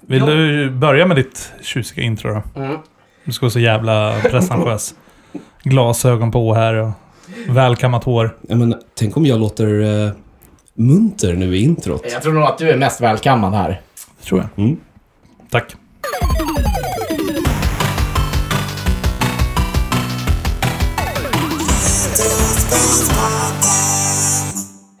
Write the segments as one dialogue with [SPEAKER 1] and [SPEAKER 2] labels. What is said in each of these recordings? [SPEAKER 1] Vill
[SPEAKER 2] Ja.
[SPEAKER 1] du börja med ditt tjusiga intro då?
[SPEAKER 2] Mm.
[SPEAKER 1] Du ska vara så jävla prestentiös. Glasögon på här och välkammat hår.
[SPEAKER 3] Ja, men, tänk om jag låter eh, munter nu i introt.
[SPEAKER 2] Jag tror nog att du är mest välkammad här.
[SPEAKER 1] Det tror jag.
[SPEAKER 3] Mm.
[SPEAKER 1] Tack.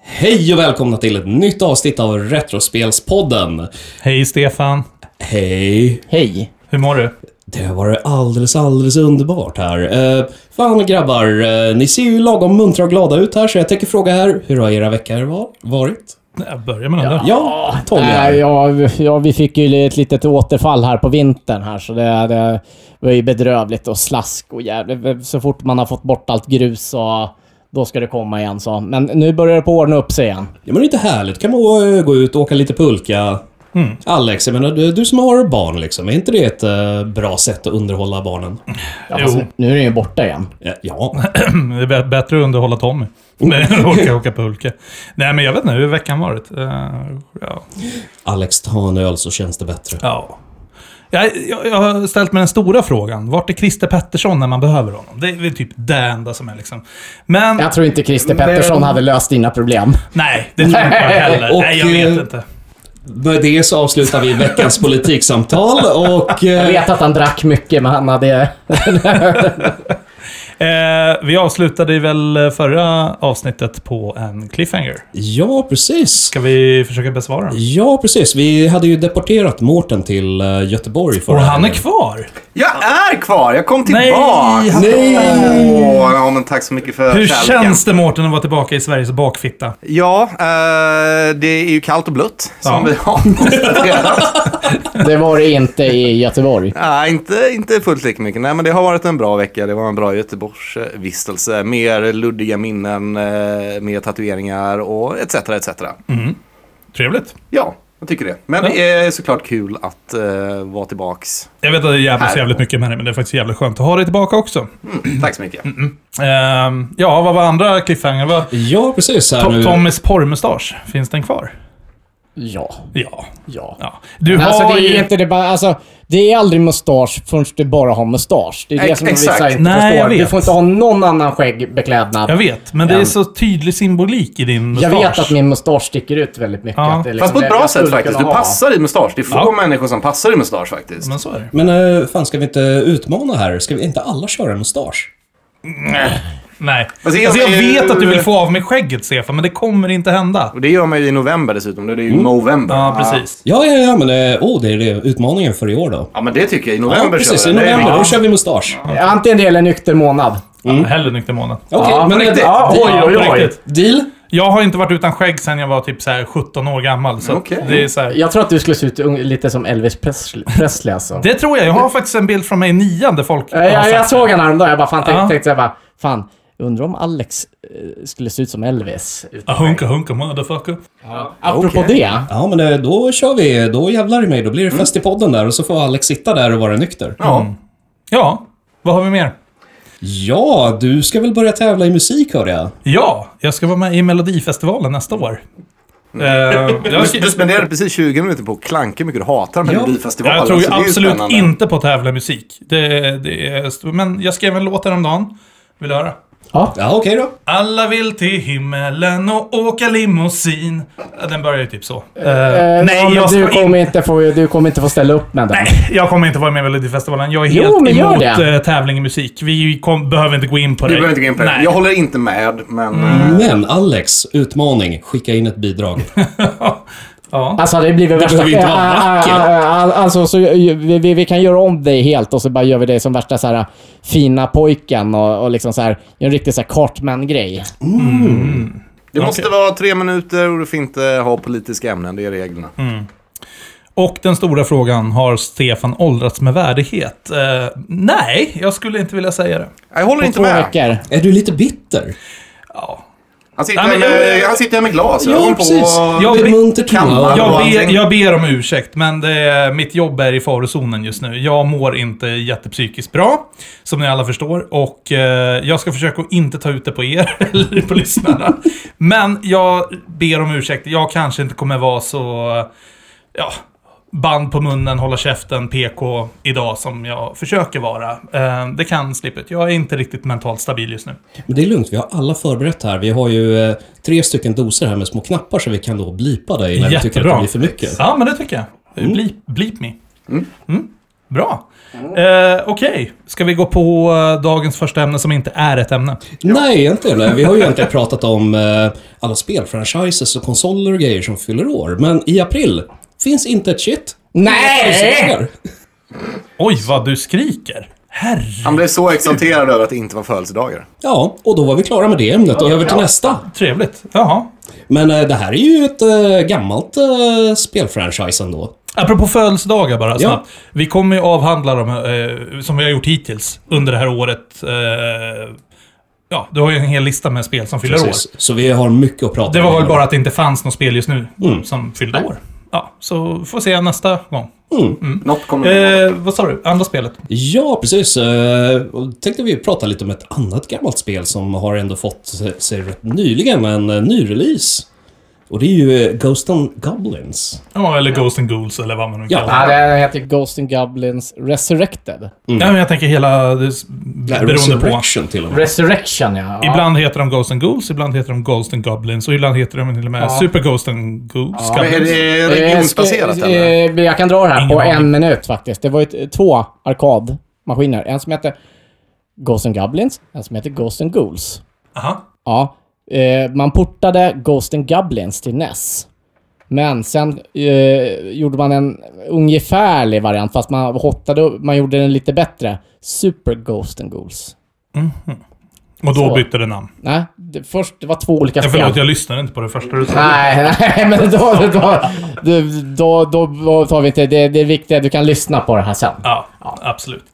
[SPEAKER 3] Hej och välkomna till ett nytt avsnitt av Retrospelspodden.
[SPEAKER 1] Hej Stefan.
[SPEAKER 3] Hej.
[SPEAKER 2] Hej!
[SPEAKER 1] Hur mår du?
[SPEAKER 3] Det har varit alldeles, alldeles underbart här. Eh, fan grabbar, eh, ni ser ju lagom muntra och glada ut här så jag tänker fråga er, hur har era veckor var- varit?
[SPEAKER 1] Jag börjar med den där.
[SPEAKER 3] Ja, Tommy
[SPEAKER 2] Äh,
[SPEAKER 3] här.
[SPEAKER 2] ja, vi- ja, vi fick ju ett litet återfall här på vintern här, så det, det var ju bedrövligt och slask och jävligt. Så fort man har fått bort allt grus så då ska det komma igen så. Men nu börjar det på att ordna upp sig igen.
[SPEAKER 3] Ja, men det är inte härligt. Kan man eh, gå ut och åka lite pulka?
[SPEAKER 1] Mm.
[SPEAKER 3] Alex, jag menar du, du som har barn liksom, är inte det ett eh, bra sätt att underhålla barnen?
[SPEAKER 2] Ja, fast
[SPEAKER 1] Jo.
[SPEAKER 2] Alltså, Nu är den ju borta igen.
[SPEAKER 3] Ja, Ja.
[SPEAKER 1] Det är bä- bättre att underhålla Tommy. Nej, orka åka pulka. Nej, men jag vet inte. Hur har veckan varit? Eh, ja.
[SPEAKER 3] Alex, ta en öl så känns det bättre.
[SPEAKER 1] ja. Jag, jag, jag har ställt mig den stora frågan. Vart är Christer Pettersson när man behöver honom? Det är väl typ det enda som är liksom... Men...
[SPEAKER 2] Jag tror inte Christer
[SPEAKER 1] Men-
[SPEAKER 2] Pettersson hade löst dina problem.
[SPEAKER 1] Nej, det tror jag inte jag heller.
[SPEAKER 3] Och,
[SPEAKER 1] Nej, jag vet
[SPEAKER 3] eh,
[SPEAKER 1] inte.
[SPEAKER 3] Med det så avslutar vi veckans politiksamtal och...
[SPEAKER 2] Jag
[SPEAKER 3] Eh,
[SPEAKER 2] vet att han drack mycket, men han hade...
[SPEAKER 1] Eh, vi avslutade väl förra avsnittet på en cliffhanger.
[SPEAKER 3] ja, precis.
[SPEAKER 1] Ska vi försöka besvara den?
[SPEAKER 3] Ja, precis. Vi hade ju deporterat Mårten till eh, Göteborg förra
[SPEAKER 1] Och han är
[SPEAKER 3] helgen.
[SPEAKER 1] kvar!
[SPEAKER 4] Jag är kvar! Jag kom
[SPEAKER 1] Nej!
[SPEAKER 4] tillbaka!
[SPEAKER 1] han-
[SPEAKER 4] Åh, ja, men tack så mycket för
[SPEAKER 1] Hur
[SPEAKER 4] kärleken.
[SPEAKER 1] känns det Mårten att vara tillbaka i Sveriges bakfitta?
[SPEAKER 4] Ja, eh, det är ju kallt och blött som
[SPEAKER 1] Ja.
[SPEAKER 4] vi har konstaterat.
[SPEAKER 2] Det var det inte i Göteborg.
[SPEAKER 4] Nej, inte, inte fullt lika mycket. Nej, men det har varit en bra vecka. Det var en bra Göteborgsvistelse. Mer luddiga minnen, eh, mer tatueringar och etc. etc.
[SPEAKER 1] Trevligt.
[SPEAKER 4] Ja, jag tycker det. Men
[SPEAKER 1] Mm. Ja.
[SPEAKER 4] det är såklart kul att eh, vara tillbaks.
[SPEAKER 1] Jag vet att det jävlas
[SPEAKER 4] Här.
[SPEAKER 1] jävligt mycket med dig, men det är faktiskt jävligt skönt att ha dig tillbaka också.
[SPEAKER 4] Mm, tack så mycket.
[SPEAKER 1] Ehm, ja, vad var andra cliffhanger? Vad,
[SPEAKER 3] Ja, precis. Här
[SPEAKER 1] to
[SPEAKER 3] nu.
[SPEAKER 1] Tommys porrmustasch, finns den kvar?
[SPEAKER 2] Ja.
[SPEAKER 1] Ja.
[SPEAKER 2] Ja.
[SPEAKER 1] ja. Du
[SPEAKER 2] Men
[SPEAKER 1] har
[SPEAKER 2] alltså, det är ju
[SPEAKER 1] ju...
[SPEAKER 2] inte det bara, alltså, det är aldrig mustasch förrän du bara har mustasch. Det är det
[SPEAKER 4] Ex-
[SPEAKER 2] som
[SPEAKER 4] exakt.
[SPEAKER 2] vissa inte
[SPEAKER 1] Nej, jag
[SPEAKER 2] förstår.
[SPEAKER 1] vet.
[SPEAKER 2] Du får inte ha någon annan skäggbeklädnad.
[SPEAKER 1] Jag vet, men det är
[SPEAKER 2] Ehm.
[SPEAKER 1] så tydlig symbolik i din
[SPEAKER 2] Jag
[SPEAKER 1] mustasch.
[SPEAKER 2] vet att min mustasch sticker ut väldigt mycket.
[SPEAKER 1] Ja.
[SPEAKER 2] Att det är liksom
[SPEAKER 4] Fast på ett
[SPEAKER 2] det
[SPEAKER 4] bra
[SPEAKER 2] jag
[SPEAKER 4] sätt
[SPEAKER 2] skulle
[SPEAKER 4] faktiskt. Du
[SPEAKER 2] kunna ha.
[SPEAKER 4] passar i mustasch. Det är få
[SPEAKER 1] Ja.
[SPEAKER 4] människor som passar i mustasch faktiskt.
[SPEAKER 1] Men så är det.
[SPEAKER 3] Men eh, fan, ska vi inte utmana här? Ska vi inte alla köra en mustasch?
[SPEAKER 1] Nej.
[SPEAKER 4] Alltså,
[SPEAKER 1] Alltså,
[SPEAKER 4] jag-
[SPEAKER 1] jag vet att du vill få av mig skägget, Stefan, men det kommer inte hända.
[SPEAKER 4] Och det gör man ju i november dessutom. Det är ju november.
[SPEAKER 1] Ja, precis.
[SPEAKER 3] Ja, ja, ja, men eh, oh, det är det utmaningen för i år då.
[SPEAKER 4] Ja, men det tycker jag. I
[SPEAKER 3] Ja,
[SPEAKER 4] november
[SPEAKER 3] precis. I
[SPEAKER 4] vi. Det är
[SPEAKER 3] november, då
[SPEAKER 4] bra.
[SPEAKER 3] kör vi mustasch.
[SPEAKER 2] Antingen det eller nykter månad.
[SPEAKER 4] Mm.
[SPEAKER 1] Ja, Hellre nykter månad.
[SPEAKER 3] Okej,
[SPEAKER 2] Ja,
[SPEAKER 3] men...
[SPEAKER 2] på
[SPEAKER 3] eh,
[SPEAKER 2] riktigt. Ja,
[SPEAKER 3] de-
[SPEAKER 2] oj,
[SPEAKER 1] Ja, på
[SPEAKER 2] oj, oj.
[SPEAKER 1] riktigt.
[SPEAKER 3] Deal?
[SPEAKER 1] Jag har inte varit utan skägg sedan jag var typ så här 17 år gammal. Så
[SPEAKER 4] Okej.
[SPEAKER 1] det, är så här.
[SPEAKER 2] Jag tror att du skulle se ut un- lite som Elvis Presley, Presley alltså.
[SPEAKER 1] det tror jag. Jag har faktiskt en bild från mig i nian där folk
[SPEAKER 2] jag, jag, jag
[SPEAKER 1] sagt-
[SPEAKER 2] såg honom häromdagen. Jag bara fan, tänkte,
[SPEAKER 1] Ja.
[SPEAKER 2] tänkte jag bara, fan, undrar om Alex eh, skulle se ut som Elvis.
[SPEAKER 1] A hunka hunka motherfucker.
[SPEAKER 2] Apropå
[SPEAKER 4] Okej.
[SPEAKER 2] det.
[SPEAKER 3] Ja, men eh, då kör vi. Då jävlar i mig. Då blir det fest i podden där och så får Alex sitta där och vara nykter.
[SPEAKER 4] Mm. Ja.
[SPEAKER 1] Ja, vad har vi mer?
[SPEAKER 3] Ja, du ska väl börja tävla i musik, hör jag.
[SPEAKER 1] Ja, jag ska vara med i Melodifestivalen nästa år. Eh, jag,
[SPEAKER 4] Mm. Du, du spenderade precis 20 minuter på att klanka hur mycket du hatar Melodifestivalen.
[SPEAKER 1] jag tror ju
[SPEAKER 4] så alltså, det
[SPEAKER 1] absolut
[SPEAKER 4] är spännande.
[SPEAKER 1] inte på att tävla i musik. Det, det är, st- men jag skrev en låt häromdagen. Vill du höra?
[SPEAKER 2] Ja.
[SPEAKER 3] Ja, okej då.
[SPEAKER 1] Alla vill till himmelen och åka limousin. Ja, Den börjar ju typ så. Eh,
[SPEAKER 2] Eh,
[SPEAKER 1] nej,
[SPEAKER 2] men
[SPEAKER 1] jag
[SPEAKER 2] du,
[SPEAKER 1] ska
[SPEAKER 2] kommer inte få, du kommer inte få ställa upp med den.
[SPEAKER 1] Nej, jag kommer inte vara med i Melodifestivalen. Jag är
[SPEAKER 2] Jo,
[SPEAKER 1] helt
[SPEAKER 2] men gör
[SPEAKER 1] emot
[SPEAKER 2] det.
[SPEAKER 1] eh, tävling i musik. Vi kom, behöver inte gå in på
[SPEAKER 4] Du
[SPEAKER 1] det.
[SPEAKER 4] behöver inte gå in på det.
[SPEAKER 1] Nej.
[SPEAKER 4] Jag håller inte med, men... eh,
[SPEAKER 3] Men Alex, utmaning. Skicka in ett bidrag.
[SPEAKER 1] Ja.
[SPEAKER 2] Alltså det blir väl värsta...
[SPEAKER 3] behöver ju inte vara
[SPEAKER 2] Ah, ah,
[SPEAKER 3] vacker.
[SPEAKER 2] ah, ah, ah, Alltså så vi, vi, vi kan göra om dig helt och så bara gör vi dig som värsta så här äh, fina pojken och, och liksom så här, gör en riktig så här Cartman-grej.
[SPEAKER 4] Det måste
[SPEAKER 1] Okej.
[SPEAKER 4] vara tre minuter och du får inte ha politiska ämnen. Det är reglerna.
[SPEAKER 1] Och den stora frågan, har Stefan åldrats med värdighet? Eh, nej, jag skulle inte vilja säga det.
[SPEAKER 4] Jag håller inte
[SPEAKER 2] Två
[SPEAKER 4] med.
[SPEAKER 2] veckor.
[SPEAKER 3] Är du lite bitter?
[SPEAKER 1] Ja.
[SPEAKER 4] Han sitter,
[SPEAKER 1] Ja,
[SPEAKER 4] här
[SPEAKER 1] men-
[SPEAKER 4] med, han sitter här med glas.
[SPEAKER 3] Ja,
[SPEAKER 4] ögon
[SPEAKER 3] precis.
[SPEAKER 1] Jag
[SPEAKER 4] På...
[SPEAKER 3] Lite
[SPEAKER 1] be-
[SPEAKER 3] munter
[SPEAKER 4] kan-
[SPEAKER 3] tonläge?
[SPEAKER 4] Ja,
[SPEAKER 1] Jag, ber,
[SPEAKER 4] allting.
[SPEAKER 1] jag ber om ursäkt, men det, är- mitt jobb är i farozonen just nu. Jag mår inte jättepsykiskt bra, som ni alla förstår. Och eh, jag ska försöka att inte ta ut det på er, eller på lyssnarna. Men jag ber om ursäkt. Jag kanske inte kommer vara så... Ja, band på munnen, hålla käften, PK idag som jag försöker vara. Eh, det kan slippa ut. Jag är inte riktigt mentalt stabil just nu.
[SPEAKER 3] Men det är lugnt, vi har alla förberett här. Vi har ju eh, tre stycken doser här med små knappar så vi kan då blipa dig när vi tycker att det blir för mycket.
[SPEAKER 1] Ja, men det tycker jag. Bleep, bleep me. Mm. Bra. Eh, Okej, ska vi gå på eh, dagens första ämne som inte är ett ämne?
[SPEAKER 3] Nej, egentligen. inte. Vi har ju egentligen pratat om eh, alla spelfranchises och konsoler och grejer som fyller år. Men i april finns inte ett shit.
[SPEAKER 2] Nej!
[SPEAKER 1] Oj, vad du skriker! Herre,
[SPEAKER 4] Han blev så exalterad över att det inte var födelsedagar.
[SPEAKER 3] Ja, och då var vi klara med det ämnet och över till nästa.
[SPEAKER 1] trevligt. Jaha.
[SPEAKER 3] Men eh, det här är ju ett eh, gammalt eh, spelfranchise ändå.
[SPEAKER 1] Apropå födelsedagar bara.
[SPEAKER 3] Ja.
[SPEAKER 1] snabbt. vi kommer ju avhandla dem, eh, som vi har gjort hittills, under det här året. Eh, ja, du har ju en hel lista med spel som fyller år.
[SPEAKER 3] Precis. Så vi har mycket att prata om.
[SPEAKER 1] Det var väl bara att det inte fanns något spel just nu
[SPEAKER 3] Mm.
[SPEAKER 1] som fyllde år. Ja, så får se nästa gång.
[SPEAKER 4] Något kommer det
[SPEAKER 1] Eh, vad sa du? Andra spelet?
[SPEAKER 3] Ja, precis. Eh, och tänkte vi prata lite om ett annat gammalt spel som har ändå fått se- sig rätt nyligen en eh, ny release. Och det är ju eh, Ghost and Goblins.
[SPEAKER 1] Ja, eller Ghost and Ghouls eller vad man nu
[SPEAKER 3] Ja.
[SPEAKER 1] kallar det.
[SPEAKER 2] Ja, den heter Ghost and Goblins Resurrected.
[SPEAKER 1] Nej, men jag tänker hela... Det, s- beroende på.
[SPEAKER 3] Resurrection till och med.
[SPEAKER 2] Resurrection, ja. ja.
[SPEAKER 1] Ibland heter de Ghost and Ghouls, ibland heter de Ghost and Goblins och ibland heter de till och med
[SPEAKER 2] Ja.
[SPEAKER 1] Super Ghost and Ghouls.
[SPEAKER 4] vara. Men Är
[SPEAKER 1] Goblins.
[SPEAKER 4] det
[SPEAKER 2] Eh,
[SPEAKER 4] regionsbaserat
[SPEAKER 2] ska-
[SPEAKER 4] eller?
[SPEAKER 2] eh, Jag kan dra det här
[SPEAKER 1] Ingen
[SPEAKER 2] på
[SPEAKER 1] aning.
[SPEAKER 2] en minut faktiskt. Det var ju ett- två arkadmaskiner. En som hette Ghost and Goblins, en som hette Ghost and Ghouls.
[SPEAKER 1] Aha.
[SPEAKER 2] Ja. Eh, man portade Ghost and Goblins till NES. Men sen eh, gjorde man en ungefärlig variant, fast man hottade, man gjorde den lite bättre. Super Ghost and Ghouls.
[SPEAKER 1] Och då
[SPEAKER 2] Så.
[SPEAKER 1] bytte det namn.
[SPEAKER 2] Nej, det, först, det var två olika
[SPEAKER 1] Ja,
[SPEAKER 2] spel.
[SPEAKER 1] förlåt, jag lyssnade inte på det första du sa.
[SPEAKER 2] Nej, nej, men då, då, då, då, då tar vi inte... Det, det är viktigt, du kan lyssna på det här sen.
[SPEAKER 1] Ja, absolut.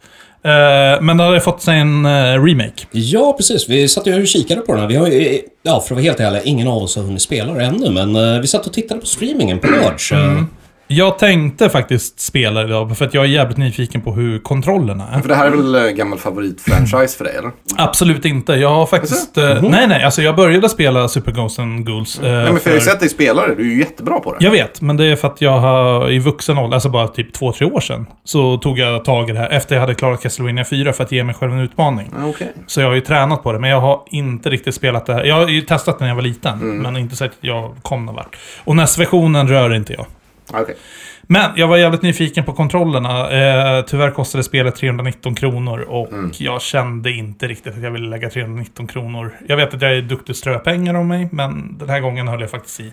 [SPEAKER 1] Eh, men det hade fått sig en eh, remake.
[SPEAKER 3] Ja, precis. Vi satt ju och kikade på den här. Vi har ju, eh, ja, för att vara helt ärlig, ingen av oss har hunnit spela det ännu, men eh, vi satt och tittade på streamingen på Lodge. eh.
[SPEAKER 1] Mm. Jag tänkte faktiskt spela det idag, för att jag är jävligt nyfiken på hur kontrollerna är.
[SPEAKER 4] För det här är väl eh, gammal favoritfranchise för dig eller?
[SPEAKER 1] Absolut inte. Jag har faktiskt... eh, Nej, nej. Alltså jag började spela Super Ghosts and Ghouls. eh,
[SPEAKER 4] Nej men för jag har ju
[SPEAKER 1] för-
[SPEAKER 4] sett dig spela det, du är ju jättebra på det.
[SPEAKER 1] Jag vet, men det är för att jag har i vuxen ålder, alltså bara typ två, tre år sedan, så tog jag tag i det här efter jag hade klarat Castlevania 4 för att ge mig själv en utmaning.
[SPEAKER 2] Ah,
[SPEAKER 4] Ja, Okej.
[SPEAKER 1] Så jag har ju tränat på det, men jag har inte riktigt spelat det här. Jag har ju testat när jag var liten, men inte sett att jag kom någon vart. Och NES-versionen rör inte jag.
[SPEAKER 4] Ja, Ah, okej.
[SPEAKER 1] Men jag var jävligt nyfiken på kontrollerna. Eh, tyvärr kostade spelet 319 kronor och jag kände inte riktigt att jag ville lägga 319 kronor. Jag vet att jag är duktig att strö pengar om mig, men den här gången höll jag faktiskt i.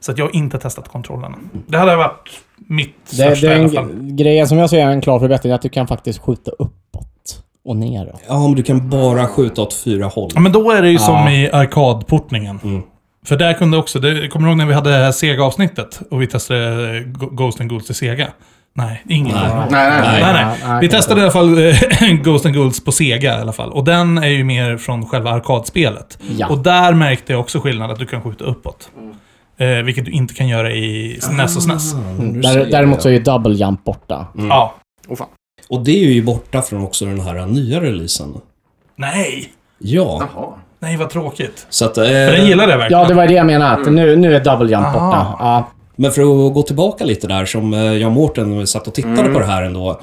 [SPEAKER 1] Så att jag har inte testat kontrollerna. Det hade varit mitt
[SPEAKER 2] Det,
[SPEAKER 1] största
[SPEAKER 2] det är
[SPEAKER 1] i alla fall.
[SPEAKER 2] en, grejen som jag ser är en klar förbättring, att du kan faktiskt skjuta uppåt och neråt.
[SPEAKER 3] Ja, men du kan bara skjuta åt fyra håll.
[SPEAKER 1] Ja, men då är det ju som i arkadportningen. För där kunde också, det, kommer du ihåg när vi hade det här Sega-avsnittet och vi testade eh, Go- Ghost and Ghouls i Sega? Nej, ingen
[SPEAKER 3] Nej.
[SPEAKER 4] Nej, nej, nej.
[SPEAKER 1] Nej, nej.
[SPEAKER 2] Nej, nej,
[SPEAKER 1] vi
[SPEAKER 2] kanske
[SPEAKER 1] testade i alla fall eh, Ghost and Ghouls på Sega i alla fall. Och den är ju mer från själva arkadspelet.
[SPEAKER 2] Ja.
[SPEAKER 1] Och där märkte jag också skillnad att du kan skjuta uppåt.
[SPEAKER 3] Mm.
[SPEAKER 1] Eh, vilket du inte kan göra i SNES och SNES.
[SPEAKER 2] Mm.
[SPEAKER 3] Du
[SPEAKER 2] Där,
[SPEAKER 3] ser
[SPEAKER 2] däremot
[SPEAKER 3] det.
[SPEAKER 2] så är ju double jump borta.
[SPEAKER 1] Ja.
[SPEAKER 4] Åh, fan.
[SPEAKER 3] Och det är ju borta från också den här nya releasen.
[SPEAKER 1] Nej!
[SPEAKER 3] Ja,
[SPEAKER 4] Jaha.
[SPEAKER 1] Nej, vad tråkigt.
[SPEAKER 3] så att...
[SPEAKER 1] För den
[SPEAKER 3] Eh,
[SPEAKER 1] gillade jag verkligen.
[SPEAKER 2] Ja, det var det jag menade. Att nu, nu är double jump
[SPEAKER 1] Aha.
[SPEAKER 2] borta. Ja.
[SPEAKER 3] men för att gå tillbaka lite där, som eh, jag och Mårten satt och tittade på det här ändå.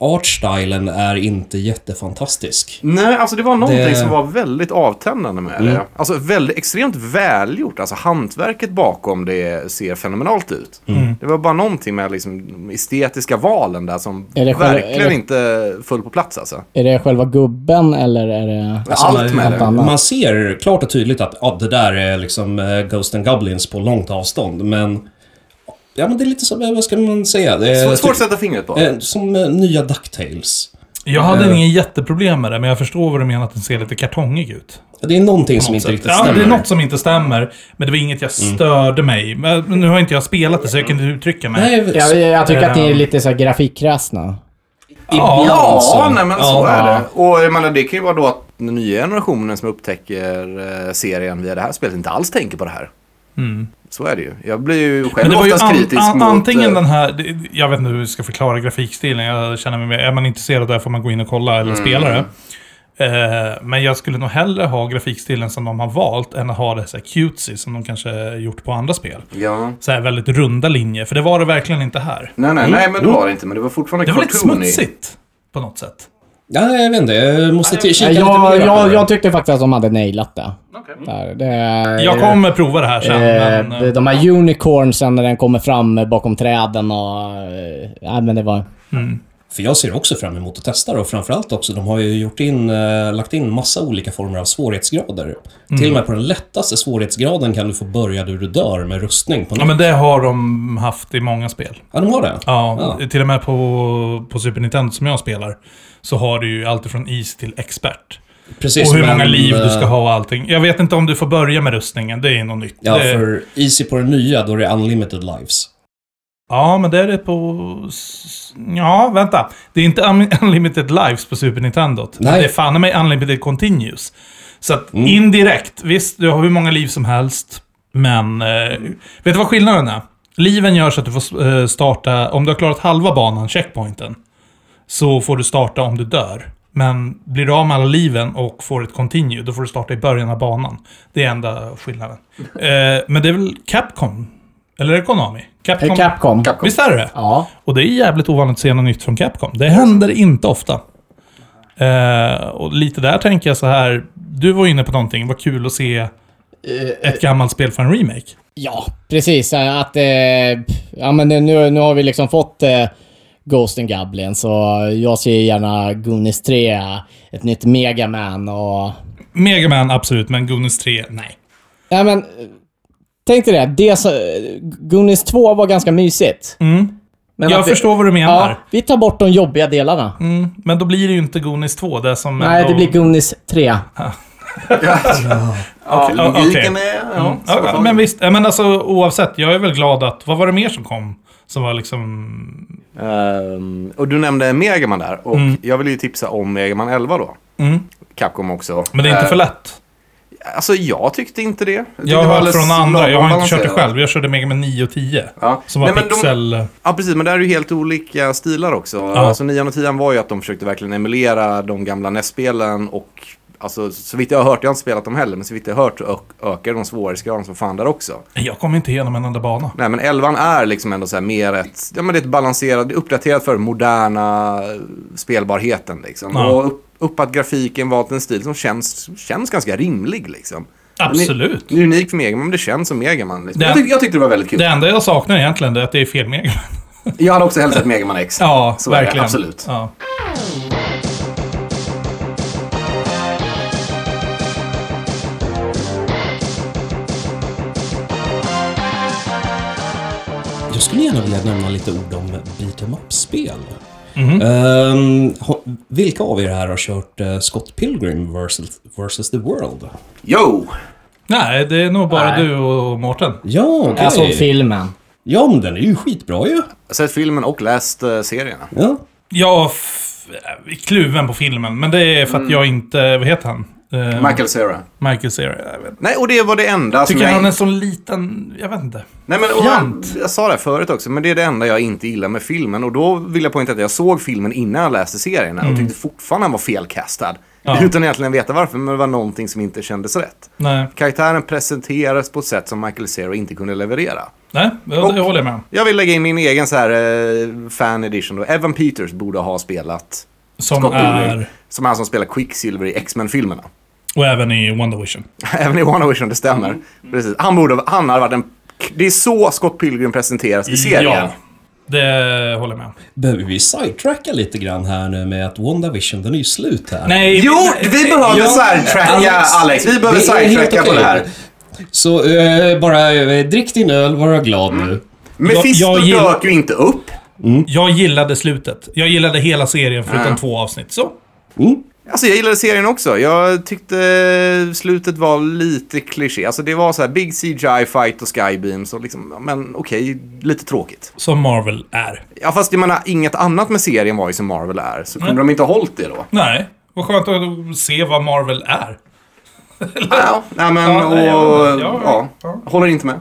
[SPEAKER 3] Artstylen är inte jättefantastisk.
[SPEAKER 4] Nej, alltså det var någonting
[SPEAKER 3] Det-
[SPEAKER 4] som var väldigt avtändande med
[SPEAKER 2] Mm.
[SPEAKER 4] det. Alltså väldigt, extremt välgjort. Alltså hantverket bakom det ser fenomenalt ut.
[SPEAKER 2] Mm.
[SPEAKER 4] Det var bara någonting med liksom, de estetiska valen där som
[SPEAKER 2] Är det själva-
[SPEAKER 4] verkligen
[SPEAKER 2] är det-
[SPEAKER 4] inte föll på plats alltså.
[SPEAKER 2] Är det själva gubben eller är det...
[SPEAKER 4] Allt med
[SPEAKER 2] allt
[SPEAKER 4] det.
[SPEAKER 2] annat.
[SPEAKER 3] Man ser klart och tydligt att ja, det där är liksom eh, Ghost and Goblins på långt avstånd, men... Ja, men det är lite som, eh, vad ska man säga? Det
[SPEAKER 2] Eh,
[SPEAKER 3] är,
[SPEAKER 4] Så, svårt att sätta fingret på.
[SPEAKER 3] eh, som eh, nya Ducktails.
[SPEAKER 1] Jag hade
[SPEAKER 3] eh.
[SPEAKER 1] ingen jätteproblem med det, men jag förstår vad du menar att den ser lite kartongig ut.
[SPEAKER 3] Det är någonting som inte
[SPEAKER 1] Så-
[SPEAKER 3] riktigt
[SPEAKER 1] ja,
[SPEAKER 3] stämmer. Mm.
[SPEAKER 1] det är något som inte stämmer, men det var inget jag störde mig. Men men nu har inte jag spelat det, så jag kan inte uttrycka mig.
[SPEAKER 3] Nej,
[SPEAKER 2] Jag, jag tycker att ni är lite så här grafikkräsna.
[SPEAKER 1] Ja, alltså.
[SPEAKER 4] Ja,
[SPEAKER 3] så.
[SPEAKER 4] nej, men
[SPEAKER 3] Ja.
[SPEAKER 4] så är det. Och jag menar, det kan ju vara då att den nya generationen som upptäcker eh, serien via det här spelet inte alls tänker på det här. Så är det ju. Jag blir ju
[SPEAKER 1] Mm. Men
[SPEAKER 4] själv
[SPEAKER 1] det var ju
[SPEAKER 4] oftast
[SPEAKER 1] an,
[SPEAKER 4] kritisk
[SPEAKER 1] an,
[SPEAKER 4] mot...
[SPEAKER 1] antingen
[SPEAKER 4] eh,
[SPEAKER 1] den här... det- Jag Mm. vet inte hur jag ska förklara grafikstilen. Jag känner mig mer... Är man intresserad där får man gå in och kolla eller spela det. Eh, men jag skulle nog hellre ha grafikstilen som de har valt än att ha det så här cutesy som de kanske gjort på andra spel.
[SPEAKER 4] Ja.
[SPEAKER 1] Så här väldigt runda linjer, för det var det verkligen inte här.
[SPEAKER 4] Nej, nej, nej, men det var det inte. Men det var fortfarande
[SPEAKER 1] Mm. Det var lite
[SPEAKER 4] cartoony.
[SPEAKER 1] smutsigt på något sätt.
[SPEAKER 3] Ja, jag vet inte. Jag måste till- kika
[SPEAKER 2] Jag,
[SPEAKER 3] lite
[SPEAKER 2] jag,
[SPEAKER 3] mer.
[SPEAKER 2] jag, tyckte faktiskt att de hade nailat det. Där, det
[SPEAKER 1] Jag kommer prova det här sen,
[SPEAKER 2] Eh,
[SPEAKER 1] men...
[SPEAKER 2] de-
[SPEAKER 1] eh,
[SPEAKER 2] de här unicornsen när den kommer fram bakom träden och... eh, Nej, men det var...
[SPEAKER 3] För jag ser också fram emot att testa det och framförallt också, de har ju gjort in, eh, lagt in massa olika former av svårighetsgrader.
[SPEAKER 1] Mm.
[SPEAKER 3] Till och med på den lättaste svårighetsgraden kan du få börja där du dör med rustning på
[SPEAKER 1] Ja,
[SPEAKER 3] något.
[SPEAKER 1] men det har de haft i många spel.
[SPEAKER 3] Ja, de har det?
[SPEAKER 1] Ja, till och med på, på Super Nintendo som jag spelar så har du ju allt från is till expert.
[SPEAKER 3] Precis,
[SPEAKER 1] och hur många
[SPEAKER 3] men,
[SPEAKER 1] liv du
[SPEAKER 3] eh,
[SPEAKER 1] ska ha och allting. Jag vet inte om du får börja med rustningen, det är något nytt.
[SPEAKER 3] Ja,
[SPEAKER 1] det,
[SPEAKER 3] för Easy på den nya, då är det unlimited lives.
[SPEAKER 1] ja men det är det på... s- Ja, vänta. Det är inte un- Unlimited Lives på Super Nintendo.
[SPEAKER 3] Nej.
[SPEAKER 1] Det är fan i mig Unlimited Continues. Så att indirekt, visst, du har hur många liv som helst, men... Eh, vet du vad skillnaden är? Liven gör så att du får eh, starta, om du har klarat halva banan, checkpointen, så får du starta om du dör. Men blir du av med alla liven och får ett continue, då får du starta i början av banan. Det är enda skillnaden. Eh, men det är väl Capcom? Eller är det Konami? Capcom?
[SPEAKER 2] Eh, Capcom.
[SPEAKER 1] Visst är det
[SPEAKER 2] Ja.
[SPEAKER 1] Och det är jävligt ovanligt att se något nytt från Capcom. Det händer inte ofta. Eh, och lite där tänker jag så här. Du var inne på någonting. Vad kul att se
[SPEAKER 2] Eh,
[SPEAKER 1] ett gammalt spel för en remake.
[SPEAKER 2] Ja, precis. eh, Att, eh, ja, men nu, nu har vi liksom fått eh, Ghost and Goblin, så jag ser gärna Goonies 3, ett nytt Mega Man och...
[SPEAKER 1] Mega Man, absolut, men Goonies 3, nej.
[SPEAKER 2] Ja, men... eh, Tänk dig det. det så, eh, Goonies 2 var ganska mysigt. Men
[SPEAKER 1] Mm. jag
[SPEAKER 2] att vi-
[SPEAKER 1] förstår vad du menar.
[SPEAKER 2] Ja, vi tar bort de jobbiga delarna.
[SPEAKER 1] Mm, men då blir det ju inte Goonies 2, det som...
[SPEAKER 2] Nej,
[SPEAKER 1] ändå-
[SPEAKER 2] det blir Goonies 3.
[SPEAKER 4] Ja,
[SPEAKER 1] Ja, okej. Mm.
[SPEAKER 4] logiken är... Ja,
[SPEAKER 1] Ja,
[SPEAKER 4] så-
[SPEAKER 1] men visst, ja, men alltså oavsett, jag är väl glad att... Vad var det mer som kom? Som var liksom...
[SPEAKER 4] Ehm, och du nämnde Megaman där. Och
[SPEAKER 1] Mm.
[SPEAKER 4] jag vill ju tipsa om Megaman 11 då. Capcom också.
[SPEAKER 1] Men det är inte
[SPEAKER 4] Eh,
[SPEAKER 1] för lätt.
[SPEAKER 4] Alltså jag tyckte inte det. Jag, tyckte
[SPEAKER 1] Jag
[SPEAKER 4] det var
[SPEAKER 1] har hört
[SPEAKER 4] alldeles
[SPEAKER 1] från andra, jag har
[SPEAKER 4] lagom
[SPEAKER 1] inte kört det
[SPEAKER 4] balanserat.
[SPEAKER 1] själv. Jag körde Mega Man 9 och 10.
[SPEAKER 4] Ja.
[SPEAKER 1] Som var
[SPEAKER 4] Nej, men de-
[SPEAKER 1] pixel...
[SPEAKER 4] Ja, precis. Men det här är ju helt olika stilar också. Alltså 9 och 10 var ju att de försökte verkligen emulera de gamla NES-spelen och Alltså, så vitt jag har hört, jag har inte spelat dem heller, men så vitt jag har hört så ö- ökar de svårighetsgraden som fan där också.
[SPEAKER 1] Jag kom inte igenom en enda bana.
[SPEAKER 4] Nej, men 11 är liksom ändå så här mer ett, ja men det är ett balanserat, det är uppdaterat för den moderna eh, spelbarheten liksom.
[SPEAKER 1] Ja.
[SPEAKER 4] Och upp, uppat grafiken, valt en stil som känns, känns ganska rimlig liksom.
[SPEAKER 1] Absolut.
[SPEAKER 4] Det är unik för Megaman, men det känns som Megaman. Liksom.
[SPEAKER 1] Det-
[SPEAKER 4] Jag, tyck, jag tyckte det var väldigt kul.
[SPEAKER 1] Det enda jag saknar egentligen är att det är fel Mega Man.
[SPEAKER 4] Jag hade också helst sett Megaman X.
[SPEAKER 1] Ja,
[SPEAKER 4] Så är det,
[SPEAKER 1] verkligen.
[SPEAKER 4] absolut.
[SPEAKER 1] Ja.
[SPEAKER 3] Jag skulle gärna vilja nämna lite ord om beat em up-spel.
[SPEAKER 1] Mhm.
[SPEAKER 3] Ehm, ha- vilka av er här har kört eh, Scott Pilgrim versus, versus the World?
[SPEAKER 4] Yo!
[SPEAKER 1] Nej, det är nog bara
[SPEAKER 2] Nej.
[SPEAKER 1] du och Mårten.
[SPEAKER 3] Ja, okej.
[SPEAKER 2] Jag såg filmen.
[SPEAKER 3] Ja, men den är ju skitbra ju.
[SPEAKER 4] Jag har sett filmen och läst eh, serierna.
[SPEAKER 3] Ja.
[SPEAKER 1] Jag f- är kluven på filmen, men det är
[SPEAKER 4] Mm.
[SPEAKER 1] för att jag inte... Vad heter han? Eh,
[SPEAKER 4] Michael Cera.
[SPEAKER 1] Michael Cera. Jag vet. inte.
[SPEAKER 4] Nej, och det var det enda
[SPEAKER 1] Tycker
[SPEAKER 4] som
[SPEAKER 1] han
[SPEAKER 4] jag...
[SPEAKER 1] är så liten... Jag vet inte.
[SPEAKER 4] Nej, men, och jag,
[SPEAKER 1] Fjant.
[SPEAKER 4] jag sa det här förut också, men det är det enda jag inte gillar med filmen. Och då vill jag poängtera att jag såg filmen innan jag läste serierna och tyckte fortfarande han var felkastad.
[SPEAKER 1] Mm. Ja.
[SPEAKER 4] Utan egentligen veta varför, men det var någonting som inte kändes rätt.
[SPEAKER 1] Nej,
[SPEAKER 4] Karaktären presenterades på ett sätt som Michael Cera inte kunde leverera.
[SPEAKER 1] Nej det, det håller jag med om.
[SPEAKER 4] Jag vill lägga in min egen så här eh, fan edition då. Evan Peters borde ha spelat,
[SPEAKER 1] Som
[SPEAKER 4] Scott Pilgrim.
[SPEAKER 1] är...
[SPEAKER 4] som han som spelar Quicksilver i X-Men-filmerna.
[SPEAKER 1] Och även i Wonder Vision.
[SPEAKER 4] Även i WandaVision, det stämmer. Precis. Han, borde, han hade varit en... Det är så Scott Pilgrim presenteras i serien.
[SPEAKER 1] Ja, det håller jag med om.
[SPEAKER 3] Behöver vi sidetracka lite grann här nu med att WandaVision, den är ju slut här.
[SPEAKER 1] Nej,
[SPEAKER 4] Jo,
[SPEAKER 1] nej,
[SPEAKER 4] vi behöver
[SPEAKER 3] Ja,
[SPEAKER 4] sidetracka
[SPEAKER 3] Alex.
[SPEAKER 4] Alex. Vi behöver
[SPEAKER 3] Det är helt
[SPEAKER 4] sidetracka på
[SPEAKER 3] okej.
[SPEAKER 4] det här.
[SPEAKER 3] Så eh, bara eh, drick din öl, var glad nu.
[SPEAKER 4] Mephisto
[SPEAKER 1] jag gillar-
[SPEAKER 4] dök ju inte upp.
[SPEAKER 1] Jag gillade slutet. Jag gillade hela serien förutom
[SPEAKER 4] Ja.
[SPEAKER 1] två avsnitt. Så.
[SPEAKER 4] Alltså jag gillade serien också. Jag tyckte slutet var lite kliché. Alltså det var så här big CGI fight och skybeams och liksom, men okej, lite tråkigt.
[SPEAKER 1] Som Marvel är.
[SPEAKER 4] Ja fast jag menar, inget annat med serien var ju som Marvel är. Så kunde de inte ha hållit det då?
[SPEAKER 1] Nej, vad skönt att se vad Marvel är.
[SPEAKER 4] Ja, nej men
[SPEAKER 1] Ja, nej, jag-
[SPEAKER 4] och...
[SPEAKER 1] jag-
[SPEAKER 4] ja,
[SPEAKER 1] ja.
[SPEAKER 4] håller inte med.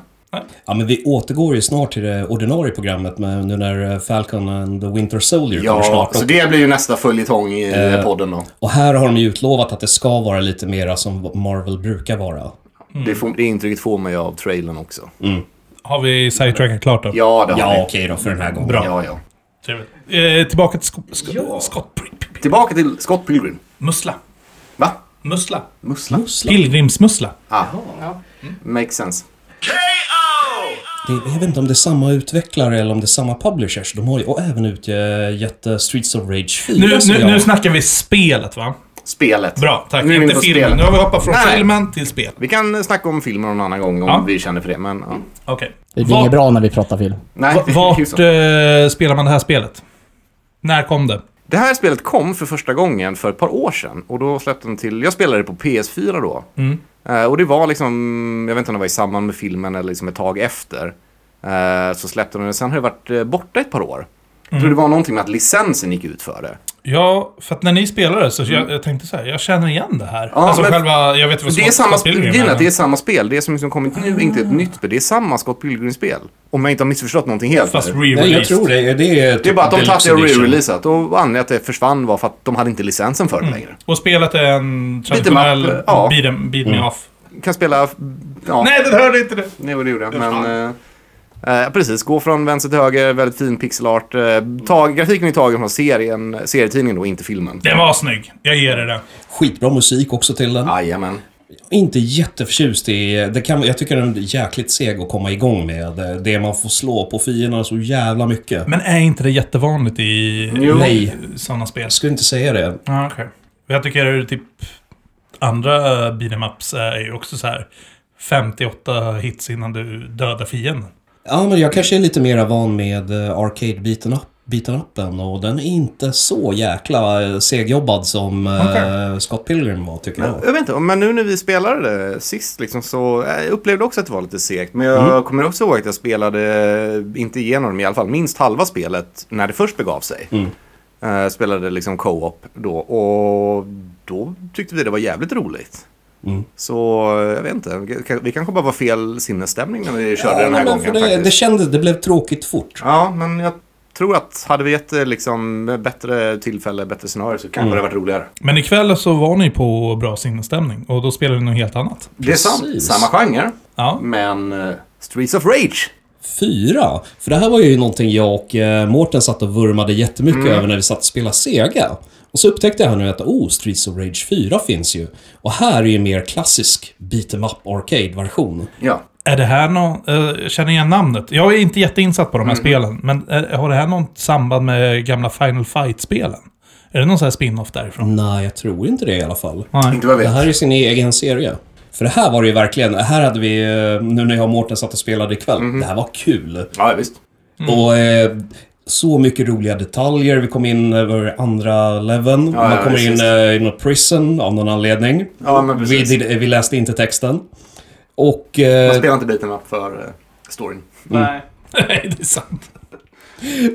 [SPEAKER 3] Ja, men vi återgår ju snart till det ordinarie programmet med, nu när eh, Falcon and the Winter Soldier kommer
[SPEAKER 4] Ja,
[SPEAKER 3] snart.
[SPEAKER 4] så
[SPEAKER 3] upp.
[SPEAKER 4] det blir ju nästa följetong i eh, podden då.
[SPEAKER 3] Och här har de ju utlovat att det ska vara lite mera som Marvel brukar vara.
[SPEAKER 1] mm.
[SPEAKER 4] Det, får, det intrycket får man ju av trailern också.
[SPEAKER 1] Har vi sidetracken klart då?
[SPEAKER 4] Ja, det har
[SPEAKER 3] Ja,
[SPEAKER 4] vi.
[SPEAKER 3] okej då, för den här gången.
[SPEAKER 1] Bra.
[SPEAKER 4] Ja, ja.
[SPEAKER 1] Trevligt. Eh, tillbaka till sko- sko-
[SPEAKER 3] Ja.
[SPEAKER 1] Scott Pilgrim.
[SPEAKER 4] Tillbaka till Scott Pilgrim.
[SPEAKER 1] Mussla.
[SPEAKER 4] Va?
[SPEAKER 1] Mussla. Mm.
[SPEAKER 4] Mussla?
[SPEAKER 1] Pilgrimsmussla.
[SPEAKER 4] Ah. Makes sense.
[SPEAKER 3] Det, jag vet inte om det är samma utvecklare eller om det är samma publishers. De har ju och även utgett eh, Streets of Rage 4.
[SPEAKER 1] Nu,
[SPEAKER 3] som
[SPEAKER 1] nu,
[SPEAKER 3] jag-
[SPEAKER 1] nu snackar vi spelet va?
[SPEAKER 4] Spelet.
[SPEAKER 1] Bra, tack.
[SPEAKER 4] Nu är vi inne
[SPEAKER 1] Inte
[SPEAKER 4] på
[SPEAKER 1] filmen.
[SPEAKER 4] spelet.
[SPEAKER 1] Nu har vi hoppat från
[SPEAKER 4] Nej.
[SPEAKER 1] filmen till spel.
[SPEAKER 4] Vi kan snacka om filmen någon annan gång om
[SPEAKER 1] Ja.
[SPEAKER 4] vi känner för det, men ja.
[SPEAKER 1] Okej.
[SPEAKER 2] Det blir
[SPEAKER 1] Va-
[SPEAKER 2] inget bra när vi pratar film.
[SPEAKER 4] Nej,
[SPEAKER 1] va-
[SPEAKER 4] det är
[SPEAKER 1] Vart
[SPEAKER 4] ju så.
[SPEAKER 1] eh, spelar man det här spelet? När kom det?
[SPEAKER 4] Det här spelet kom för första gången för ett par år sedan. Och då släppte de till, jag spelade det på PS4 då.
[SPEAKER 1] Mm.
[SPEAKER 4] Eh, och det var liksom, jag vet inte om det var i samband med filmen eller liksom ett tag efter. Eh, så släppte de det, sen har det varit eh, borta ett par år. Jag
[SPEAKER 1] Mm.
[SPEAKER 4] tror det var någonting med att licensen gick ut för det.
[SPEAKER 1] Ja, för att när ni spelade så jag, jag tänkte så här, jag känner igen det här.
[SPEAKER 4] Ja,
[SPEAKER 1] alltså
[SPEAKER 4] men-
[SPEAKER 1] själva, jag vet vad
[SPEAKER 4] Det är,
[SPEAKER 1] Scott-
[SPEAKER 4] samma
[SPEAKER 1] Scott
[SPEAKER 4] spel,
[SPEAKER 1] Pilgrim
[SPEAKER 4] grejen är att det
[SPEAKER 1] men-
[SPEAKER 4] är samma spel. Det som liksom kommit nu är inte ett nytt spel. Det är samma Scott Pilgrim-spel. Om jag inte har missförstått någonting helt.
[SPEAKER 1] Fast
[SPEAKER 4] här.
[SPEAKER 1] re-released.
[SPEAKER 3] Nej, jag tror det. Det är, typ
[SPEAKER 4] det är bara att de
[SPEAKER 3] deluxe
[SPEAKER 4] tagit det och
[SPEAKER 3] edition.
[SPEAKER 4] re-releasat. Och anledningen att det försvann var för att de hade inte licensen för det längre.
[SPEAKER 1] Och spelet är en traditionell
[SPEAKER 4] Beat 'em up, ja.
[SPEAKER 1] beat, em- beat me off.
[SPEAKER 4] Kan spela... Ja,
[SPEAKER 1] Nej, den hörde inte det!
[SPEAKER 4] Nej, det gjorde jag. Men, eh, eh, precis, gå från vänster till höger, väldigt fin pixelart. Eh, tag, grafiken är tagen från serien, serietidningen då, inte filmen.
[SPEAKER 1] Den var snygg. Jag ger er den.
[SPEAKER 3] Skitbra musik också till den.
[SPEAKER 4] Jajamän.
[SPEAKER 3] Inte jätteförtjust i... Det kan, jag tycker den är jäkligt seg att komma igång med. Det man får slå på fienderna så jävla mycket.
[SPEAKER 1] Men är inte det jättevanligt i
[SPEAKER 4] Jo.
[SPEAKER 3] Nej.
[SPEAKER 1] sådana spel?
[SPEAKER 3] Jag skulle inte säga det.
[SPEAKER 1] Ja, okej. Jag tycker typ andra beat em ups är ju också så här 58 hits innan du dödar fienden.
[SPEAKER 3] Ja, men jag kanske är lite mer van med eh, arcade-biten upp. Biten uppen och den är inte så jäkla eh, segjobbad som eh,
[SPEAKER 1] Okej.
[SPEAKER 3] Scott Pilgrim var tycker jag.
[SPEAKER 4] Jag vet inte, men nu när vi spelade det sist liksom, så eh, jag upplevde jag också att det var lite segt. Men jag kommer också ihåg att jag spelade, eh, inte igenom i alla fall, minst halva spelet när det först begav sig. Eh, spelade liksom co-op då och då tyckte vi det var jävligt roligt. Så eh, jag vet inte, vi kanske bara var fel sinnesstämning när vi körde den här
[SPEAKER 3] men
[SPEAKER 4] gången.
[SPEAKER 3] för det,
[SPEAKER 4] faktiskt.
[SPEAKER 3] det kändes, det blev tråkigt fort.
[SPEAKER 4] Ja, men jag tror att hade vi gett det liksom bättre tillfälle, bättre scenario så kanske det hade varit roligare.
[SPEAKER 1] Men ikväll så var ni på bra sinnesstämning och då spelade ni något helt annat.
[SPEAKER 4] Det är sant.
[SPEAKER 3] Precis.
[SPEAKER 4] Samma genre,
[SPEAKER 1] Ja.
[SPEAKER 4] men eh, Streets of Rage.
[SPEAKER 3] Fyra? För det här var ju någonting jag och eh, Mårten satt och vurmade jättemycket
[SPEAKER 4] Mm.
[SPEAKER 3] över när vi satt och spelade Sega. Och så upptäckte jag här nu att oh, Streets of Rage 4 finns ju. Och här är ju en mer klassisk beat em up arcade-version.
[SPEAKER 4] Ja.
[SPEAKER 1] Är det här någon... eh, känner igen namnet? Jag är inte jätteinsatt på de
[SPEAKER 4] Mm.
[SPEAKER 1] här spelen, men är, har det här något samband med gamla Final Fight-spelen? Är det någon sån här spin-off därifrån?
[SPEAKER 4] Mm.
[SPEAKER 3] Nej, jag tror inte det i alla fall.
[SPEAKER 1] Nej.
[SPEAKER 4] Inte vad
[SPEAKER 3] Det
[SPEAKER 4] jag
[SPEAKER 3] här
[SPEAKER 4] vet.
[SPEAKER 3] är sin egen serie. För det här var det ju verkligen, här hade vi, eh, nu när jag och Mårten satt och spelade ikväll,
[SPEAKER 4] Mhm.
[SPEAKER 3] det här var kul.
[SPEAKER 4] Ja, visst.
[SPEAKER 3] Och eh, så mycket roliga detaljer. Vi kom in över andra leveln.
[SPEAKER 4] Ja,
[SPEAKER 3] Man
[SPEAKER 4] ja,
[SPEAKER 3] kommer in
[SPEAKER 4] precis.
[SPEAKER 3] eh, i något prison av någon anledning.
[SPEAKER 4] Ja, men
[SPEAKER 3] vi,
[SPEAKER 4] precis.
[SPEAKER 3] did- vi läste inte texten. Och...
[SPEAKER 4] Man
[SPEAKER 3] Eh,
[SPEAKER 4] spelar inte biten upp för eh, storyn.
[SPEAKER 1] Nej. Nej, det är sant.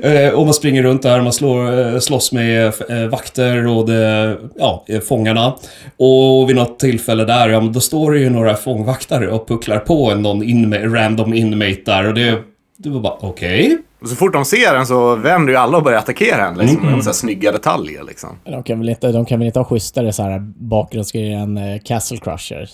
[SPEAKER 3] eh, och man springer runt där, man slår, eh, slåss med eh, vakter och det, ja, eh, fångarna. Och vid något tillfälle där, ja men då står det ju några fångvaktare och pucklar på en någon inma- random inmate där. Och det, det var bara okej.
[SPEAKER 4] Och så fort de ser den så vänder ju alla och börjar attackera en. Liksom. Mm. Så här snygga detaljer liksom.
[SPEAKER 2] De kan väl inte, de kan väl inte ha schysstare så här bakgrundsgrejer än eh, Castle Crusher?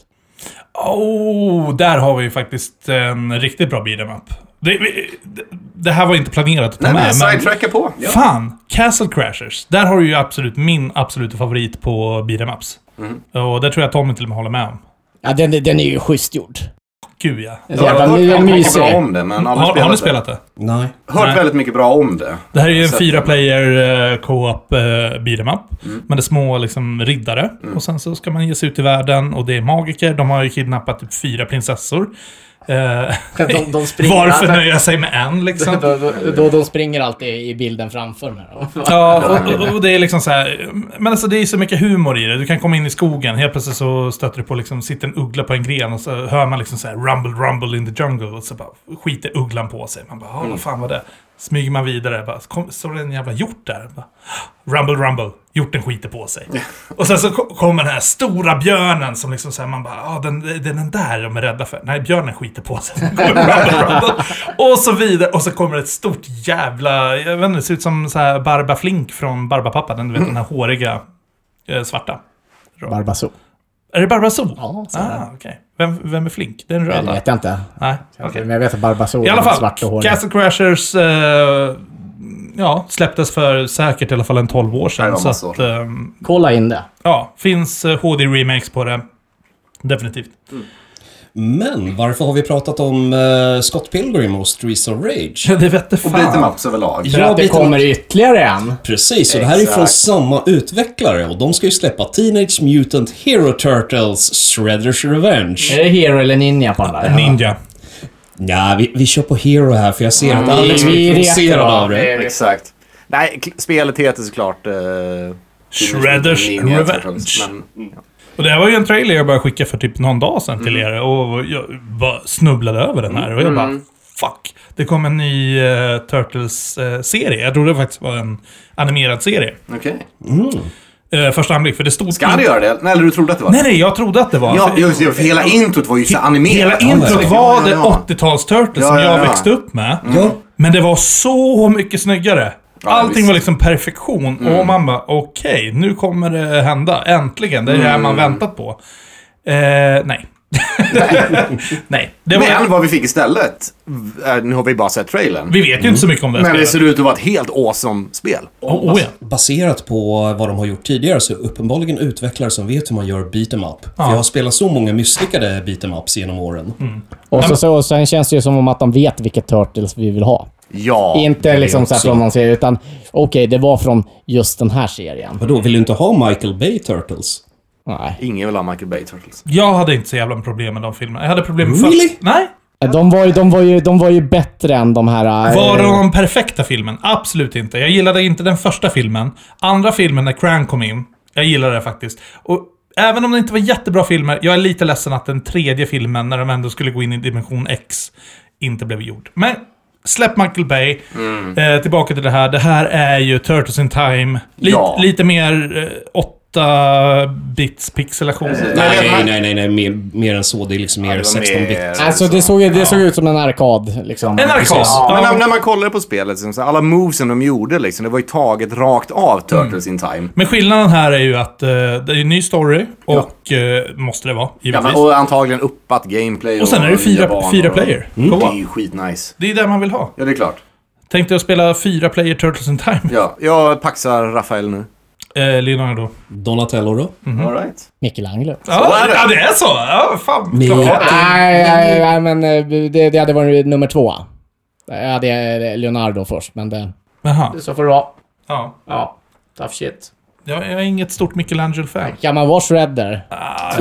[SPEAKER 1] Oh, där har vi ju faktiskt en riktigt bra beat em up. Det, vi- det- det här var inte planerat att ta
[SPEAKER 4] Nej,
[SPEAKER 1] med,
[SPEAKER 4] men sidetracka på.
[SPEAKER 1] Fan! Castle Crashers. Där har du ju absolut min absoluta favorit på beat em ups.
[SPEAKER 4] Mm.
[SPEAKER 1] Och där tror jag Tommy till och med håller med om.
[SPEAKER 2] Ja, den, den är ju schysst gjord.
[SPEAKER 1] Gud ja.
[SPEAKER 2] Den är jävla my-
[SPEAKER 4] mycket bra
[SPEAKER 2] mysig.
[SPEAKER 4] om det, men aldrig
[SPEAKER 1] Har, har ni
[SPEAKER 4] det.
[SPEAKER 1] spelat det?
[SPEAKER 3] Nej.
[SPEAKER 4] Hört
[SPEAKER 1] Nej.
[SPEAKER 4] väldigt mycket bra om det.
[SPEAKER 1] Det här är ju en
[SPEAKER 4] Sett
[SPEAKER 1] fyra
[SPEAKER 4] den.
[SPEAKER 1] player eh, co-op eh, beat em up.
[SPEAKER 2] Mm.
[SPEAKER 1] Men det är små liksom riddare. Och sen så ska man ge sig ut i världen och det är magiker. De har ju kidnappat typ fyra prinsessor. Eh,
[SPEAKER 2] De, de springer,
[SPEAKER 1] varför nöja sig med en liksom?
[SPEAKER 2] då, då, då, de springer alltid i bilden framför mig. då.
[SPEAKER 1] Ja, och, och, och det är liksom så här. Men alltså det är så mycket humor i det. Du kan komma in i skogen, helt plötsligt så stöter du på liksom, sitter en uggla på en gren och så
[SPEAKER 2] Mm.
[SPEAKER 1] hör man liksom så här rumble rumble in the jungle. Och så bara skiter ugglan på sig. Man bara, "Ah, vad fan var det? Smyger man vidare. Bara, kom, så är det en jävla hjort där. Bara, rumble, rumble. Hjorten skiter på sig. Och sen så ko- kommer den här stora björnen som liksom säger man bara, ah, den, det är den där de är rädda för. Nej, björnen skiter på sig. Sen kommer rumble, rumble. Och så vidare. Och så kommer ett stort jävla, jag vet inte, det ser ut som så här Barba Flink från Barbapapa. Den, du vet, den här
[SPEAKER 4] Mm.
[SPEAKER 1] håriga eh, svarta.
[SPEAKER 2] Barbazoo.
[SPEAKER 1] Är det Barbazoo?
[SPEAKER 2] Ja, så är det.
[SPEAKER 1] ah, okej. vem, vem är Flink? Den
[SPEAKER 2] Ja, det
[SPEAKER 1] röda?
[SPEAKER 2] vet jag inte.
[SPEAKER 1] Nej, okej.
[SPEAKER 2] Men jag vet att Barbazoo
[SPEAKER 1] I alla
[SPEAKER 2] är
[SPEAKER 1] fall,
[SPEAKER 2] svart och hårig.
[SPEAKER 1] Castle Crashers eh, ja, släpptes för säkert i alla fall en 12 år
[SPEAKER 4] Ja, det
[SPEAKER 1] sedan.
[SPEAKER 4] var
[SPEAKER 1] Så
[SPEAKER 4] massor.
[SPEAKER 1] att, ehm,
[SPEAKER 2] Kolla in det.
[SPEAKER 1] ja, finns eh, HD-remakes på det. Definitivt.
[SPEAKER 3] Men varför har vi pratat om eh, Scott Pilgrim och Streets of Rage?
[SPEAKER 1] Ja, det vette
[SPEAKER 5] Och
[SPEAKER 1] fan.
[SPEAKER 5] beat'em ups överlag.
[SPEAKER 2] För
[SPEAKER 3] Ja,
[SPEAKER 2] att det
[SPEAKER 3] lite-
[SPEAKER 2] kommer ytterligare en.
[SPEAKER 3] Precis, och det här är från
[SPEAKER 5] Exakt.
[SPEAKER 3] samma utvecklare och de ska ju släppa Teenage Mutant Hero Turtles Shredders Revenge.
[SPEAKER 2] Är det Hero eller Ninja på den där?
[SPEAKER 1] Ninja.
[SPEAKER 3] Nja, vi, vi kör på Hero här för jag ser att
[SPEAKER 2] vi-
[SPEAKER 3] Alex
[SPEAKER 2] vi
[SPEAKER 3] blir
[SPEAKER 2] är
[SPEAKER 3] provocerad
[SPEAKER 2] retro.
[SPEAKER 3] av det.
[SPEAKER 5] Exakt.
[SPEAKER 4] Nej, k- spelet heter såklart... Eh,
[SPEAKER 1] Shredders
[SPEAKER 4] Ninja
[SPEAKER 1] Revenge.
[SPEAKER 4] Turtles, Men, ja.
[SPEAKER 1] Och det här var ju en trailer jag började skicka för typ någon dag sedan
[SPEAKER 4] Mm.
[SPEAKER 1] till er. Och jag bara snubblade över den här. Och jag bara, fuck. Det kom en ny eh, Turtles-serie. jag trodde det faktiskt var en animerad serie.
[SPEAKER 4] Okej.
[SPEAKER 1] Mm. Uh, första anblick, för det stod...
[SPEAKER 4] Ska det göra det? Nej, eller du trodde att det var
[SPEAKER 1] Nej, nej, jag trodde att det var...
[SPEAKER 4] Ja, just det. För hela introt var ju så animerat.
[SPEAKER 1] Hela
[SPEAKER 4] Ja,
[SPEAKER 1] introt
[SPEAKER 4] verkligen.
[SPEAKER 1] var
[SPEAKER 4] Ja,
[SPEAKER 1] det
[SPEAKER 4] ja, ja.
[SPEAKER 1] 80-tals-Turtles som
[SPEAKER 4] Ja, ja,
[SPEAKER 1] jag
[SPEAKER 4] ja.
[SPEAKER 1] växte upp med.
[SPEAKER 3] Ja,
[SPEAKER 1] Men det var så mycket snyggare.
[SPEAKER 4] Ja,
[SPEAKER 1] Allting
[SPEAKER 4] visst. Mm.
[SPEAKER 1] var liksom perfektion. Och man bara, okej, nu kommer det hända. Äntligen. Det är det här
[SPEAKER 4] Mm.
[SPEAKER 1] man väntat på. Eh, nej. nej. Det var,
[SPEAKER 4] Men vad vi fick istället, eh, nu har vi bara sett trailern.
[SPEAKER 1] vi vet ju inte så mycket om det här
[SPEAKER 4] Men det
[SPEAKER 1] spelet.
[SPEAKER 4] ser ut att vara ett helt awesome spel.
[SPEAKER 1] Oh, oh, ja.
[SPEAKER 3] baserat på vad de har gjort tidigare så uppenbarligen utvecklare som vet hur man gör beat'em up. För
[SPEAKER 1] Ja.
[SPEAKER 3] jag har spelat så många misslyckade beat'em ups genom åren.
[SPEAKER 2] Och så, så, sen känns det ju som om att de vet vilket Turtles vi vill ha.
[SPEAKER 4] Ja.
[SPEAKER 2] Inte liksom så här
[SPEAKER 3] också.
[SPEAKER 2] från någon serie, utan okej, det var från just den här serien.
[SPEAKER 3] Vadå, vill du inte ha Michael Bay Turtles?
[SPEAKER 2] Nej.
[SPEAKER 4] Ingen vill ha Michael Bay Turtles.
[SPEAKER 1] Jag hade inte så jävla problem med de filmerna. Jag hade problem med
[SPEAKER 3] Really?
[SPEAKER 1] först. Nej.
[SPEAKER 2] De var, ju, de, var ju, de var ju bättre än de här... eh,
[SPEAKER 1] Var det den perfekta filmen? Absolut inte. Jag gillade inte den första filmen. Andra filmen, när Crank kom in, jag gillade det faktiskt. Och även om det inte var jättebra filmer, jag är lite ledsen att den tredje filmen, när de ändå skulle gå in i dimension X, inte blev gjord. Men släpp Michael Bay.
[SPEAKER 4] Mm.
[SPEAKER 1] Eh, tillbaka till det här. Det här är ju Turtles in Time. Lite,
[SPEAKER 4] Ja.
[SPEAKER 1] lite mer eh, 8-bits pixelation.
[SPEAKER 3] Nej,
[SPEAKER 4] men-
[SPEAKER 3] nej, nej, nej, mer, mer än så. Det är liksom mer
[SPEAKER 4] det var
[SPEAKER 3] 16-bit.
[SPEAKER 4] mer-
[SPEAKER 2] Alltså det såg, ju- det såg ut som en arkad. Liksom.
[SPEAKER 1] En arkad.
[SPEAKER 4] Ja, men när,
[SPEAKER 1] Ja.
[SPEAKER 4] när man kollade på spelet, liksom, så alla movesen de gjorde, liksom, det var ju taget rakt av
[SPEAKER 1] Mm.
[SPEAKER 4] Turtles in Time.
[SPEAKER 1] Men skillnaden här är ju att eh, det är en ny story, och eh, måste det vara,
[SPEAKER 4] Ja,
[SPEAKER 1] givetvis.
[SPEAKER 4] men, och antagligen uppat gameplay
[SPEAKER 1] Och sen är det
[SPEAKER 4] nya
[SPEAKER 1] fyra,
[SPEAKER 4] banor. Mm.
[SPEAKER 1] fyra player.
[SPEAKER 4] Det är
[SPEAKER 1] Co-op.
[SPEAKER 4] ju skitnice.
[SPEAKER 1] Det är det man vill ha.
[SPEAKER 4] Ja, det är klart.
[SPEAKER 1] Tänkte jag spela fyra player Turtles in Time.
[SPEAKER 4] Ja, jag paxar Rafael nu.
[SPEAKER 1] Eh, Leonardo.
[SPEAKER 3] Donatello då?
[SPEAKER 1] Mhm.
[SPEAKER 4] All right.
[SPEAKER 2] Michelangelo.
[SPEAKER 1] Ja,
[SPEAKER 4] är det.
[SPEAKER 1] ja, det är så! Ja, fan.
[SPEAKER 3] Ni-
[SPEAKER 1] Klart.
[SPEAKER 2] Nej, nej, nej, men eh, det, det hade varit nummer två. Jag hade eh, Leonardo först, men det...
[SPEAKER 1] Jaha.
[SPEAKER 2] Så får det vara.
[SPEAKER 1] Ja.
[SPEAKER 2] Ja. Tough shit.
[SPEAKER 1] Jag jag är inget stort Michelangelo-fan.
[SPEAKER 2] Kan man vara Shredder?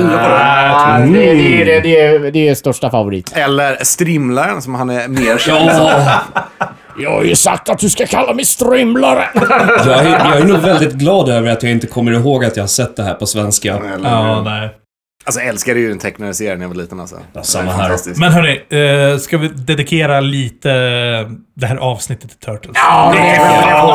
[SPEAKER 4] Ah,
[SPEAKER 2] Det, det, det, det, det, är- det är största favorit.
[SPEAKER 4] Eller Strimlaren som han är mer känd för.
[SPEAKER 3] Ja,
[SPEAKER 2] Jag har ju sagt att du ska kalla mig strimlare!
[SPEAKER 4] Liksom.
[SPEAKER 3] jag är, jag är nog väldigt glad över att jag inte kommer ihåg att jag har sett det här på svenska.
[SPEAKER 4] Eller,
[SPEAKER 1] Ja, nej.
[SPEAKER 4] Alltså jag älskade ju den tecknade serien när jag var liten alltså.
[SPEAKER 3] samma
[SPEAKER 4] Den är
[SPEAKER 3] här.
[SPEAKER 4] fantastisk.
[SPEAKER 1] Men hörni, eh, ska vi dedikera lite eh, det här avsnittet till Turtles?
[SPEAKER 2] Ja,
[SPEAKER 1] det är på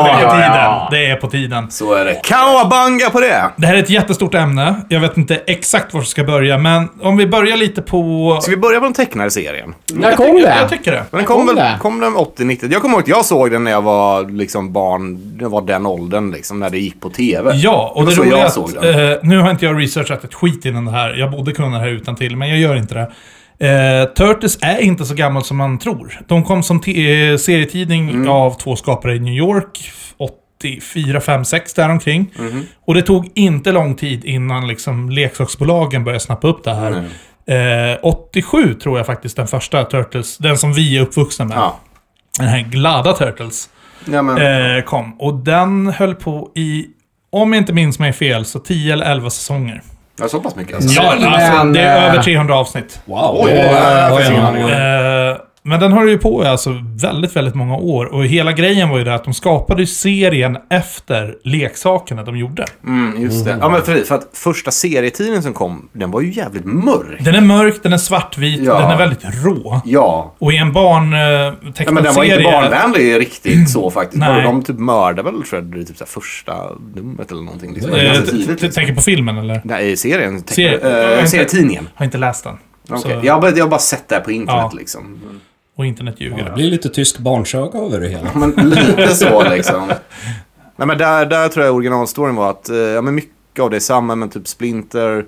[SPEAKER 2] ja,
[SPEAKER 1] tiden.
[SPEAKER 2] ja.
[SPEAKER 1] Det är på tiden.
[SPEAKER 4] Så är det. Kawabanga på det!
[SPEAKER 1] Det här är ett jättestort ämne. Jag vet inte exakt var vi ska börja, men om vi börjar lite på...
[SPEAKER 4] Ska vi börja på den tecknade serien?
[SPEAKER 2] När kom
[SPEAKER 1] Jag, jag
[SPEAKER 2] det?
[SPEAKER 1] tycker det.
[SPEAKER 4] Men den kom,
[SPEAKER 2] Kom
[SPEAKER 4] väl,
[SPEAKER 2] det?
[SPEAKER 4] kom den 80-90? Jag kommer ihåg att jag såg den när jag var liksom barn. Det var den åldern liksom, när det gick på TV.
[SPEAKER 1] Ja, och
[SPEAKER 4] var
[SPEAKER 1] det,
[SPEAKER 4] så
[SPEAKER 1] roliga är
[SPEAKER 4] jag
[SPEAKER 1] att,
[SPEAKER 4] såg den.
[SPEAKER 1] eh, Nu har inte jag researchat ett skit innan det här. Jag borde kunna det här utan till, men jag gör inte det. Eh, Turtles är inte så gammalt som man tror. De kom som te- eh, serietidning
[SPEAKER 4] Mm.
[SPEAKER 1] av två skapare i New York. 84, 5, 6 däromkring.
[SPEAKER 4] Mhm.
[SPEAKER 1] Och det tog inte lång tid innan liksom leksaksbolagen började snappa upp det här. Eh, 87 tror jag faktiskt den första Turtles, den som vi är uppvuxna med.
[SPEAKER 4] Ja.
[SPEAKER 1] Den här glada Turtles
[SPEAKER 4] ja men,
[SPEAKER 1] eh, kom. Och den höll på i, om jag inte minns mig fel, så 10 eller 11 säsonger.
[SPEAKER 4] ja, så pass mycket alltså.
[SPEAKER 1] Ja, alltså,
[SPEAKER 2] men,
[SPEAKER 1] det är
[SPEAKER 2] eh,
[SPEAKER 1] över 300 avsnitt.
[SPEAKER 3] Wow.
[SPEAKER 4] Oj,
[SPEAKER 3] det
[SPEAKER 4] jag
[SPEAKER 3] var
[SPEAKER 4] har
[SPEAKER 3] jag
[SPEAKER 4] ingen
[SPEAKER 3] nog-
[SPEAKER 4] aning.
[SPEAKER 1] Eh, Men den höll ju på i alltså väldigt, väldigt många år. Och hela grejen var ju det att de skapade ju serien efter leksakerna de gjorde.
[SPEAKER 4] Mm, just det. Ja, men för, för att första serietidningen som kom, den var ju jävligt mörk.
[SPEAKER 1] Den är mörk, den är svartvit,
[SPEAKER 4] Ja.
[SPEAKER 1] den är väldigt rå.
[SPEAKER 4] Ja.
[SPEAKER 1] Och i en eh, barntecknad
[SPEAKER 4] ja men den var inte barnvänlig riktigt så faktiskt.
[SPEAKER 1] Nej.
[SPEAKER 4] De typ mördade väl Shredder i typ så här första numret eller någonting. Liksom.
[SPEAKER 1] Eh,
[SPEAKER 4] Ganska
[SPEAKER 1] t-
[SPEAKER 4] tidigt,
[SPEAKER 1] t-
[SPEAKER 4] liksom.
[SPEAKER 1] Tänker på filmen eller?
[SPEAKER 4] Nej, i serien. Te-
[SPEAKER 1] Ser-
[SPEAKER 4] eh, serietidningen.
[SPEAKER 1] Har inte läst den.
[SPEAKER 4] Okej.
[SPEAKER 1] Så-
[SPEAKER 4] Jag, har bara- jag har bara sett det här på internet
[SPEAKER 1] Ja.
[SPEAKER 4] liksom.
[SPEAKER 1] Och internet ljuger.
[SPEAKER 3] Det blir lite tysk barnsöga över det hela.
[SPEAKER 4] Men lite så liksom. Nej, men där, där tror jag originalstoryn var att eh, ja, men mycket av det är samma, men typ Splinter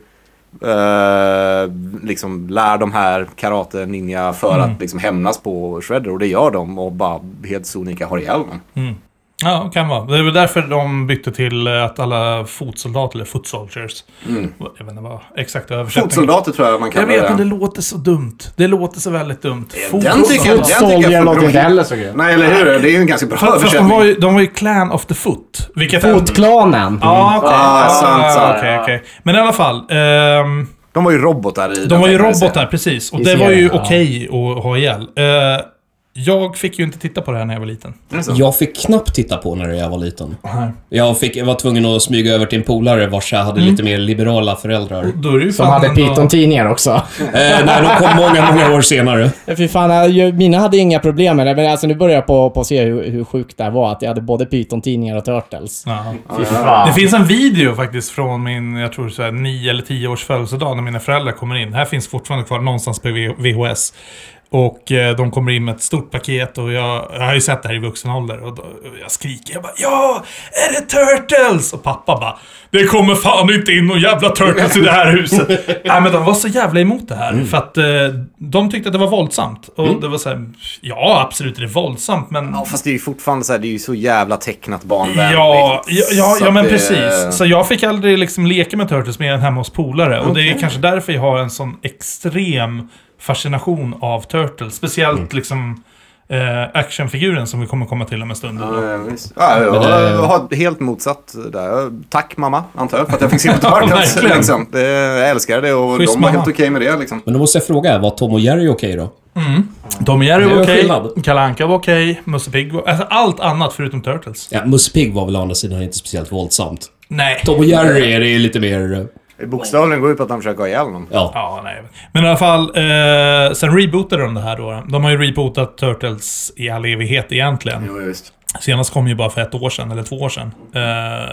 [SPEAKER 4] eh, liksom lär de här karate ninja för
[SPEAKER 1] Mm.
[SPEAKER 4] att liksom hämnas på Shredder och det gör de och bara helt sonika har ihjäl dem.
[SPEAKER 1] Mm. Ja, kan vara. Det var därför de bytte till eh, att alla fotsoldater, eller foot soldiers,
[SPEAKER 4] Mm.
[SPEAKER 1] jag vet inte vad exakt översättningen
[SPEAKER 4] Fotsoldater tror jag man
[SPEAKER 1] Jag
[SPEAKER 4] kallar
[SPEAKER 1] vet, men det
[SPEAKER 4] det.
[SPEAKER 1] låter så dumt. Det låter så väldigt dumt.
[SPEAKER 4] Den tycker jag-
[SPEAKER 1] Fotsoldater.
[SPEAKER 4] den tycker jag
[SPEAKER 2] Soldier
[SPEAKER 4] funkar.
[SPEAKER 2] låter inte heller så grymt.
[SPEAKER 4] Nej, eller hur? Det är ju en ganska bra
[SPEAKER 1] Fast, fast de, var
[SPEAKER 4] översättning.
[SPEAKER 1] ju, de var ju Clan of the Foot. Vilket
[SPEAKER 2] Fotklanen.
[SPEAKER 1] Ja, okej.
[SPEAKER 4] Ah, sant, sant.
[SPEAKER 1] okej, okej. Men i alla fall. ehm,
[SPEAKER 4] De var ju robotar i
[SPEAKER 1] de
[SPEAKER 4] den
[SPEAKER 1] var ju
[SPEAKER 4] tecknade serien.
[SPEAKER 1] robotar, precis. Och
[SPEAKER 2] I
[SPEAKER 1] det var ju
[SPEAKER 2] serien, ja.
[SPEAKER 1] okej att ha ihjäl. Eh, jag fick ju inte titta på det här när jag var liten.
[SPEAKER 4] Är det så?
[SPEAKER 3] Jag fick knappt titta på när jag var liten. Jag, fick, jag var tvungen att smyga över till en polare vars jag hade lite mer liberala föräldrar.
[SPEAKER 1] Då är det ju
[SPEAKER 2] Som hade Python-tidningar också.
[SPEAKER 3] eh, nej, de kom många, många år senare.
[SPEAKER 2] Ja, Fy fan, jag- jag- mina hade inga problem med det. Men alltså, nu börjar jag på, på att se hur, hur sjukt det här var. Att jag hade både Python-tidningar och Turtles.
[SPEAKER 1] Ja.
[SPEAKER 2] Fy fan.
[SPEAKER 1] Det finns en video faktiskt från min, jag tror så här, 9 eller 10 års födelsedag när mina föräldrar kommer in. Det här finns fortfarande kvar någonstans på V- VHS. Och eh, de kommer in med ett stort paket och jag, jag har ju sett det här i vuxen ålder. Och då, och jag skriker, jag bara ja, är det Turtles? Och pappa bara, det kommer fan inte in någon jävla Turtles i det här huset. Nej men de var så jävla emot det här. För att eh, de tyckte att det var våldsamt. Och det var så här, ja absolut är det våldsamt men
[SPEAKER 4] Ja, fast det är ju fortfarande så här, det är ju så jävla tecknat barnvänligt.
[SPEAKER 1] Ja, ja, ja,
[SPEAKER 4] Så
[SPEAKER 1] ja
[SPEAKER 4] att eh,
[SPEAKER 1] men
[SPEAKER 4] det-
[SPEAKER 1] precis. Så jag fick aldrig liksom leka med Turtles mer än hemma hos polare. Och det är kanske därför jag har en sån extrem fascination av Turtles. Speciellt liksom eh, actionfiguren som vi kommer komma till om en stund.
[SPEAKER 4] Ja, visst. Ja, jag har helt motsatt där. Tack mamma, antar jag, för att jag fick se på Turtles.
[SPEAKER 1] Verkligen.
[SPEAKER 4] liksom. Det- Jag älskar det och
[SPEAKER 1] Schysst,
[SPEAKER 4] de var
[SPEAKER 1] mamma.
[SPEAKER 4] helt okej med det. Liksom.
[SPEAKER 3] Men då måste jag fråga, var Tom och Jerry okej då?
[SPEAKER 1] Tom och Jerry
[SPEAKER 3] Det är
[SPEAKER 1] var
[SPEAKER 3] en
[SPEAKER 1] okej,
[SPEAKER 3] skillnad.
[SPEAKER 1] Kalle Anka var okej, Musse Pigg var... Alltså allt annat förutom Turtles.
[SPEAKER 3] Ja, Musse Pigg var väl å andra sidan inte speciellt våldsamt.
[SPEAKER 1] Nej.
[SPEAKER 3] Tom och Jerry är det lite mer... eh,
[SPEAKER 4] Bokstavligen går ut på att de försöker ha ihjäl någon.
[SPEAKER 3] Ja.
[SPEAKER 1] Ja, nej. Men i alla fall, eh, sen rebootade de det här då. De har ju rebootat Turtles i all evighet egentligen.
[SPEAKER 4] Jo, just.
[SPEAKER 1] Senast kom ju bara för ett år sedan, eller två år sedan. Eh,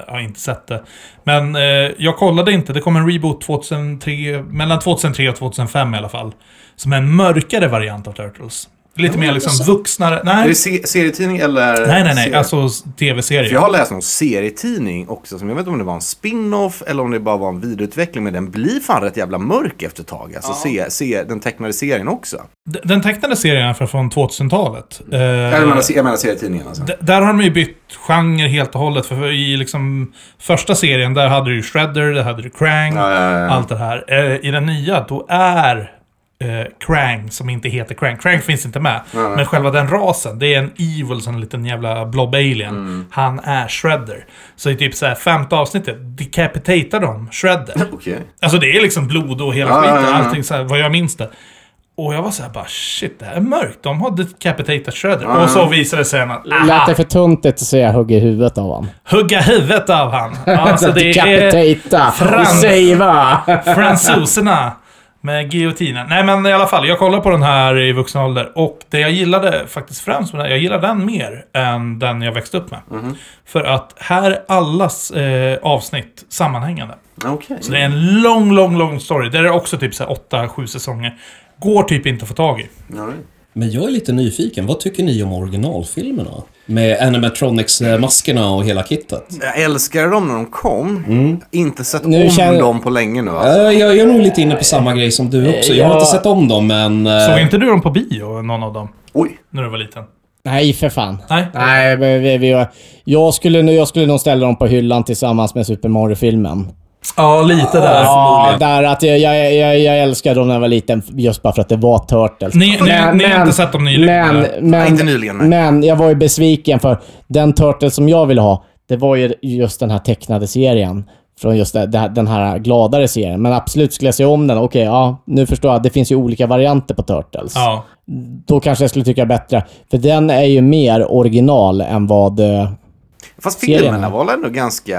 [SPEAKER 1] jag har inte sett det. Men eh, jag kollade inte. Det kom en reboot 2003, mellan 2003 och 2005 i alla fall. Som är en mörkare variant av Turtles. Lite mer liksom vuxnare.
[SPEAKER 4] alltså, Är det
[SPEAKER 1] Nej,
[SPEAKER 4] se- serietidning eller?
[SPEAKER 1] nej, nej. nej.
[SPEAKER 4] serie?
[SPEAKER 1] Alltså
[SPEAKER 4] För
[SPEAKER 1] tv-serie.
[SPEAKER 4] jag har läst någon serietidning också, som jag vet inte om det var en spin-off eller om det bara var en vidareutveckling, men den blir fan rätt jävla mörk efter ett tag. Alltså se, se, den tecknade serien också.
[SPEAKER 1] D- Den tecknade serien är från 2000-talet. Eh,
[SPEAKER 4] Jag, menar, se- jag menar serietidningen alltså.
[SPEAKER 1] D- Där har de ju bytt genre helt och hållet. För i liksom första serien, där hade du ju Shredder, där hade du Krang,
[SPEAKER 4] Ja, ja, ja.
[SPEAKER 1] allt det här. Eh, I den nya, då är eh, Krang, som inte heter Krang. Krang finns inte med. Men själva den rasen, det är en evil, sån liten jävla blob-alien.
[SPEAKER 4] Mm.
[SPEAKER 1] Han är Shredder. Så i typ så här femte avsnittet decapitatar de Shredder.
[SPEAKER 4] Okej.
[SPEAKER 1] Alltså det är liksom blod och hela
[SPEAKER 4] Ja,
[SPEAKER 1] skiten,
[SPEAKER 4] ja, ja, ja.
[SPEAKER 1] allting så här, vad jag minns det. Och jag var så här bara shit, det här är mörkt. De har decapitatat Shredder.
[SPEAKER 4] ja.
[SPEAKER 1] Och så visade det sig att
[SPEAKER 2] Lät
[SPEAKER 1] aha,
[SPEAKER 2] det för tuntet så jag hugger huvudet av honom.
[SPEAKER 1] hugga huvudet av han. Alltså det är
[SPEAKER 2] Decapitata och
[SPEAKER 1] Frans-
[SPEAKER 2] savea.
[SPEAKER 1] fransoserna med giljotinen. Nej men i alla fall, jag kollade på den här i vuxen ålder. Och det jag gillade faktiskt främst med den, jag gillade den mer än den jag växte upp med. För att här är allas eh, avsnitt sammanhängande.
[SPEAKER 4] Okej.
[SPEAKER 1] Så det är en lång, lång, lång story. Där är det också typ så här åtta, sju säsonger. Går typ inte att få tag i.
[SPEAKER 4] Ja, det är-
[SPEAKER 3] Men jag är lite nyfiken, vad tycker ni om originalfilmerna? Med animatronics-maskerna och hela kittet.
[SPEAKER 4] Jag älskade dem när de kom. Inte sett
[SPEAKER 2] Mm. Nu
[SPEAKER 4] om
[SPEAKER 2] känner-
[SPEAKER 4] dem på länge nu.
[SPEAKER 3] Eh,
[SPEAKER 4] Alltså.
[SPEAKER 3] Jag, jag är nog lite inne på samma grej som
[SPEAKER 4] Eh,
[SPEAKER 3] du också. Jag har
[SPEAKER 2] Ja.
[SPEAKER 3] inte sett om dem, men... eh,
[SPEAKER 1] Såg inte du dem på bio, någon av dem?
[SPEAKER 4] Oj.
[SPEAKER 1] När du var liten?
[SPEAKER 2] Nej, för fan.
[SPEAKER 1] Nej?
[SPEAKER 2] Nej, men vi, vi, jag, skulle, nog- jag skulle nog ställa dem på hyllan tillsammans med Super Mario-filmen.
[SPEAKER 1] Ja, lite där.
[SPEAKER 2] Ja, där att jag, jag, jag, jag älskade dem när jag var liten just bara för att det var Turtles.
[SPEAKER 1] Ni- ni- ni har inte sett dem nyligen,
[SPEAKER 2] Men,
[SPEAKER 1] eller?
[SPEAKER 2] men,
[SPEAKER 4] Nej, inte nyligen, nej.
[SPEAKER 2] men jag var ju besviken för den Turtles som jag ville ha, det var ju just den här tecknade serien. Från just det- det här- den här gladare serien. Men absolut skulle jag se om den. Okej, ja, nu förstår jag. Det finns ju olika varianter på Turtles.
[SPEAKER 1] Ja.
[SPEAKER 2] Då kanske jag skulle tycka bättre. För den är ju mer original än vad... eh,
[SPEAKER 4] Fast
[SPEAKER 2] Serien.
[SPEAKER 4] filmerna var väl ändå ganska...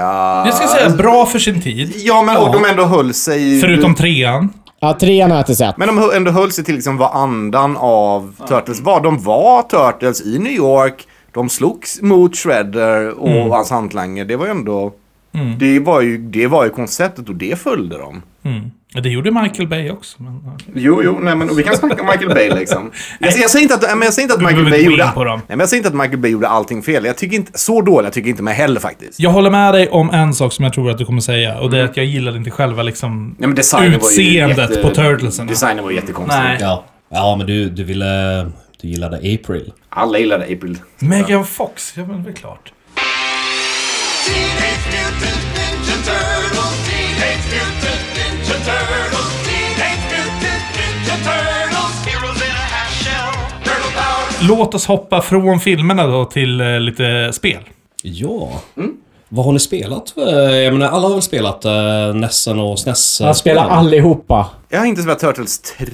[SPEAKER 1] Jag ska säga bra för sin tid.
[SPEAKER 4] Ja, men och de ändå höll sig...
[SPEAKER 1] Förutom trean.
[SPEAKER 2] Ja, trean har jag inte sett.
[SPEAKER 4] Men de hö- ändå höll sig till liksom vad andan av Turtles var. De var Turtles i New York. De slogs mot Shredder och
[SPEAKER 1] Mm.
[SPEAKER 4] hans hantlanger. Det var ju ändå... Det, var ju, det var ju konceptet och det följde de.
[SPEAKER 1] Mm. Det gjorde Michael Bay också. Men, okej.
[SPEAKER 4] Jo, jo, nej men och vi kan snacka om Michael Bay liksom. Jag, jag säger inte att, nej, men jag säger inte att
[SPEAKER 1] Du
[SPEAKER 4] Michael
[SPEAKER 1] behöver
[SPEAKER 4] Bay
[SPEAKER 1] inte gå
[SPEAKER 4] gjorde...
[SPEAKER 1] in på dem.
[SPEAKER 4] Nej, men jag säger inte att Michael Bay gjorde allting fel. Jag tycker inte... Så dåligt tycker jag inte mig heller faktiskt.
[SPEAKER 1] Jag håller med dig om en sak som jag tror att du kommer säga. Och det är att jag gillade inte själva liksom...
[SPEAKER 4] Nej, Mm. men designen
[SPEAKER 1] Utseendet
[SPEAKER 4] var ju jätte...
[SPEAKER 1] på Turtlesen.
[SPEAKER 4] Designen var ju jättekonstig.
[SPEAKER 1] Nej.
[SPEAKER 3] Ja. ja, men du, du ville... Du gillade April.
[SPEAKER 4] Alla gillade April.
[SPEAKER 1] Megan Fox, ja men det är klart.
[SPEAKER 5] Teenage Mutant Ninja Turtles. Teenage Mutant Ninja Turtles. Teenage Mutant Ninja Turtles. Heroes in a half shell. Turtle power.
[SPEAKER 1] Låt oss hoppa från filmerna då till eh, lite spel.
[SPEAKER 3] Ja.
[SPEAKER 4] Mm.
[SPEAKER 3] Vad har ni spelat? Eh, Jag menar, alla har väl spelat eh, Nessen och SNES? eh,
[SPEAKER 2] Jag spelar allihopa.
[SPEAKER 4] Jag har inte spelat Turtles 3,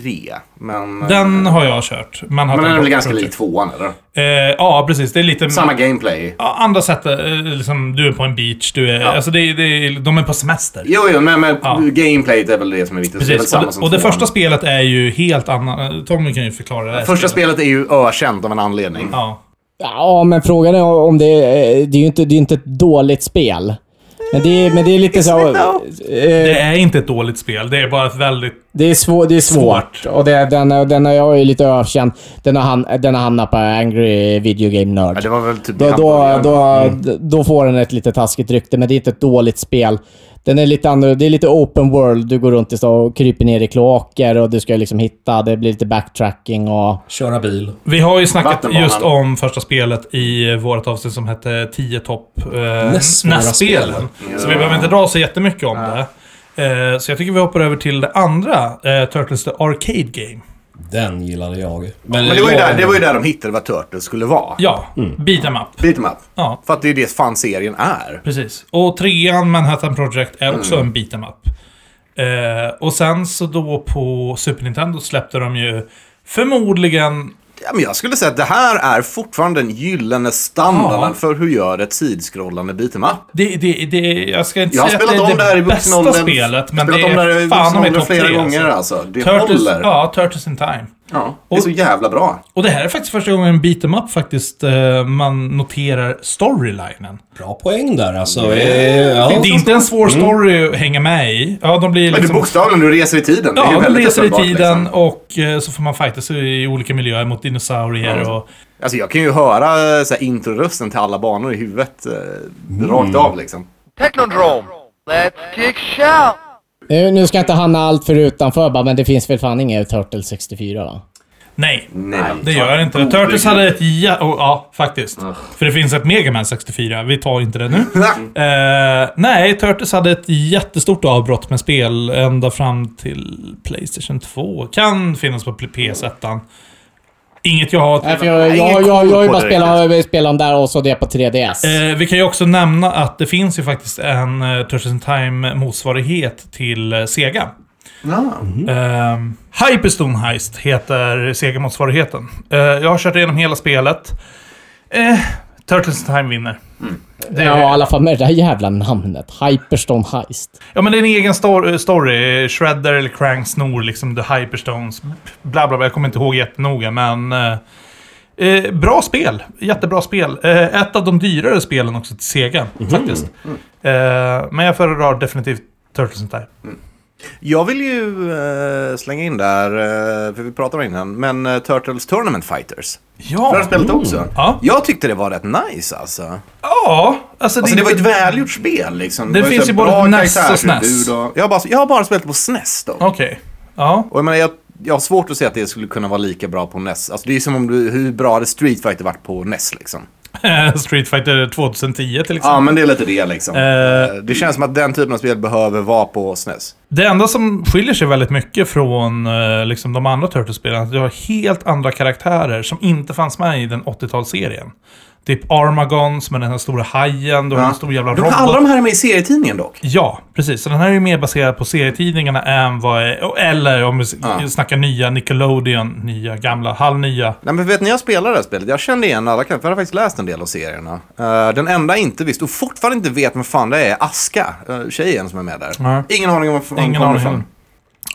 [SPEAKER 4] men...
[SPEAKER 1] Den har jag kört. Man har
[SPEAKER 4] Men den
[SPEAKER 1] tagit
[SPEAKER 4] är väl
[SPEAKER 1] bort
[SPEAKER 4] ganska
[SPEAKER 1] Turtles.
[SPEAKER 4] lik tvåan, eller?
[SPEAKER 1] Eh, ja, precis. Det är lite...
[SPEAKER 4] Samma gameplay.
[SPEAKER 1] Ja, andra sätt. eh, Liksom, du är på en beach, du är... Alltså, det, är- det, är- de är på semester.
[SPEAKER 4] Jo, jo, men, men
[SPEAKER 1] Ja.
[SPEAKER 4] gameplayet är väl det som är viktigt. så Det är väl
[SPEAKER 1] Precis. Och
[SPEAKER 4] samma
[SPEAKER 1] det,
[SPEAKER 4] som
[SPEAKER 1] och det
[SPEAKER 4] tvåan.
[SPEAKER 1] första spelet är ju helt annan... Tommy kan ju förklara det. här
[SPEAKER 4] Första spelet är ju ökänt av en anledning.
[SPEAKER 1] Ja.
[SPEAKER 2] Ja, men frågan är om det är... Det är ju inte, det är inte ett dåligt spel. Men det är, men det är lite så... eh,
[SPEAKER 1] Det är inte ett dåligt spel. Det är bara ett väldigt...
[SPEAKER 2] Det är, svår, det är svårt. Och det, den, den har jag ju lite ökänd. Den har, han, den har hamnat på Angry Video Game Nerd.
[SPEAKER 4] Ja, det var väl typ
[SPEAKER 2] Då,
[SPEAKER 4] det han
[SPEAKER 2] då,
[SPEAKER 4] började.
[SPEAKER 2] då,
[SPEAKER 4] Mm.
[SPEAKER 2] då får den ett lite taskigt rykte, men det är inte ett dåligt spel. Den är lite andra, det är lite open world. Du går runt i stå och kryper ner i kloaker och du ska liksom hitta. Det blir lite backtracking och...
[SPEAKER 3] Köra bil.
[SPEAKER 1] Vi har ju snackat
[SPEAKER 4] Vattenbanan.
[SPEAKER 1] just om första spelet i vårt avsnitt som hette 10 topp eh,
[SPEAKER 3] Näsvåra
[SPEAKER 1] NES-spelen. Så vi behöver inte dra så jättemycket om det. Eh, så jag tycker vi hoppar över till det andra, eh, Turtles The Arcade Game.
[SPEAKER 3] Den gillade jag.
[SPEAKER 4] Men det var, ju
[SPEAKER 3] jag-
[SPEAKER 4] där, det var ju där de hittade vad Turtles skulle vara.
[SPEAKER 1] Ja, beat 'em up.
[SPEAKER 4] Beat 'em up.
[SPEAKER 1] Ja.
[SPEAKER 4] För att det är ju det fan-serien är.
[SPEAKER 1] Precis. Och trean, Manhattan Project, är också en beat 'em up. Eh, och sen så då på Super Nintendo släppte de ju förmodligen...
[SPEAKER 4] Ja, men jag skulle säga att det här är fortfarande den gyllene standarden
[SPEAKER 1] Ja.
[SPEAKER 4] för hur gör ett sidskrollande beat 'em up.
[SPEAKER 1] Det, det, det, jag ska inte
[SPEAKER 4] Jag har
[SPEAKER 1] säga
[SPEAKER 4] spelat
[SPEAKER 1] att det är
[SPEAKER 4] om det här i vuxen
[SPEAKER 1] bästa
[SPEAKER 4] ålder.
[SPEAKER 1] spelet, men det
[SPEAKER 4] spelat om det här i
[SPEAKER 1] är fan
[SPEAKER 4] vuxen
[SPEAKER 1] om i
[SPEAKER 4] ålder
[SPEAKER 1] topp
[SPEAKER 4] flera
[SPEAKER 1] tre.
[SPEAKER 4] gånger
[SPEAKER 1] alltså.
[SPEAKER 4] alltså. Det
[SPEAKER 1] Turtles,
[SPEAKER 4] håller.
[SPEAKER 1] ja, Turtles in Time.
[SPEAKER 4] Ja, det är så jävla bra.
[SPEAKER 1] Och det här är faktiskt första gången beat 'em up faktiskt eh, man noterar storylinen.
[SPEAKER 3] Bra poäng där alltså. Eh, Ja.
[SPEAKER 1] det är inte en svår story att hänga med i. Ja, de blir
[SPEAKER 4] Mm. Men du
[SPEAKER 1] liksom...
[SPEAKER 4] bokstavligen, du reser i tiden. Det är ju
[SPEAKER 1] Ja, de
[SPEAKER 4] väldigt
[SPEAKER 1] reser i
[SPEAKER 4] uppenbart,
[SPEAKER 1] tiden
[SPEAKER 4] liksom.
[SPEAKER 1] och eh, så får man fighta sig i olika miljöer mot dinosaurier
[SPEAKER 4] Ja.
[SPEAKER 1] och...
[SPEAKER 4] Alltså jag kan ju höra eh, så här, introrösten till alla banor i huvudet. eh,
[SPEAKER 1] Mm.
[SPEAKER 4] Rakt av liksom.
[SPEAKER 6] Technodrome. Let's kick shout.
[SPEAKER 2] Nu, nu ska jag inte hamna allt för utanför bara, men det finns väl fan inget Turtle 64 va?
[SPEAKER 1] Nej,
[SPEAKER 4] Nej,
[SPEAKER 1] det gör det inte. Turtles hade ett... Ja, och, ja faktiskt. För det finns ett Mega Man 64. Vi tar inte det nu. Eh, nej, Turtles hade ett jättestort avbrott med spel ända fram till Playstation 2. Kan finnas på PS1. Inget jag har...
[SPEAKER 2] Nej, för jag, jag,
[SPEAKER 4] ingen
[SPEAKER 2] jag, jag, jag har
[SPEAKER 4] koll
[SPEAKER 2] ju
[SPEAKER 4] på
[SPEAKER 2] bara
[SPEAKER 4] det
[SPEAKER 2] spelat, spelat om där och så det på 3DS.
[SPEAKER 1] Eh, vi kan ju också nämna att det finns ju faktiskt en eh, Turtles in Time-motsvarighet till eh, Sega. Ehm, Hyperstone Heist heter Sega-motsvarigheten. Eh, jag har kört igenom hela spelet. Eh, Turtles in Time vinner.
[SPEAKER 2] ja, i alla fall med det där jävla namnet. Hyperstone Heist.
[SPEAKER 1] Ja, men det är en egen stor- story. Shredder eller Crank snor liksom The Hyperstones. Bla, bla, bla. Jag kommer inte ihåg jättenoga, men... Eh, eh, bra spel. Jättebra spel. Eh, ett av de dyrare spelen också till Sega,
[SPEAKER 4] Mhm.
[SPEAKER 1] faktiskt. Eh, men jag föredrar definitivt Turtles in Time.
[SPEAKER 4] Jag vill ju eh, slänga in där, eh, för vi pratade om det innan, men eh, Turtles Tournament Fighters.
[SPEAKER 1] Ja.
[SPEAKER 4] För jag har spelat också.
[SPEAKER 1] Ja.
[SPEAKER 4] Jag tyckte det var rätt nice alltså.
[SPEAKER 1] Ja, alltså,
[SPEAKER 4] Alltså det var ett
[SPEAKER 1] inte-
[SPEAKER 4] välgjort spel liksom.
[SPEAKER 1] Det
[SPEAKER 4] var
[SPEAKER 1] finns
[SPEAKER 4] så
[SPEAKER 1] ju
[SPEAKER 4] här
[SPEAKER 1] både
[SPEAKER 4] bra
[SPEAKER 1] NES och
[SPEAKER 4] karaktärsutbud
[SPEAKER 1] SNES.
[SPEAKER 4] och- Jag har, bara, jag har bara spelat på SNES då.
[SPEAKER 1] Okej. Ja.
[SPEAKER 4] Och jag menar, jag, jag har svårt att se att det skulle kunna vara lika bra på NES. Alltså det är som om du, hur bra hade Street Fighter varit på NES liksom.
[SPEAKER 1] Street Fighter 2010 till exempel.
[SPEAKER 4] Ja, men det är lite det liksom.
[SPEAKER 1] Eh.
[SPEAKER 4] det känns som att den typen av spel behöver vara på SNES.
[SPEAKER 1] Det enda som skiljer sig väldigt mycket från eh, liksom, de andra Turtles-spelen är att du har helt andra karaktärer som inte fanns med i den 80-talsserien. Typ Armagon som är den här stora hajen. Du har en stor jävla
[SPEAKER 4] de,
[SPEAKER 1] robot.
[SPEAKER 4] alla de här är med i serietidningen dock.
[SPEAKER 1] Ja, precis. Så den här är ju mer baserad på serietidningarna än vad... Eller om vi s-
[SPEAKER 4] Ja.
[SPEAKER 1] snackar nya Nickelodeon, nya, gamla, halvnya.
[SPEAKER 4] Nej, men vet ni, jag spelade det här spelet. Jag kände igen alla karaktärer. Jag har faktiskt läst en del av serierna. Eh, den enda jag inte visste och fortfarande inte vet vem fan det är, Aska, eh, tjejen som är med där.
[SPEAKER 1] Nej.
[SPEAKER 4] Ingen aning om vad fan
[SPEAKER 1] Ingen
[SPEAKER 4] kommer
[SPEAKER 1] aning.
[SPEAKER 4] ifrån.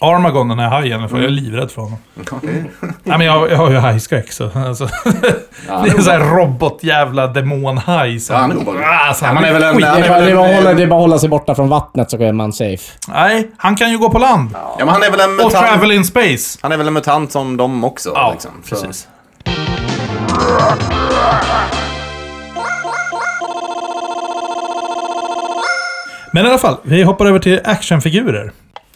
[SPEAKER 1] Armagon, den här hajen, för jag är livrädd för honom.
[SPEAKER 4] Okej.
[SPEAKER 1] Nej, men jag, jag har ju hajskräck så... Alltså, det är en sån här robotjävla demonhaj som...
[SPEAKER 4] Ja, han är obehaglig.
[SPEAKER 1] Alltså, han
[SPEAKER 4] man är väl en-
[SPEAKER 1] skit-
[SPEAKER 4] han
[SPEAKER 2] Det är, bara, det, är bara att hålla, det
[SPEAKER 4] väl en-
[SPEAKER 2] är bara att hålla sig borta från vattnet så är man safe.
[SPEAKER 1] Nej, han kan ju gå på land.
[SPEAKER 4] ja, men han är väl en
[SPEAKER 1] Och travel
[SPEAKER 4] mutant.
[SPEAKER 1] in space.
[SPEAKER 4] Han är väl en mutant som de också.
[SPEAKER 1] Ja,
[SPEAKER 4] liksom. Så-
[SPEAKER 1] precis. Men i alla fall, vi hoppar över till actionfigurer.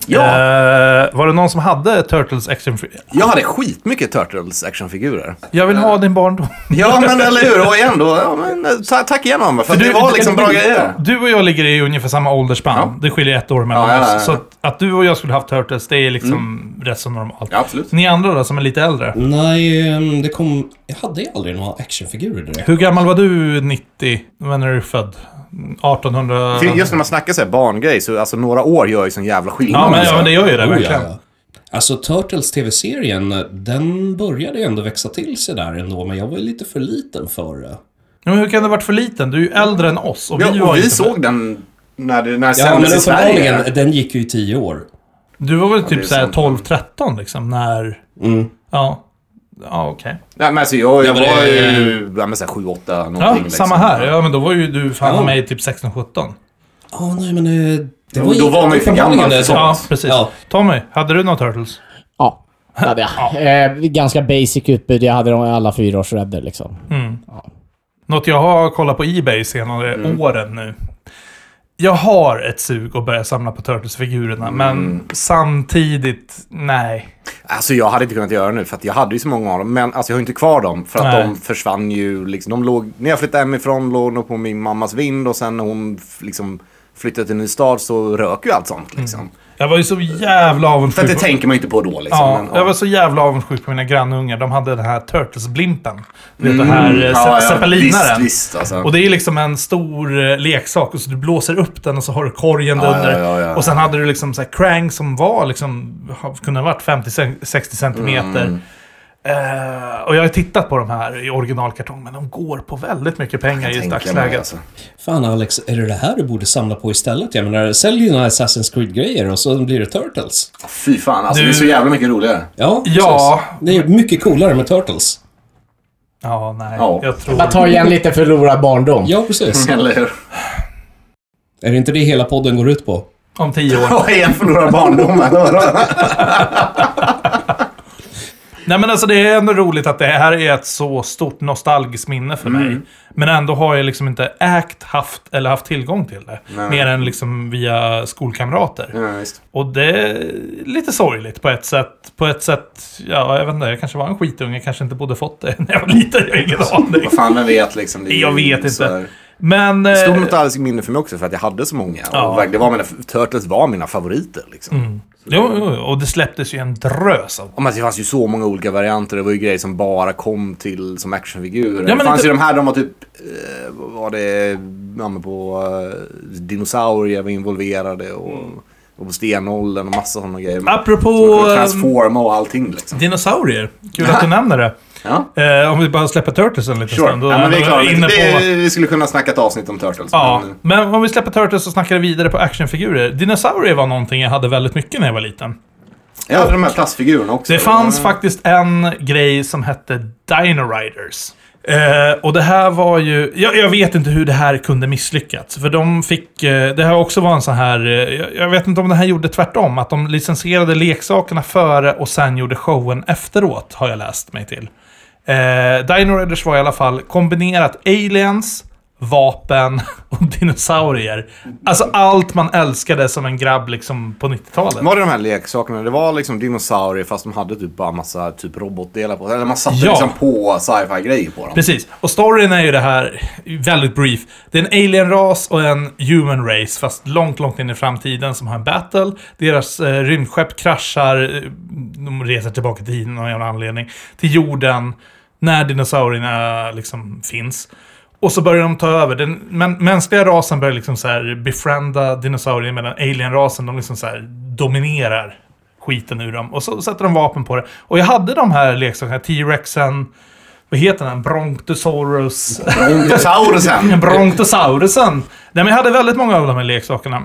[SPEAKER 4] Ja.
[SPEAKER 1] Eh, var det någon som hade Turtles actionfigurer?
[SPEAKER 4] Jag hade skitmycket Turtles actionfigurer.
[SPEAKER 1] Jag vill ha din barndom.
[SPEAKER 4] Ja, men eller hur? Och igen då. Ja, men, eh, ta, tack igen, Amber, för att det var liksom bra grejer.
[SPEAKER 1] Du och jag ligger i ungefär samma åldersspann.
[SPEAKER 4] Ja.
[SPEAKER 1] Det skiljer ett år mellan
[SPEAKER 4] Ja, ja,
[SPEAKER 1] oss.
[SPEAKER 4] ja, ja.
[SPEAKER 1] Så att, att du och jag skulle haft Turtles, det är liksom rätt så normalt.
[SPEAKER 4] Ja, absolut.
[SPEAKER 1] Ni andra då, som är lite äldre.
[SPEAKER 3] Nej, ehm, det kom... Jag hade ju aldrig några actionfigurer direkt.
[SPEAKER 1] Hur gammal var du 90? När är du född? 1800?
[SPEAKER 4] Till- Just när man snackar så här barngrej, så alltså några år gör ju sån jävla skillnad.
[SPEAKER 1] Ja, men,
[SPEAKER 4] alltså.
[SPEAKER 1] ja, men det gör ju det
[SPEAKER 3] Oh,
[SPEAKER 1] verkligen.
[SPEAKER 3] ja, ja. Alltså Turtles TV-serien, den började ju ändå växa till sig där ändå, men jag var ju lite för liten för det.
[SPEAKER 1] Ja, Men hur kan du ha varit för liten? Du är ju äldre än oss. Och vi,
[SPEAKER 4] Ja,
[SPEAKER 1] var
[SPEAKER 4] och vi
[SPEAKER 1] inte-
[SPEAKER 4] såg den när det när det
[SPEAKER 3] Ja,
[SPEAKER 4] sändes
[SPEAKER 3] men
[SPEAKER 4] i Sverige.
[SPEAKER 3] uppenbarligen, den gick ju i tio år.
[SPEAKER 1] Du var väl
[SPEAKER 4] det är
[SPEAKER 1] typ såhär
[SPEAKER 4] sant.
[SPEAKER 1] 12-13 liksom, när...
[SPEAKER 3] Mm.
[SPEAKER 1] Ja. Ja, okej.
[SPEAKER 4] Nej, men alltså, jag, jag
[SPEAKER 3] Ja, men det-
[SPEAKER 4] var ju ja, men, så här, 7, 8 någonting.
[SPEAKER 1] Ja,
[SPEAKER 4] liksom.
[SPEAKER 1] samma här. Ja, men då var ju du fan
[SPEAKER 3] Ja.
[SPEAKER 1] mig typ 16-17.
[SPEAKER 3] Ja, nej men... eh, Det
[SPEAKER 4] Jo, då var man ju för gammal
[SPEAKER 3] uppenbarligen
[SPEAKER 4] för
[SPEAKER 3] det-
[SPEAKER 4] sånt.
[SPEAKER 1] Ja,
[SPEAKER 4] Thomas.
[SPEAKER 1] precis.
[SPEAKER 3] Ja.
[SPEAKER 1] Tommy, hade du några Turtles?
[SPEAKER 2] Ja, det hade jag. Eh, ganska basic utbud. Jag hade de alla fyraårsrädder liksom.
[SPEAKER 1] Något jag har kollat på Ebay senare
[SPEAKER 4] Mm.
[SPEAKER 1] åren nu. Jag har ett sug att börja samla på Turtles-figurerna,
[SPEAKER 4] Mm.
[SPEAKER 1] men samtidigt, nej.
[SPEAKER 4] Alltså jag hade inte kunnat göra det nu för att jag hade ju så många av dem. Men alltså jag har ju inte kvar dem för att
[SPEAKER 1] Nej.
[SPEAKER 4] de försvann ju. Liksom, de låg, när jag flyttade hemifrån låg de på min mammas vind och sen när hon f- liksom, flyttade till en ny stad så rök ju allt sånt.
[SPEAKER 1] Mm.
[SPEAKER 4] Liksom.
[SPEAKER 1] Jag var ju så jävla
[SPEAKER 4] För
[SPEAKER 1] avundsjuk.
[SPEAKER 4] att det
[SPEAKER 1] på-
[SPEAKER 4] tänker man ju inte på då liksom.
[SPEAKER 1] Ja,
[SPEAKER 4] men,
[SPEAKER 1] jag var så jävla avundsjuk på mina grannungar. De hade den här Turtles-blimpen. Du vet, den här eh,
[SPEAKER 4] Mm. Ja,
[SPEAKER 1] ze-
[SPEAKER 4] ja,
[SPEAKER 1] zeppelinaren.
[SPEAKER 4] Visst, visst alltså.
[SPEAKER 1] Och det är liksom en stor eh, leksak. Och så du blåser upp den och så har du korgen
[SPEAKER 4] Ja,
[SPEAKER 1] under.
[SPEAKER 4] ja, ja, ja.
[SPEAKER 1] Och sen hade du liksom så här crank som var liksom... ha- Kunde ha varit 50-60 centimeter.
[SPEAKER 4] Mm.
[SPEAKER 1] Eh, och jag har tittat på de här i originalkartong, men de går på väldigt mycket pengar i
[SPEAKER 4] Tänker man,
[SPEAKER 1] dagsläget.
[SPEAKER 4] alltså.
[SPEAKER 3] Fan Alex, är det det här du borde samla på istället? Jag menar, sälj dina Assassin's Creed-grejer och så blir det Turtles.
[SPEAKER 4] Fy fan, alltså,
[SPEAKER 1] Du-
[SPEAKER 4] det är så jävla mycket roligare.
[SPEAKER 3] Ja,
[SPEAKER 1] Ja.
[SPEAKER 3] precis. Det är mycket coolare med Turtles.
[SPEAKER 1] Ja, nej.
[SPEAKER 4] Ja.
[SPEAKER 1] Jag tror...
[SPEAKER 2] Jag tar igen lite förlorad barndom.
[SPEAKER 3] Ja, precis.
[SPEAKER 4] Eller hur?
[SPEAKER 3] Är det inte det hela podden går ut på?
[SPEAKER 1] Om tio år.
[SPEAKER 4] Vad är en förlorad barndom? eller?
[SPEAKER 1] Nej men alltså det är ändå roligt att det här är ett så stort nostalgiskt minne för
[SPEAKER 4] Mm.
[SPEAKER 1] mig. Men ändå har jag liksom inte ägt, haft eller haft tillgång till det. Mer än liksom via skolkamrater.
[SPEAKER 4] Ja, visst.
[SPEAKER 1] Och det är lite sorgligt på ett sätt. På ett sätt, ja jag vet inte, jag kanske var en skitunge, kanske inte borde fått det när jag var liten. Jag har ingen aning.
[SPEAKER 4] Alltså, Vad fan, vem vet liksom. Det är
[SPEAKER 1] Jag
[SPEAKER 4] ju
[SPEAKER 1] vet
[SPEAKER 4] så
[SPEAKER 1] inte.
[SPEAKER 4] här-
[SPEAKER 1] Men... eh,
[SPEAKER 4] Stort nostalgiskt minne för mig också för att jag hade så många.
[SPEAKER 1] Ja. Mm.
[SPEAKER 4] Och verkligen, det var mina, Turtles var mina favoriter liksom.
[SPEAKER 1] Jo, jo, jo, och det släpptes ju en drös av
[SPEAKER 4] Ja, men det fanns ju så många olika varianter. Det var ju grejer som bara kom till som actionfigurer.
[SPEAKER 1] Ja, men
[SPEAKER 4] det fanns
[SPEAKER 1] inte-
[SPEAKER 4] ju de här, de var typ... Eh, vad var det... Ja, men på... Eh, dinosaurier var involverade och... Och på stenåldern och massa sådana grejer.
[SPEAKER 1] Apropå,
[SPEAKER 4] Som man kunde
[SPEAKER 1] eh,
[SPEAKER 4] Transforma och allting liksom.
[SPEAKER 1] dinosaurier. Kul att du nämner det.
[SPEAKER 4] Ja,
[SPEAKER 1] Eh, om vi bara släpper Turtles en liten
[SPEAKER 4] sure.
[SPEAKER 1] stund. då
[SPEAKER 4] ja, men det är Mm.
[SPEAKER 1] vi
[SPEAKER 4] klart.
[SPEAKER 1] inne på-
[SPEAKER 4] Det, vi skulle kunna snacka ett avsnitt om Turtles.
[SPEAKER 1] Ja,
[SPEAKER 4] men- eh,
[SPEAKER 1] men om vi släpper Turtles och snackar vidare på actionfigurer. Dinosaurier var någonting jag hade väldigt mycket när jag var liten.
[SPEAKER 4] Jag hade de här plastfigurerna också. Mm.
[SPEAKER 1] Det fanns faktiskt en grej som hette Dino Riders. Eh, och det här var ju... Jag, jag vet inte hur det här kunde misslyckats. För de fick... Eh, det här också var en sån här... Eh, jag, jag vet inte om det här gjorde tvärtom. Att de licensierade leksakerna före och sen gjorde showen efteråt, har jag läst mig till. Eh, Dino Riders var i alla fall kombinerat aliens, vapen och dinosaurier. Alltså allt man älskade som en grabb liksom på 90-talet.
[SPEAKER 4] Var det de här leksakerna? Det var liksom dinosaurier fast de hade typ bara massa typ robotdelar på Eller man satte
[SPEAKER 1] Ja.
[SPEAKER 4] liksom på sci-fi grejer på dem.
[SPEAKER 1] Precis. Och storyn är ju det här, väldigt brief. Det är en alien-ras och en human race, fast långt, långt in i framtiden, som har en battle. Deras eh, rymdskepp kraschar, eh, de reser tillbaka till tiden av någon jävla anledning, till jorden, när dinosaurierna liksom finns. Och så börjar de ta över. Den men, mänskliga rasen börjar liksom så här befrienda dinosaurier medan alienrasen de liksom så här dominerar skiten ur dem. Och så sätter de vapen på det. Och jag hade de här leksakerna, T-Rexen, vad heter den? Brontosaurus.
[SPEAKER 4] Saurusen!
[SPEAKER 1] En Brontosaurusen. Nej, men jag hade väldigt många av de här leksakerna.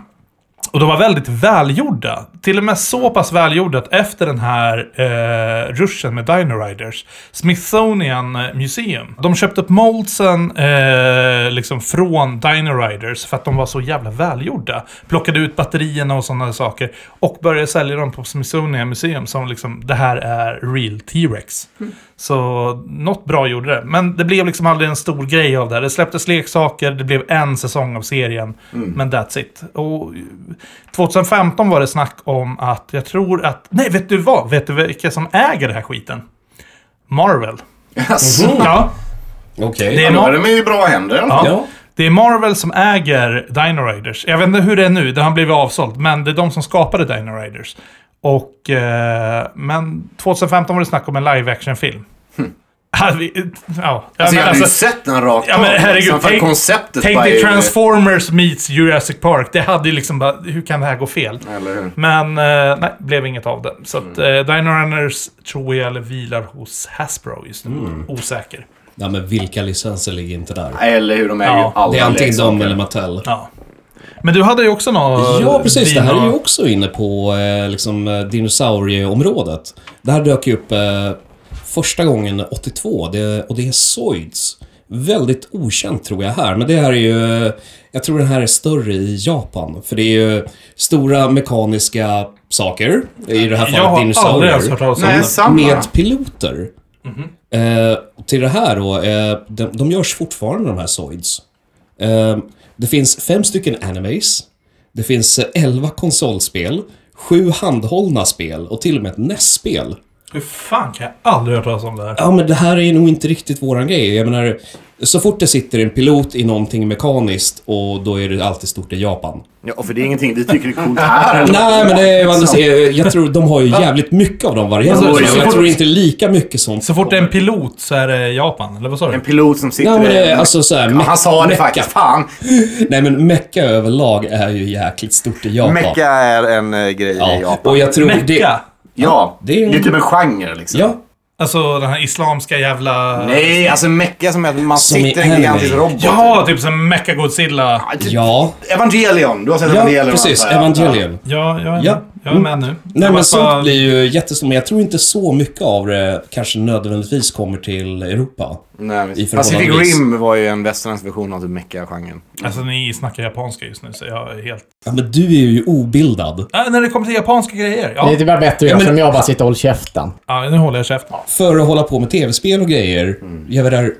[SPEAKER 1] Och de var väldigt välgjorda. Till och med så pass välgjorda att efter den här eh, ruschen med Dino Riders, Smithsonian eh, Museum, de köpte upp moldsen eh, liksom från Dino Riders för att de var så jävla välgjorda. Plockade ut batterierna och sådana saker och började sälja dem på Smithsonian Museum som liksom, det här är real T-Rex. Så något bra gjorde det. Men det blev liksom aldrig en stor grej av det. här. Det släpptes leksaker, det blev en säsong av serien. Men that's it. Och 2015 var det snack om att jag tror att... Nej, vet du vad? Vet du vilka som äger den här skiten? Marvel.
[SPEAKER 4] Jaså?
[SPEAKER 1] Ja,
[SPEAKER 3] Okej.
[SPEAKER 1] det är,
[SPEAKER 4] Då är
[SPEAKER 1] Mar-
[SPEAKER 4] de i bra händer i alla fall.
[SPEAKER 3] Ja.
[SPEAKER 1] det är Marvel som äger Dino Riders. Jag vet inte hur det är nu, det har blivit avsålt. Men det är de som skapade Dino Riders. Och, eh, men 2015 var det snack om en live action-film. Ja, vi- ja,
[SPEAKER 4] Hm. Alltså,
[SPEAKER 1] men
[SPEAKER 4] jag hade ju
[SPEAKER 1] alltså-
[SPEAKER 4] sett den rakt Liksom,
[SPEAKER 1] Ja, men herregud,
[SPEAKER 4] för
[SPEAKER 1] tänk-
[SPEAKER 4] konceptet
[SPEAKER 1] Tänk
[SPEAKER 4] var ju-
[SPEAKER 1] dig Transformers meets Jurassic Park. Det hade ju liksom bara, hur kan det här gå fel?
[SPEAKER 4] Eller hur?
[SPEAKER 1] Men eh, nej, blev inget av det. Så att
[SPEAKER 4] Mm.
[SPEAKER 1] eh, Dino Runners tror jag eller vilar hos Hasbro just nu.
[SPEAKER 4] Mm.
[SPEAKER 1] Osäker.
[SPEAKER 3] ja, men vilka licenser ligger inte där?
[SPEAKER 4] Eller hur de äger
[SPEAKER 1] Ja,
[SPEAKER 4] alla
[SPEAKER 3] Det är antingen
[SPEAKER 4] leksaker.
[SPEAKER 3] de eller Mattel.
[SPEAKER 1] Ja. Men du hade ju också någon...
[SPEAKER 3] Ja, precis. Det här är ju också inne på eh, liksom, eh, dinosaurieområdet. Det här dök ju upp eh, första gången 82 det, och det är Zoids. Väldigt okänt tror jag här, men det här är ju... eh, Jag tror den här är större i Japan, för det är ju stora mekaniska saker, i det här fallet
[SPEAKER 1] Jag har aldrig
[SPEAKER 3] dinosaurier.
[SPEAKER 1] ens hört talas om
[SPEAKER 4] Nej,
[SPEAKER 1] det.
[SPEAKER 4] samma.
[SPEAKER 3] Med piloter. Eh, till det här då, eh, de, de görs fortfarande de här Zoids. Eh, det finns fem stycken animes. Det finns eh, elva konsolspel. Sju handhållna spel och till och med ett NES-spel.
[SPEAKER 1] Hur fan kan jag aldrig hört talas om det här?
[SPEAKER 3] Ja, men det här är nog inte riktigt våran grej. Jag menar, så fort det sitter en pilot i någonting mekaniskt och då är det alltid stort i Japan.
[SPEAKER 4] Ja, för det är ingenting vi tycker det är coolt här. eller?
[SPEAKER 3] Nej, men det är, Anders, eh, jag tror de har ju jävligt mycket av de varianterna.
[SPEAKER 4] Alltså,
[SPEAKER 3] Så
[SPEAKER 4] så
[SPEAKER 3] jag
[SPEAKER 4] fort-
[SPEAKER 3] tror inte lika mycket som
[SPEAKER 1] Så fort det är en pilot så är det Japan, eller vad sa du?
[SPEAKER 4] En pilot som sitter
[SPEAKER 3] Ja, men
[SPEAKER 4] i
[SPEAKER 3] det,
[SPEAKER 4] en-
[SPEAKER 3] alltså så här,
[SPEAKER 4] Ja,
[SPEAKER 3] me-
[SPEAKER 4] Eh, Han sa det
[SPEAKER 3] mecka.
[SPEAKER 4] faktiskt. Fan!
[SPEAKER 3] Nej, men mecka överlag är ju jäkligt stort i Japan.
[SPEAKER 4] Mecka är en eh, grej i
[SPEAKER 3] Ja,
[SPEAKER 4] Japan.
[SPEAKER 3] och jag tror det...
[SPEAKER 1] Mecka?
[SPEAKER 4] Ja,
[SPEAKER 3] det är
[SPEAKER 4] det
[SPEAKER 3] ju-
[SPEAKER 4] är typ en genre liksom.
[SPEAKER 3] Ja,
[SPEAKER 1] Alltså den här islamska jävla...
[SPEAKER 4] Nej, alltså mecka som är att man
[SPEAKER 3] Som i
[SPEAKER 4] sitter i en
[SPEAKER 3] anime.
[SPEAKER 4] gigantisk robot. Typ
[SPEAKER 1] Ja, typ som Mecha-Godzilla.
[SPEAKER 3] ja,
[SPEAKER 4] Evangelion. Du har sett
[SPEAKER 3] ja
[SPEAKER 4] Evangelion?
[SPEAKER 3] precis.
[SPEAKER 4] antar jag.
[SPEAKER 3] Evangelion.
[SPEAKER 1] Ja, Alltså- jag är,
[SPEAKER 3] Ja.
[SPEAKER 1] Med. Jag är med nu.
[SPEAKER 3] Nej,
[SPEAKER 1] Jag bara-
[SPEAKER 3] men sånt blir ju jättestort. Men jag tror inte så mycket av det kanske nödvändigtvis kommer till Europa.
[SPEAKER 4] Nej,
[SPEAKER 3] I
[SPEAKER 4] precis.
[SPEAKER 3] förhållande
[SPEAKER 4] Pacific
[SPEAKER 3] till-
[SPEAKER 4] Rim var ju en västerländsk version av typ mecka-genren.
[SPEAKER 1] Alltså ni snackar japanska just nu, så jag är helt...
[SPEAKER 3] Ja, men du är ju obildad.
[SPEAKER 1] Äh, när det kommer till japanska grejer,
[SPEAKER 2] Det
[SPEAKER 1] ja.
[SPEAKER 2] är typ bara bättre att göra som jag, bara sitta och håll käften.
[SPEAKER 1] ja nu håller jag käften.
[SPEAKER 3] För att hålla på med tv-spel och grejer.
[SPEAKER 4] Mm.
[SPEAKER 3] Jag vet där,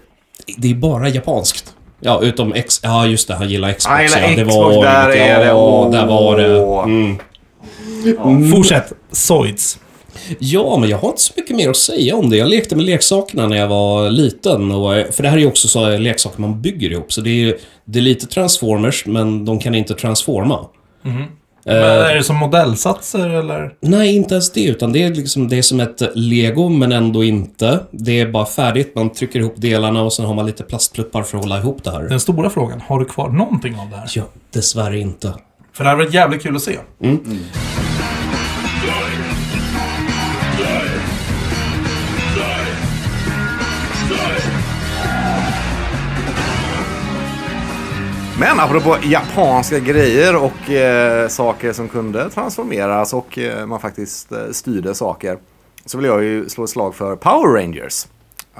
[SPEAKER 3] det är bara japanskt. Ja, utom X... Ja, just det. Han gillar Xbox.
[SPEAKER 4] Ah,
[SPEAKER 3] ja,
[SPEAKER 4] eller
[SPEAKER 3] det
[SPEAKER 4] Xbox, där
[SPEAKER 3] ja,
[SPEAKER 4] är det. Åh.
[SPEAKER 3] där var det. Mm.
[SPEAKER 1] Fortsätt. Soids.
[SPEAKER 3] Ja, men jag har inte så mycket mer att säga om det. Jag lekte med leksakerna när jag var liten. Och, eh, för det här är ju också så eh, leksaker man bygger ihop. Så det är, ju- det är lite transformers, men de kan inte transforma.
[SPEAKER 1] Men är det som modellsatser eller?
[SPEAKER 3] Nej, inte ens det. Utan det är, liksom, det är som ett lego, men ändå inte. Det är bara färdigt. Man trycker ihop delarna och sen har man lite plastpluppar för att hålla ihop det här.
[SPEAKER 1] Den stora frågan, har du kvar någonting av det här?
[SPEAKER 3] Ja, dessvärre inte.
[SPEAKER 1] För det hade varit jävligt kul att se.
[SPEAKER 4] Men apropå japanska grejer och eh, saker som kunde transformeras och eh, man faktiskt eh, styrde saker. Så vill jag ju slå ett slag för Power Rangers.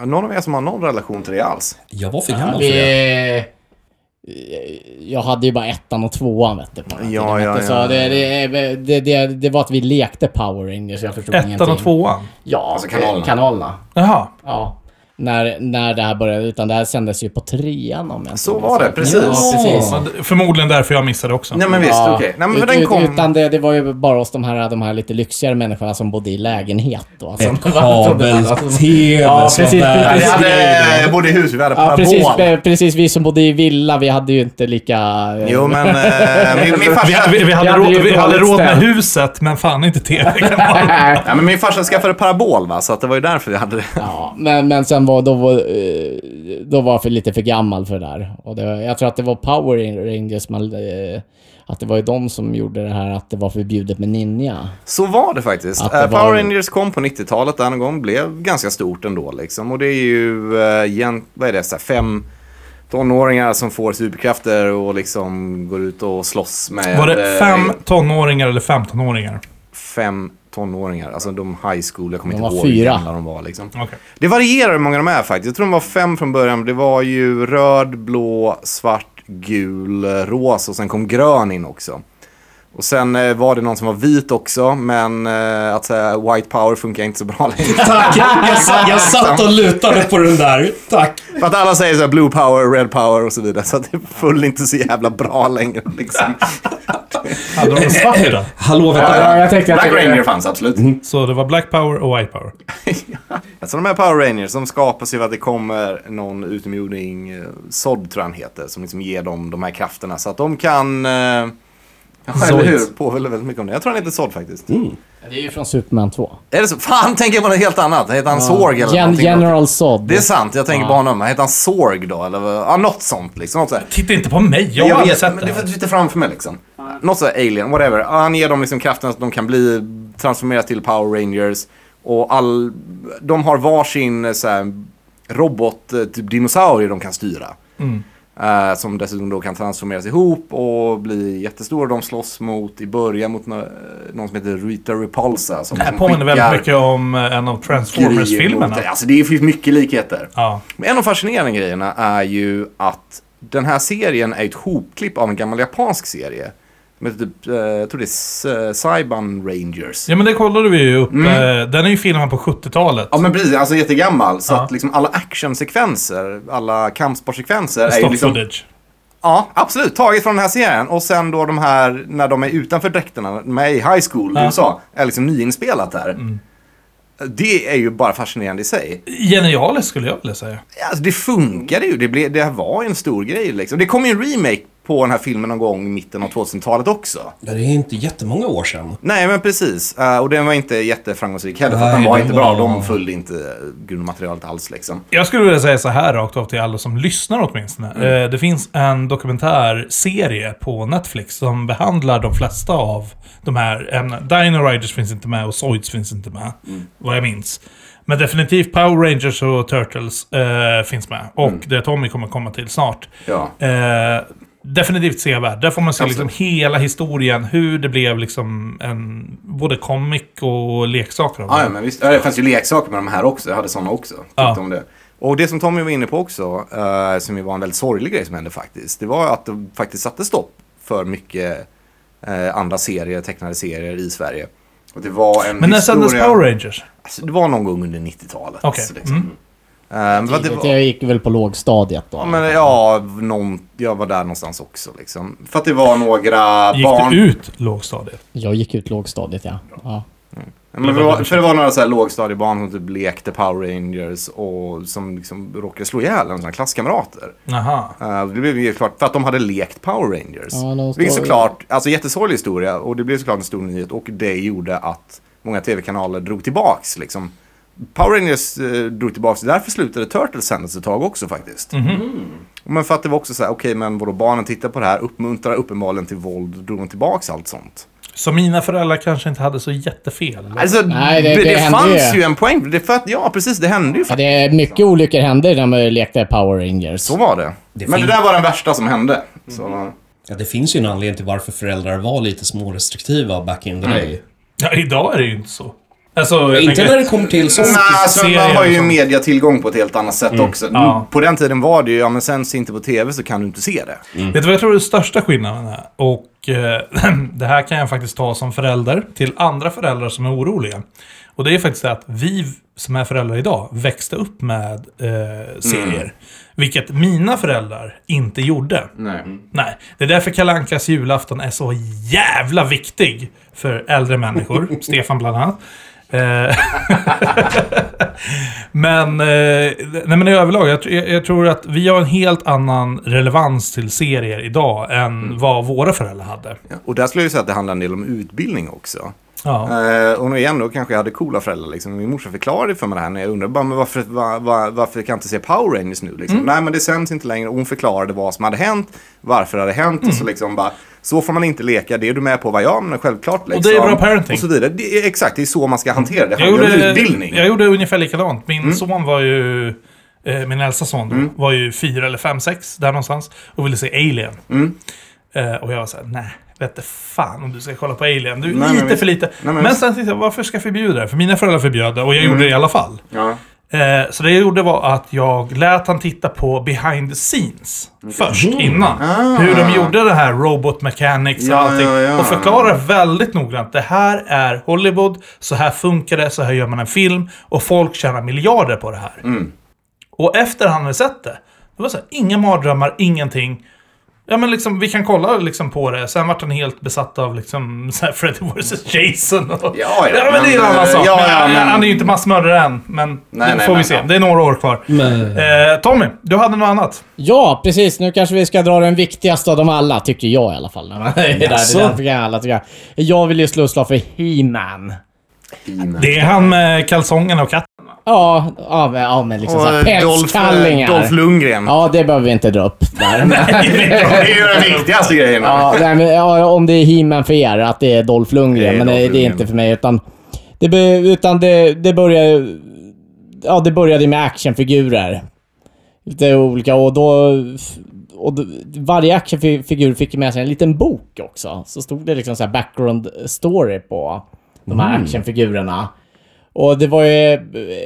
[SPEAKER 4] Någon av er som har någon relation till det alls?
[SPEAKER 3] Jag var för gammal för det.
[SPEAKER 2] Vi... Eh, Jag hade ju bara ettan och tvåan vet du. På den här
[SPEAKER 4] Ja,
[SPEAKER 2] tiden,
[SPEAKER 4] ja,
[SPEAKER 2] vet du,
[SPEAKER 4] ja,
[SPEAKER 2] Så det, det, det, det, det var att vi lekte Power Rangers, jag förstod
[SPEAKER 1] Ettan
[SPEAKER 2] ingenting.
[SPEAKER 1] och tvåan.
[SPEAKER 2] Ja,
[SPEAKER 4] Alltså kanalerna.
[SPEAKER 2] kanalerna.
[SPEAKER 1] Jaha.
[SPEAKER 2] Ja. När, när det här började, utan det här sändes ju på trean om jag inte
[SPEAKER 4] Så
[SPEAKER 2] minns
[SPEAKER 4] var det,
[SPEAKER 2] rätt.
[SPEAKER 4] precis.
[SPEAKER 2] Ja, precis.
[SPEAKER 1] Så det- Förmodligen därför jag missade också.
[SPEAKER 4] Nej men visst,
[SPEAKER 2] Ja,
[SPEAKER 4] okej. Nej men
[SPEAKER 2] ut-
[SPEAKER 4] den
[SPEAKER 2] ut-
[SPEAKER 4] kom...
[SPEAKER 2] Utan det, det var ju bara oss de här, de här lite lyxigare människorna som bodde i lägenhet då. Alltså,
[SPEAKER 3] Kabel-tv
[SPEAKER 2] Ja,
[SPEAKER 3] som
[SPEAKER 2] precis,
[SPEAKER 4] Ja,
[SPEAKER 3] bär.
[SPEAKER 4] vi
[SPEAKER 2] precis.
[SPEAKER 4] hade, jag bodde i hus, vi hade
[SPEAKER 2] Ja,
[SPEAKER 4] parabol.
[SPEAKER 2] precis, eh, precis. Vi som bodde i villa, vi hade ju inte lika... eh,
[SPEAKER 4] Jo men eh, min, min
[SPEAKER 1] Vi,
[SPEAKER 4] farsa...
[SPEAKER 1] vi, vi hade,
[SPEAKER 2] Jag hade
[SPEAKER 1] råd,
[SPEAKER 2] ju
[SPEAKER 1] vi hade
[SPEAKER 2] dåligt
[SPEAKER 1] råd med
[SPEAKER 2] ställt.
[SPEAKER 1] huset, men fan inte tv-kanalen.
[SPEAKER 4] Ja, men min farsa skaffade parabol va, så att det var ju därför vi hade det.
[SPEAKER 2] Ja, men, men sen var, de var, eh, de var för, lite för gammal för det där. Och det, var- jag tror att det var Power Rangers, man, eh, att det var ju de som gjorde det här att det var förbjudet med ninja.
[SPEAKER 4] Så var det faktiskt.
[SPEAKER 2] Att det
[SPEAKER 4] Eh,
[SPEAKER 2] var-
[SPEAKER 4] Power Rangers kom på 90-talet där någon gång, blev ganska stort ändå liksom. Och det är ju, eh, gen- vad är det, så här, fem tonåringar som får superkrafter och liksom går ut och slåss med...
[SPEAKER 1] Var det
[SPEAKER 4] eh,
[SPEAKER 1] fem tonåringar eller 15-åringar?
[SPEAKER 4] Fem tonåringar, alltså de high school, jag kommer
[SPEAKER 2] De
[SPEAKER 4] inte
[SPEAKER 2] var
[SPEAKER 4] ihåg hur
[SPEAKER 2] fyra.
[SPEAKER 4] gamla de var liksom.
[SPEAKER 1] Okej.
[SPEAKER 4] Det varierar hur många de är faktiskt. Jag tror de var fem från början. men Det var ju röd, blå, svart, gul, rosa och sen kom grön in också. Och sen eh, var det någon som var vit också, men eh, att säga white power funkar inte så bra längre.
[SPEAKER 3] Tack! Jag, sa- jag satt och lutade på den där. Tack!
[SPEAKER 4] För att alla säger så här blue power, red power och så vidare. Så att det föll inte så jävla bra längre liksom.
[SPEAKER 1] Hade de en svart då?
[SPEAKER 3] Hallå, vänta.
[SPEAKER 2] jag tänkte
[SPEAKER 4] Black Ranger fanns absolut.
[SPEAKER 1] Så det var black power och white power.
[SPEAKER 4] Alltså de här Power Rangers, de skapas ju för att det kommer någon utomjording, eh, Zod tror jag han heter, som liksom ger dem de här krafterna. Så att de kan... Eh, ja, eller
[SPEAKER 1] Zoid.
[SPEAKER 4] hur? Påminner väldigt mycket om det. Jag tror han heter Zod faktiskt.
[SPEAKER 2] Mm. Det är ju från Superman 2.
[SPEAKER 4] Är det så? Fan, tänker jag på något helt annat. Heter han Zorg eller
[SPEAKER 2] Gen-
[SPEAKER 4] någonting?
[SPEAKER 2] General Zod.
[SPEAKER 4] Det är sant, jag tänker på honom. Heter han Zorg då? Eller vad- ja, något sånt liksom. Något så här.
[SPEAKER 1] Titta inte på mig, jag, har aldrig sett
[SPEAKER 4] men
[SPEAKER 1] det.
[SPEAKER 4] det
[SPEAKER 1] här.
[SPEAKER 4] sitter framför mig liksom. Något sådär alien, whatever. Ja, Han ger dem liksom kraften att de kan bli, transformeras till Power Rangers. Och all, de har varsin eh, så här, robot, eh, typ dinosaurie de kan styra.
[SPEAKER 1] Mm.
[SPEAKER 4] Eh, som dessutom då kan transformeras ihop och bli jättestora. De slåss mot, i början mot nå- eh, någon som heter Rita Repulsa. Som
[SPEAKER 1] Det här
[SPEAKER 4] som
[SPEAKER 1] påminner
[SPEAKER 4] skickar
[SPEAKER 1] väldigt mycket om eh, en av
[SPEAKER 4] grejer
[SPEAKER 1] Transformers-filmerna.
[SPEAKER 4] mot- Alltså det finns mycket likheter.
[SPEAKER 1] Ja.
[SPEAKER 4] Men en av de fascinerande grejerna är ju att den här serien är ett hopklipp av en gammal japansk serie. Med typ, eh, jag tror det är S- eh, Saiban Rangers.
[SPEAKER 1] ja, men det kollade vi ju upp. Eh, Den är ju filmad på 70-talet.
[SPEAKER 4] Mm. Ja men precis, alltså jättegammal. Så
[SPEAKER 1] Ja.
[SPEAKER 4] att liksom alla actionsekvenser, alla kampsportsekvenser är ju
[SPEAKER 1] Stock
[SPEAKER 4] liksom...
[SPEAKER 1] footage.
[SPEAKER 4] Ja, absolut. Taget från den här serien. Och sen då de här, när de är utanför dräkterna, med i high school i
[SPEAKER 1] Ja. Mm.
[SPEAKER 4] USA, är liksom nyinspelat där. Det är ju bara fascinerande i sig.
[SPEAKER 1] Genialiskt skulle jag vilja säga.
[SPEAKER 4] Ja, Alltså, det funkade ju. Det, blev, det här var ju en stor grej. Liksom. Det kom ju en remake på den här filmen någon gång i mitten av 2000-talet också.
[SPEAKER 3] Det är inte jättemånga år sedan.
[SPEAKER 4] Nej, men precis. Eh, och den var inte jätteframgångsrik heller, för att
[SPEAKER 3] Nej,
[SPEAKER 4] den var
[SPEAKER 3] den
[SPEAKER 4] inte
[SPEAKER 3] var-
[SPEAKER 4] bra. De följde inte eh, grundmaterialet alls liksom.
[SPEAKER 1] Jag skulle vilja säga så här rakt av till alla som lyssnar åtminstone.
[SPEAKER 4] Mm.
[SPEAKER 1] Eh, Det finns en dokumentärserie på Netflix som behandlar de flesta av de här ämnena. Dino Riders finns inte med och Zoids finns inte med,
[SPEAKER 4] Mm.
[SPEAKER 1] vad jag minns. Men definitivt Power Rangers och Turtles eh, finns med. Och det Tommy kommer komma till snart.
[SPEAKER 4] Mm. Ja.
[SPEAKER 1] Eh, definitivt sevärd. Där får man se liksom
[SPEAKER 4] Absolut.
[SPEAKER 1] hela historien, hur det blev liksom en, både comic och leksaker av
[SPEAKER 4] Ja,
[SPEAKER 1] det.
[SPEAKER 4] ja, men visst. Ja, det fanns ju leksaker med de här också. Jag hade sådana också. Tyckte
[SPEAKER 1] Ja.
[SPEAKER 4] om det. Och det som Tommy var inne på också, eh, som ju var en väldigt sorglig grej som hände faktiskt, det var att de faktiskt satte stopp för mycket eh, andra serier, tecknade serier i Sverige. Och det var en
[SPEAKER 1] Men när
[SPEAKER 4] historia...
[SPEAKER 1] sändes Power Rangers?
[SPEAKER 4] Alltså, det var någon gång under 90-talet.
[SPEAKER 1] Okej, Mm.
[SPEAKER 4] Liksom. Eh, vad det
[SPEAKER 2] Tidigt,
[SPEAKER 4] var,
[SPEAKER 2] Jag gick väl på lågstadiet då.
[SPEAKER 4] ja, men, ja någon, jag var där någonstans också. Liksom. För att det var några
[SPEAKER 1] Gick
[SPEAKER 4] barn...
[SPEAKER 1] det ut lågstadiet?
[SPEAKER 2] Jag gick ut lågstadiet, ja. ja.
[SPEAKER 4] Ja, Men det var, för det var några så här lågstadiebarn som typ lekte Power Rangers och som liksom råkade slå ihjäl en av sina klasskamrater.
[SPEAKER 1] Aha.
[SPEAKER 4] Eh, det blev ju klart för att de hade lekt Power Rangers.
[SPEAKER 2] Ja, de
[SPEAKER 4] Vilket
[SPEAKER 2] står-
[SPEAKER 4] såklart, alltså jättesorglig historia och det blev såklart en stor nyhet och det gjorde att många tv-kanaler drog tillbaks liksom. Power Rangers eh, drog tillbaks, därför slutade Turtles sändas ett tag också faktiskt. Mm. Men för att det var också så här, okej men vadå barnen tittar på det här, uppmuntrar uppenbarligen till våld, drog de tillbaks allt sånt.
[SPEAKER 1] Så mina föräldrar kanske inte hade så jättefel.
[SPEAKER 4] Alltså
[SPEAKER 2] Nej, det-
[SPEAKER 4] det, det,
[SPEAKER 2] det hände
[SPEAKER 4] fanns
[SPEAKER 2] ju.
[SPEAKER 4] ju en poäng, det, för att, ja precis det hände ju
[SPEAKER 2] Ja,
[SPEAKER 4] faktiskt.
[SPEAKER 2] Det är mycket olyckor hände när man lekte Power Rangers.
[SPEAKER 4] Så var det. men
[SPEAKER 3] fin-
[SPEAKER 4] det där var den värsta som hände. Så,
[SPEAKER 2] Mm.
[SPEAKER 3] Ja, det finns ju en anledning till varför föräldrar var lite smårestriktiva back in the day.
[SPEAKER 1] Ja, idag är det ju inte så. Alltså, jag
[SPEAKER 3] Inte när
[SPEAKER 1] Mm. tänker,
[SPEAKER 3] det kommer till sånt.
[SPEAKER 4] Nej, alltså, man
[SPEAKER 1] serier
[SPEAKER 4] har ju
[SPEAKER 1] och sånt. Mm.
[SPEAKER 4] mediatillgång på ett helt annat sätt också.
[SPEAKER 1] Ja.
[SPEAKER 4] På den tiden var det ju, ja men sänds det inte på tv så kan du inte se det.
[SPEAKER 1] vet du vad jag tror är den största skillnaden är? Och eh, det här kan jag faktiskt ta som förälder till andra föräldrar som är oroliga. Och det är faktiskt det att vi som är föräldrar idag växte upp med eh, serier. Vilket mina föräldrar inte gjorde.
[SPEAKER 4] Nej.
[SPEAKER 1] Nej, det är därför Kalle Ankas julafton är så jävla viktig för äldre människor. Stefan bland annat. Eh, men, eh, nej men i överlag, jag, tr- jag, jag tror att vi har en helt annan relevans till serier idag än vad våra föräldrar hade.
[SPEAKER 4] Och där skulle jag ju säga att det handlar en del om utbildning också.
[SPEAKER 1] Ja.
[SPEAKER 4] Eh, och nu igen då kanske jag hade coola föräldrar liksom. Min morsa förklarade för mig det här när jag undrade bara, men varför, va, va, varför kan jag inte se Power Rangers nu liksom?
[SPEAKER 1] Mm.
[SPEAKER 4] Nej men det sänds inte längre. Och hon förklarade vad som hade hänt, varför det hade hänt och
[SPEAKER 1] Mm.
[SPEAKER 4] så liksom bara så får man inte leka, det är du med på vad jag menar självklart. Liksom.
[SPEAKER 1] det är bra parenting. Mm.
[SPEAKER 4] Och så vidare. Det är, exakt, det är så man ska hantera det.
[SPEAKER 1] Jag
[SPEAKER 4] handlar om
[SPEAKER 1] gjorde,
[SPEAKER 4] utbildning. Mm.
[SPEAKER 1] jag gjorde ungefär likadant. Min son var ju, eh, min äldsta son då, var ju fyra eller fem, sex där någonstans och ville se Alien.
[SPEAKER 4] Mm.
[SPEAKER 1] Eh, och jag var såhär, nej, vet du fan om du ska kolla på Alien. Du är
[SPEAKER 4] Nej, men
[SPEAKER 1] lite
[SPEAKER 4] visst.
[SPEAKER 1] för lite.
[SPEAKER 4] men Mm.
[SPEAKER 1] men
[SPEAKER 4] visst.
[SPEAKER 1] sen tänkte jag, varför ska jag förbjuda det? För mina föräldrar förbjöd det och jag gjorde det i alla fall.
[SPEAKER 4] Ja.
[SPEAKER 1] Eh, så det jag gjorde var att jag lät han titta på behind the scenes
[SPEAKER 4] Mm.
[SPEAKER 1] först, innan. Hur de gjorde det här robot mechanics och
[SPEAKER 4] Ah. Ja,
[SPEAKER 1] allting.
[SPEAKER 4] ja, ja.
[SPEAKER 1] Och förklarade väldigt noggrant. Det här är Hollywood, så här funkar det, så här gör man en film. Och folk tjänar miljarder på det här.
[SPEAKER 4] Mm.
[SPEAKER 1] Och efter han hade sett det, det var så här, inga mardrömmar, ingenting. Ja men liksom, vi kan kolla liksom på det. Sen vart han helt besatt av liksom så här Freddy vs Jason och...
[SPEAKER 4] ja,
[SPEAKER 1] men det är en
[SPEAKER 4] men,
[SPEAKER 1] annan sak.
[SPEAKER 4] ja,
[SPEAKER 1] Men eh,
[SPEAKER 4] ja, men-
[SPEAKER 1] Han är ju inte massmördare än, men
[SPEAKER 4] Nej,
[SPEAKER 1] det
[SPEAKER 4] nej,
[SPEAKER 1] får vi
[SPEAKER 4] men,
[SPEAKER 1] se.
[SPEAKER 4] ja.
[SPEAKER 1] Det är några år kvar.
[SPEAKER 3] Men-
[SPEAKER 1] Eh, Tommy, du hade något annat.
[SPEAKER 2] Ja, precis. Nu kanske vi ska dra den viktigaste av dem alla, tycker jag i alla fall. Det är där,
[SPEAKER 3] Jaså?
[SPEAKER 2] det är därför jag alla tycker jag. Jag vill ju slå ett slag för He-Man.
[SPEAKER 1] Det är han med kalsongerna och katten.
[SPEAKER 2] Ja, ja, men, ja, men liksom
[SPEAKER 4] Och
[SPEAKER 2] såhär
[SPEAKER 4] eh, Dolph, eh,
[SPEAKER 2] pälskallingar.
[SPEAKER 4] Dolph Lundgren.
[SPEAKER 2] Ja, det behöver vi inte dra upp där.
[SPEAKER 4] Det är ju den viktigaste grejen.
[SPEAKER 2] ja, nej, men, ja, om det är He-Man för er, att det är Dolph Lundgren.
[SPEAKER 4] Det är
[SPEAKER 2] men det,
[SPEAKER 4] Dolph
[SPEAKER 2] det är
[SPEAKER 4] Lundgren.
[SPEAKER 2] inte för mig. Utan det, be- utan det, det började... Ja, det började med actionfigurer. Lite olika och då... Och då, varje actionfigur fick ju med sig en liten bok också. Så stod det liksom så här background story på de här
[SPEAKER 4] Mm.
[SPEAKER 2] actionfigurerna. Och det var ju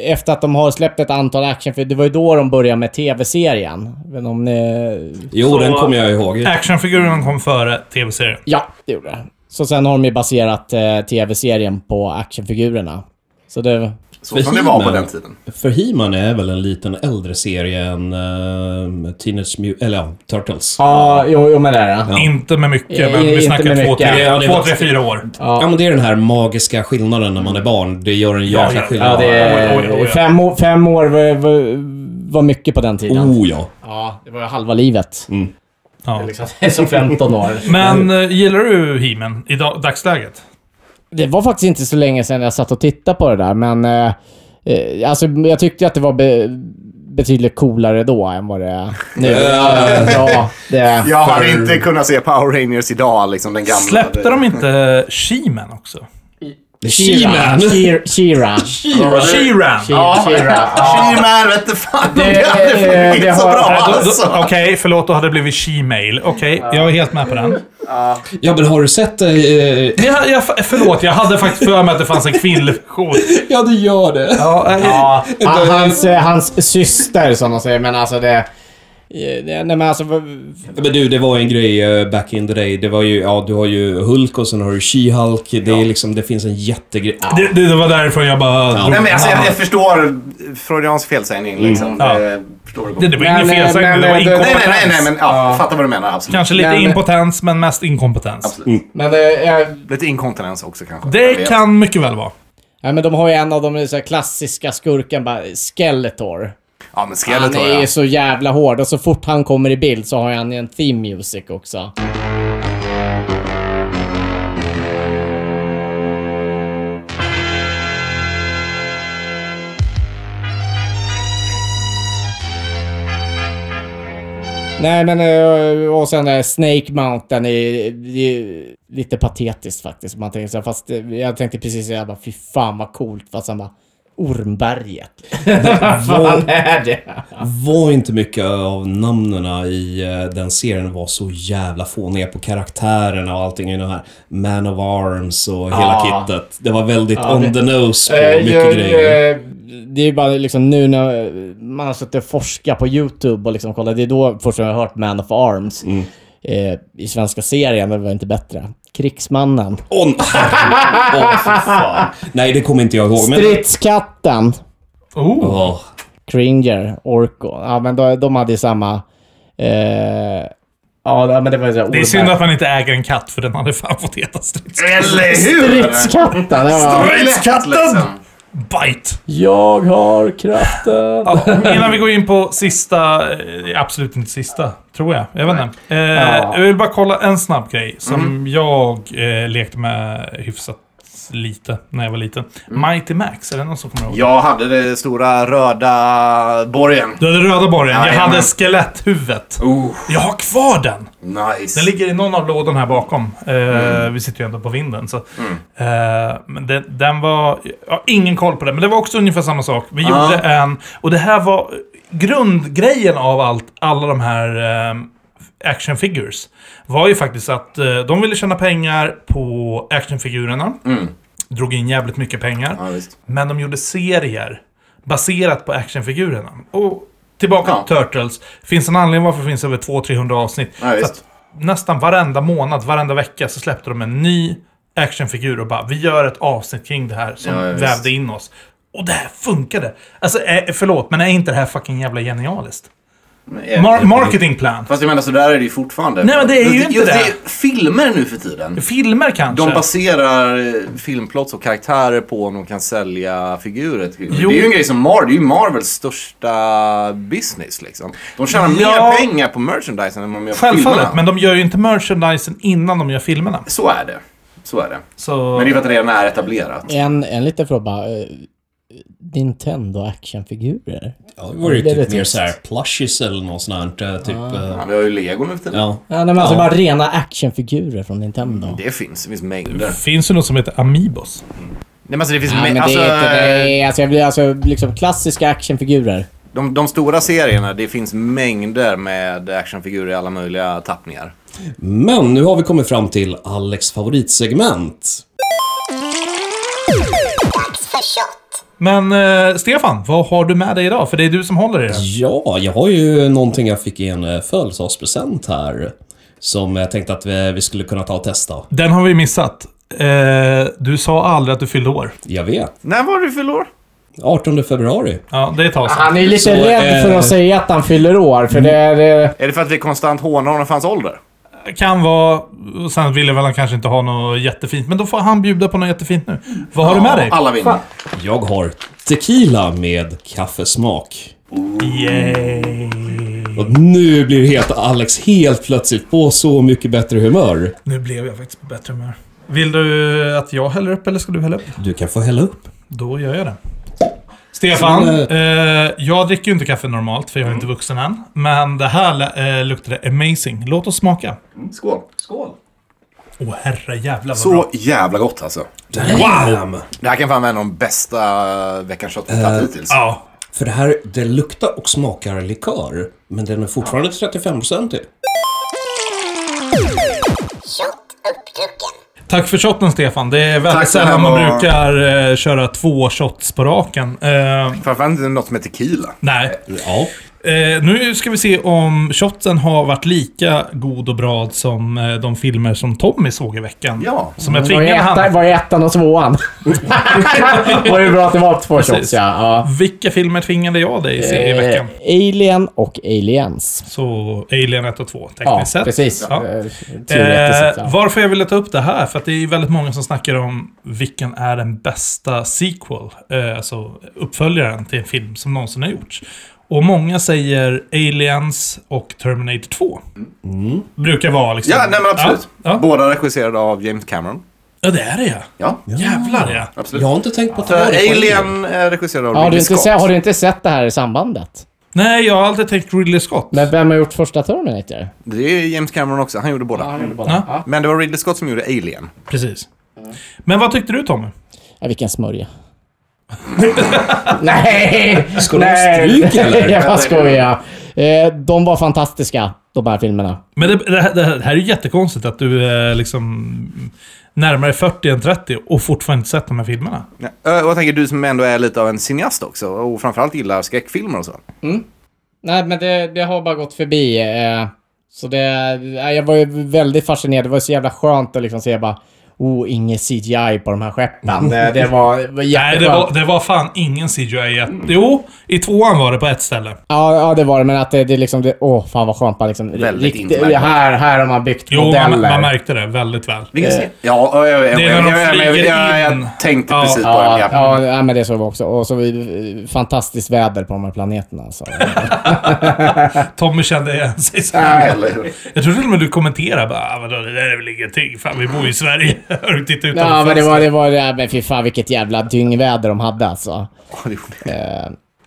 [SPEAKER 2] efter att de har släppt ett antal actionfigurer, det var ju då de började med tv-serien. Men om ni
[SPEAKER 3] Jo,
[SPEAKER 1] Så-
[SPEAKER 3] den kommer jag ihåg.
[SPEAKER 1] Actionfigurerna kom före tv-serien.
[SPEAKER 2] Ja, det gjorde det. Så sen har de ju baserat eh, tv-serien på actionfigurerna. Så det...
[SPEAKER 4] Så som det var på
[SPEAKER 3] He-Man.
[SPEAKER 4] den tiden.
[SPEAKER 3] För He-Man är väl en liten äldre serie än eh, Teenage Mutant... Eller ja, Turtles.
[SPEAKER 2] Ja, jo, jo men det är det.
[SPEAKER 3] Ja.
[SPEAKER 1] Inte med mycket, men
[SPEAKER 2] Eh,
[SPEAKER 1] vi
[SPEAKER 2] inte
[SPEAKER 1] snackar
[SPEAKER 2] med
[SPEAKER 1] två,
[SPEAKER 2] mycket.
[SPEAKER 1] tre,
[SPEAKER 3] Ja, det
[SPEAKER 1] två,
[SPEAKER 3] var-
[SPEAKER 1] tre, fyra år.
[SPEAKER 3] Ja. men det är den här magiska skillnaden när man är barn. Det gör en jäkla
[SPEAKER 1] ja.
[SPEAKER 3] skillnad.
[SPEAKER 2] Ja, det är,
[SPEAKER 1] Oj, oj, oj, oj.
[SPEAKER 2] Fem, år, fem år var, var, var mycket på den tiden. Mm.
[SPEAKER 3] Oh ja.
[SPEAKER 2] Ja, det var ju halva livet.
[SPEAKER 1] Ja.
[SPEAKER 2] Liksom, som 15 år.
[SPEAKER 1] Men eh, gillar du He-Man i dag- dagsläget?
[SPEAKER 2] Det var faktiskt inte så länge sedan jag satt och tittade på det där, men... Eh, eh, alltså, jag tyckte att det var be, betydligt coolare då än vad det är nu. ja, det...
[SPEAKER 4] Jag hade inte kunnat se Power Rangers idag, liksom den gamla.
[SPEAKER 1] Släppte de inte She-Man också?
[SPEAKER 3] She-Man!
[SPEAKER 2] She-Ra. She-Ra.
[SPEAKER 1] She-Ran!
[SPEAKER 2] She-Ra.
[SPEAKER 4] She-Man vete fan om
[SPEAKER 2] Det-
[SPEAKER 4] det hade
[SPEAKER 2] det- det
[SPEAKER 4] funnits så
[SPEAKER 2] har-
[SPEAKER 4] bra
[SPEAKER 1] Nej, då- då-
[SPEAKER 4] alltså.
[SPEAKER 1] Okej, förlåt, då hade det blivit She-Mail. Okej, jag är helt med på den.
[SPEAKER 3] Ja, men har du sett... eh, eh,
[SPEAKER 1] Jag, jag, förlåt, jag hade faktiskt för mig att det fanns en kvinnlig version.
[SPEAKER 3] ja, det gör det.
[SPEAKER 1] Ja, eh,
[SPEAKER 2] Ja, han- hans, eh, hans syster som de säger, men alltså det... eh, det- Nej men alltså... v-
[SPEAKER 3] Men du, det var en grej eh, back in the day. Det var ju, ja, du har ju Hulk och sen har du She-Hulk. Det är liksom, det finns en jättegrej.
[SPEAKER 1] det, det var därför jag bara... drog
[SPEAKER 4] Nej, men alltså,
[SPEAKER 1] namn.
[SPEAKER 4] jag, jag förstår Freudians felsägning liksom.
[SPEAKER 1] Ja.
[SPEAKER 4] Det, förstår du
[SPEAKER 1] Det, det var ingen
[SPEAKER 2] Men,
[SPEAKER 1] felsägning,
[SPEAKER 2] men,
[SPEAKER 1] det var
[SPEAKER 2] men, det-
[SPEAKER 4] Nej,
[SPEAKER 1] inkompetens.
[SPEAKER 4] nej, nej, nej, men ja, fattar vad du menar. Absolut.
[SPEAKER 1] Kanske lite
[SPEAKER 2] Men-
[SPEAKER 1] impotens, men mest inkompetens.
[SPEAKER 2] Men det är...
[SPEAKER 4] Lite inkontinens också kanske. Jag
[SPEAKER 1] Det
[SPEAKER 4] vet.
[SPEAKER 1] kan mycket väl vara.
[SPEAKER 2] Ja, men de har ju en av de så här klassiska skurken, bara Skeletor.
[SPEAKER 4] Ja, men
[SPEAKER 2] Han
[SPEAKER 4] Skeletor
[SPEAKER 2] är
[SPEAKER 4] ja.
[SPEAKER 2] ju så jävla hård och så fort han kommer i bild så har han ju en theme music också. Nej men eh, och sen eh, Snake Mountain är, det är ju lite patetiskt faktiskt. Man tänker så här, fast eh, jag tänkte precis säga bara fy fan vad coolt fast han bara Ormberget. vad fan är det?
[SPEAKER 3] Var inte mycket av namnen i eh, den serien var så jävla fåniga på karaktärerna och allting i den här Man of Arms och hela
[SPEAKER 2] Ja.
[SPEAKER 3] kittet. Det var väldigt
[SPEAKER 2] Ja,
[SPEAKER 3] on
[SPEAKER 2] Ah. det-
[SPEAKER 3] the nose på
[SPEAKER 2] Eh,
[SPEAKER 3] mycket
[SPEAKER 2] jag-
[SPEAKER 3] grejer.
[SPEAKER 2] eh, Det är ju bara liksom nu när man har suttit och forskat på YouTube och liksom kollat. Det är då först jag har hört Man of Arms. Eh, I svenska serien, men det var inte bättre. Krigsmannen.
[SPEAKER 3] Åh, oh, fan. Nej, det kommer inte jag ihåg. Men...
[SPEAKER 2] Stridskatten.
[SPEAKER 1] Oh.
[SPEAKER 3] Åh.
[SPEAKER 2] Kringer, Orko. Ja, men de, de hade ju samma... Eh, ja, men det var ju så här,
[SPEAKER 1] Det är
[SPEAKER 2] Orberg.
[SPEAKER 1] synd att man inte äger en katt, för den hade fan fått heta strids...
[SPEAKER 4] Eller hur?
[SPEAKER 2] Stridskatten! Ja.
[SPEAKER 4] Stridskatten! Liksom.
[SPEAKER 1] Bite!
[SPEAKER 2] Jag har kraften.
[SPEAKER 1] Ja, innan vi går in på sista, eh, absolut inte sista, tror jag. Jag vet inte.
[SPEAKER 4] Mm.
[SPEAKER 1] Eh, Jag vill bara kolla en snabb grej som jag eh, lekte med hyfsat lite när jag var liten.
[SPEAKER 4] Mm.
[SPEAKER 1] Mighty Max, är det någon som kommer ihåg?
[SPEAKER 4] Jag hade den stora röda borgen.
[SPEAKER 1] Du hade röda borgen. Jag
[SPEAKER 4] Jajamän.
[SPEAKER 1] hade skeletthuvudet.
[SPEAKER 4] Oh,
[SPEAKER 1] Jag har kvar den!
[SPEAKER 4] nice.
[SPEAKER 1] Den ligger i någon av lådorna här bakom. Eh, Vi sitter ju ändå på vinden. Så. Eh, men den, den var... Jag har ingen koll på den, men det var också ungefär samma sak. Vi
[SPEAKER 4] Ja.
[SPEAKER 1] gjorde en... Och det här var grundgrejen av allt, alla de här eh, action figures. Var ju faktiskt att eh, de ville tjäna pengar på actionfigurerna. Drog in jävligt mycket pengar.
[SPEAKER 4] Ja, visst.
[SPEAKER 1] Men de gjorde serier baserat på actionfigurerna. Och tillbaka
[SPEAKER 4] Ja.
[SPEAKER 1] till Turtles. Finns en anledning varför det finns över 200-300 avsnitt.
[SPEAKER 4] Ja,
[SPEAKER 1] För
[SPEAKER 4] visst.
[SPEAKER 1] att nästan varenda månad, varenda vecka så släppte de en ny actionfigur och bara vi gör ett avsnitt kring det här som
[SPEAKER 4] Ja, ja, visst.
[SPEAKER 1] vävde in oss. Och det här funkade! Alltså eh, förlåt, men är inte det här fucking jävla genialiskt?
[SPEAKER 4] Men är-
[SPEAKER 1] Mar- marketing plan.
[SPEAKER 4] Fast jag menar, så där är det ju fortfarande.
[SPEAKER 1] Nej, men det är ju
[SPEAKER 4] Just-
[SPEAKER 1] inte
[SPEAKER 4] just
[SPEAKER 1] det.
[SPEAKER 4] är filmer nu för tiden.
[SPEAKER 1] Filmer kanske?
[SPEAKER 4] De baserar eh, filmplots och karaktärer på om de kan sälja figurer. till-
[SPEAKER 1] Jo.
[SPEAKER 4] Det är ju en grej som Marvel, det är ju Marvels största business liksom. De tjänar
[SPEAKER 1] Ja.
[SPEAKER 4] mer pengar på merchandisen än vad de gör på
[SPEAKER 1] Självfallet,
[SPEAKER 4] filmerna.
[SPEAKER 1] men de gör ju inte merchandisen innan de gör filmerna.
[SPEAKER 4] Så är det. Så är det.
[SPEAKER 1] Så...
[SPEAKER 4] Men det är för att det redan är etablerat.
[SPEAKER 2] En, en liten fråga bara. eh, Nintendo actionfigurer?
[SPEAKER 3] Ja, det var ju
[SPEAKER 2] Det är
[SPEAKER 3] typ
[SPEAKER 2] lite
[SPEAKER 3] mer
[SPEAKER 2] trist. Ah.
[SPEAKER 3] såhär plushies eller något sånt där. eh, Typ, eh,
[SPEAKER 4] Ja, vi har ju Lego nu för tiden.
[SPEAKER 3] ja.
[SPEAKER 2] Ja, nej, men alltså
[SPEAKER 3] Ja.
[SPEAKER 2] bara rena actionfigurer från Nintendo.
[SPEAKER 4] Det finns, det finns mängder.
[SPEAKER 1] Finns ju något som heter Amiibos.
[SPEAKER 4] Nej men alltså det finns
[SPEAKER 2] Nej, men
[SPEAKER 4] mä-
[SPEAKER 2] det
[SPEAKER 4] alltså,
[SPEAKER 2] är inte det. Alltså, jag blir, alltså, liksom klassiska actionfigurer.
[SPEAKER 4] de, de stora serierna, det finns mängder med actionfigurer i alla möjliga tappningar.
[SPEAKER 3] Men nu har vi kommit fram till Alex favoritsegment.
[SPEAKER 1] Men eh, Stefan, vad har du med dig idag? För det är du som håller i den.
[SPEAKER 3] Ja, jag har ju någonting jag fick i en eh, födelsedagspresent här. Som jag tänkte att vi, vi skulle kunna ta och testa.
[SPEAKER 1] Den har vi missat. Eh, du sa aldrig att du fyllde år.
[SPEAKER 3] Jag vet.
[SPEAKER 4] När var du fyller år?
[SPEAKER 3] 18 februari.
[SPEAKER 1] Ja, det är ett tag sedan.
[SPEAKER 2] Han är ju lite
[SPEAKER 3] Så,
[SPEAKER 2] rädd
[SPEAKER 3] eh,
[SPEAKER 2] för att säga att han fyller år, för det är... eh,
[SPEAKER 4] Är det för att vi konstant hånar honom för hans ålder?
[SPEAKER 1] Kan vara... och Sen ville väl han kanske inte ha något jättefint, men då får han bjuda på något jättefint nu. Vad har du med dig?
[SPEAKER 4] Alla vinner.
[SPEAKER 3] Jag har tequila med kaffesmak.
[SPEAKER 1] Yay.
[SPEAKER 3] Och nu blir helt Alex helt plötsligt på så mycket bättre humör.
[SPEAKER 1] Nu blev jag faktiskt på bättre humör. Vill du att jag häller upp eller ska du hälla upp?
[SPEAKER 3] Du kan få hälla upp.
[SPEAKER 1] Då gör jag det. Stefan, eh, jag dricker ju inte kaffe normalt för jag är inte vuxen än. Men det här lä- eh, luktade amazing. Låt oss smaka.
[SPEAKER 4] Skål.
[SPEAKER 1] Åh herre jävla vad bra.
[SPEAKER 4] Så jävla gott alltså.
[SPEAKER 3] Wow!
[SPEAKER 4] Det här kan fan vara en av de bästa veckans shot vi tagit hittills.
[SPEAKER 1] Ja,
[SPEAKER 3] För det här, det luktar och smakar likör. Men den är fortfarande 35-procentig.
[SPEAKER 1] Tack för shotten Stefan. Det är väldigt
[SPEAKER 4] Tack, det här
[SPEAKER 1] sällan man
[SPEAKER 4] var-
[SPEAKER 1] brukar eh, köra två shots på raken. Eh,
[SPEAKER 4] Framförallt inte något som är tequila.
[SPEAKER 1] nej.
[SPEAKER 3] Ja.
[SPEAKER 1] Eh, nu ska vi se om shotsen har varit lika god och bra som eh, de filmer som Tommy såg i veckan.
[SPEAKER 4] Ja.
[SPEAKER 1] Som jag
[SPEAKER 2] Var det,
[SPEAKER 1] tvingade
[SPEAKER 2] ettan,
[SPEAKER 1] han.
[SPEAKER 2] var det ettan och tvåan? var det bra att det var två shots, ja. ja.
[SPEAKER 1] Vilka filmer tvingade jag dig se i veckan?
[SPEAKER 2] Eh, Alien och Aliens.
[SPEAKER 1] Så Alien 1 och 2, tekniskt
[SPEAKER 2] Ja,
[SPEAKER 1] sett.
[SPEAKER 2] precis.
[SPEAKER 1] Ja.
[SPEAKER 2] Eh,
[SPEAKER 1] Eh,
[SPEAKER 2] Teoretiskt sett, ja.
[SPEAKER 1] varför jag ville ta upp det här, för att det är väldigt många som snackar om vilken är den bästa sequel, eh, alltså uppföljaren till en film som någonsin har gjorts. Och många säger Aliens och Terminator 2. Brukar vara liksom...
[SPEAKER 4] Ja, nej men absolut.
[SPEAKER 1] Ja, ja.
[SPEAKER 4] Båda regisserade av James Cameron.
[SPEAKER 1] ja det är det ja.
[SPEAKER 4] Ja,
[SPEAKER 1] Jävlar ja.
[SPEAKER 4] absolut.
[SPEAKER 3] Jag har inte tänkt på att
[SPEAKER 4] Så
[SPEAKER 3] ta det på
[SPEAKER 4] Alien är regisserad av
[SPEAKER 2] Ja, har, du
[SPEAKER 4] Ridley
[SPEAKER 2] inte
[SPEAKER 4] Scott.
[SPEAKER 2] se, har du inte sett det här i sambandet?
[SPEAKER 1] Nej, jag har alltid tänkt Ridley Scott.
[SPEAKER 2] Men vem har gjort första Terminator?
[SPEAKER 4] Det är James Cameron också, han gjorde båda.
[SPEAKER 1] Ja.
[SPEAKER 4] Men det var Ridley Scott som gjorde Alien.
[SPEAKER 1] Precis. Men vad tyckte du Tommy?
[SPEAKER 2] Ja, vilken smörja. Nej!
[SPEAKER 3] Ska de ha stryk, eller?
[SPEAKER 2] Jag bara skojar. Eh, De var fantastiska, de här filmerna.
[SPEAKER 1] Men det, det, här- det här är ju jättekonstigt att du är liksom närmare 40 än 30 och fortfarande inte sett de här filmerna.
[SPEAKER 4] Ja. Ö, Och jag tänker du som ändå är lite av en cineast också och framförallt gillar skräckfilmer och så.
[SPEAKER 2] Nej, men det, det har bara gått förbi. eh, Så det, nej, jag var ju väldigt fascinerad. Det var så jävla skönt att liksom se bara... Oh, inget CGI på de här skeppen. Det, det var, det var
[SPEAKER 1] Nej,
[SPEAKER 2] jätteskönt.
[SPEAKER 1] det var, det var fan ingen CGI. i ett- Jo, i tvåan var det på ett ställe.
[SPEAKER 2] Ja, ja, det var det. Men att det, det liksom... Det, åh, fan vad skönt. Bara liksom,
[SPEAKER 4] Väldigt
[SPEAKER 2] riktigt,
[SPEAKER 4] intimate.
[SPEAKER 2] här, här har man byggt
[SPEAKER 1] Jo,
[SPEAKER 2] modeller.
[SPEAKER 1] man, man märkte det väldigt väl.
[SPEAKER 4] Vilken scen? Ja, ö, ö, ö,
[SPEAKER 1] Det är när de
[SPEAKER 4] ö, ö, ö,
[SPEAKER 1] flyger
[SPEAKER 4] jag, jag,
[SPEAKER 1] in.
[SPEAKER 4] jag tänkte
[SPEAKER 1] Ja.
[SPEAKER 4] precis på den.
[SPEAKER 2] Ja,
[SPEAKER 4] Ja.
[SPEAKER 2] ja, ja, men det såg vi också. Och så eh, fantastiskt väder på de här planeterna. Alltså.
[SPEAKER 1] Tommy kände igen sig. Så.
[SPEAKER 4] Eller hur?
[SPEAKER 1] Jag tror till och med du kommenterade bara, "Ah, vadå, det där är väl ingenting. Fan, vi bor ju i Sverige. Har du tittat ut
[SPEAKER 2] Ja, men det var... Det var ja, men fy fan vilket jävla dyngväder de hade alltså.
[SPEAKER 4] Ja, det gjorde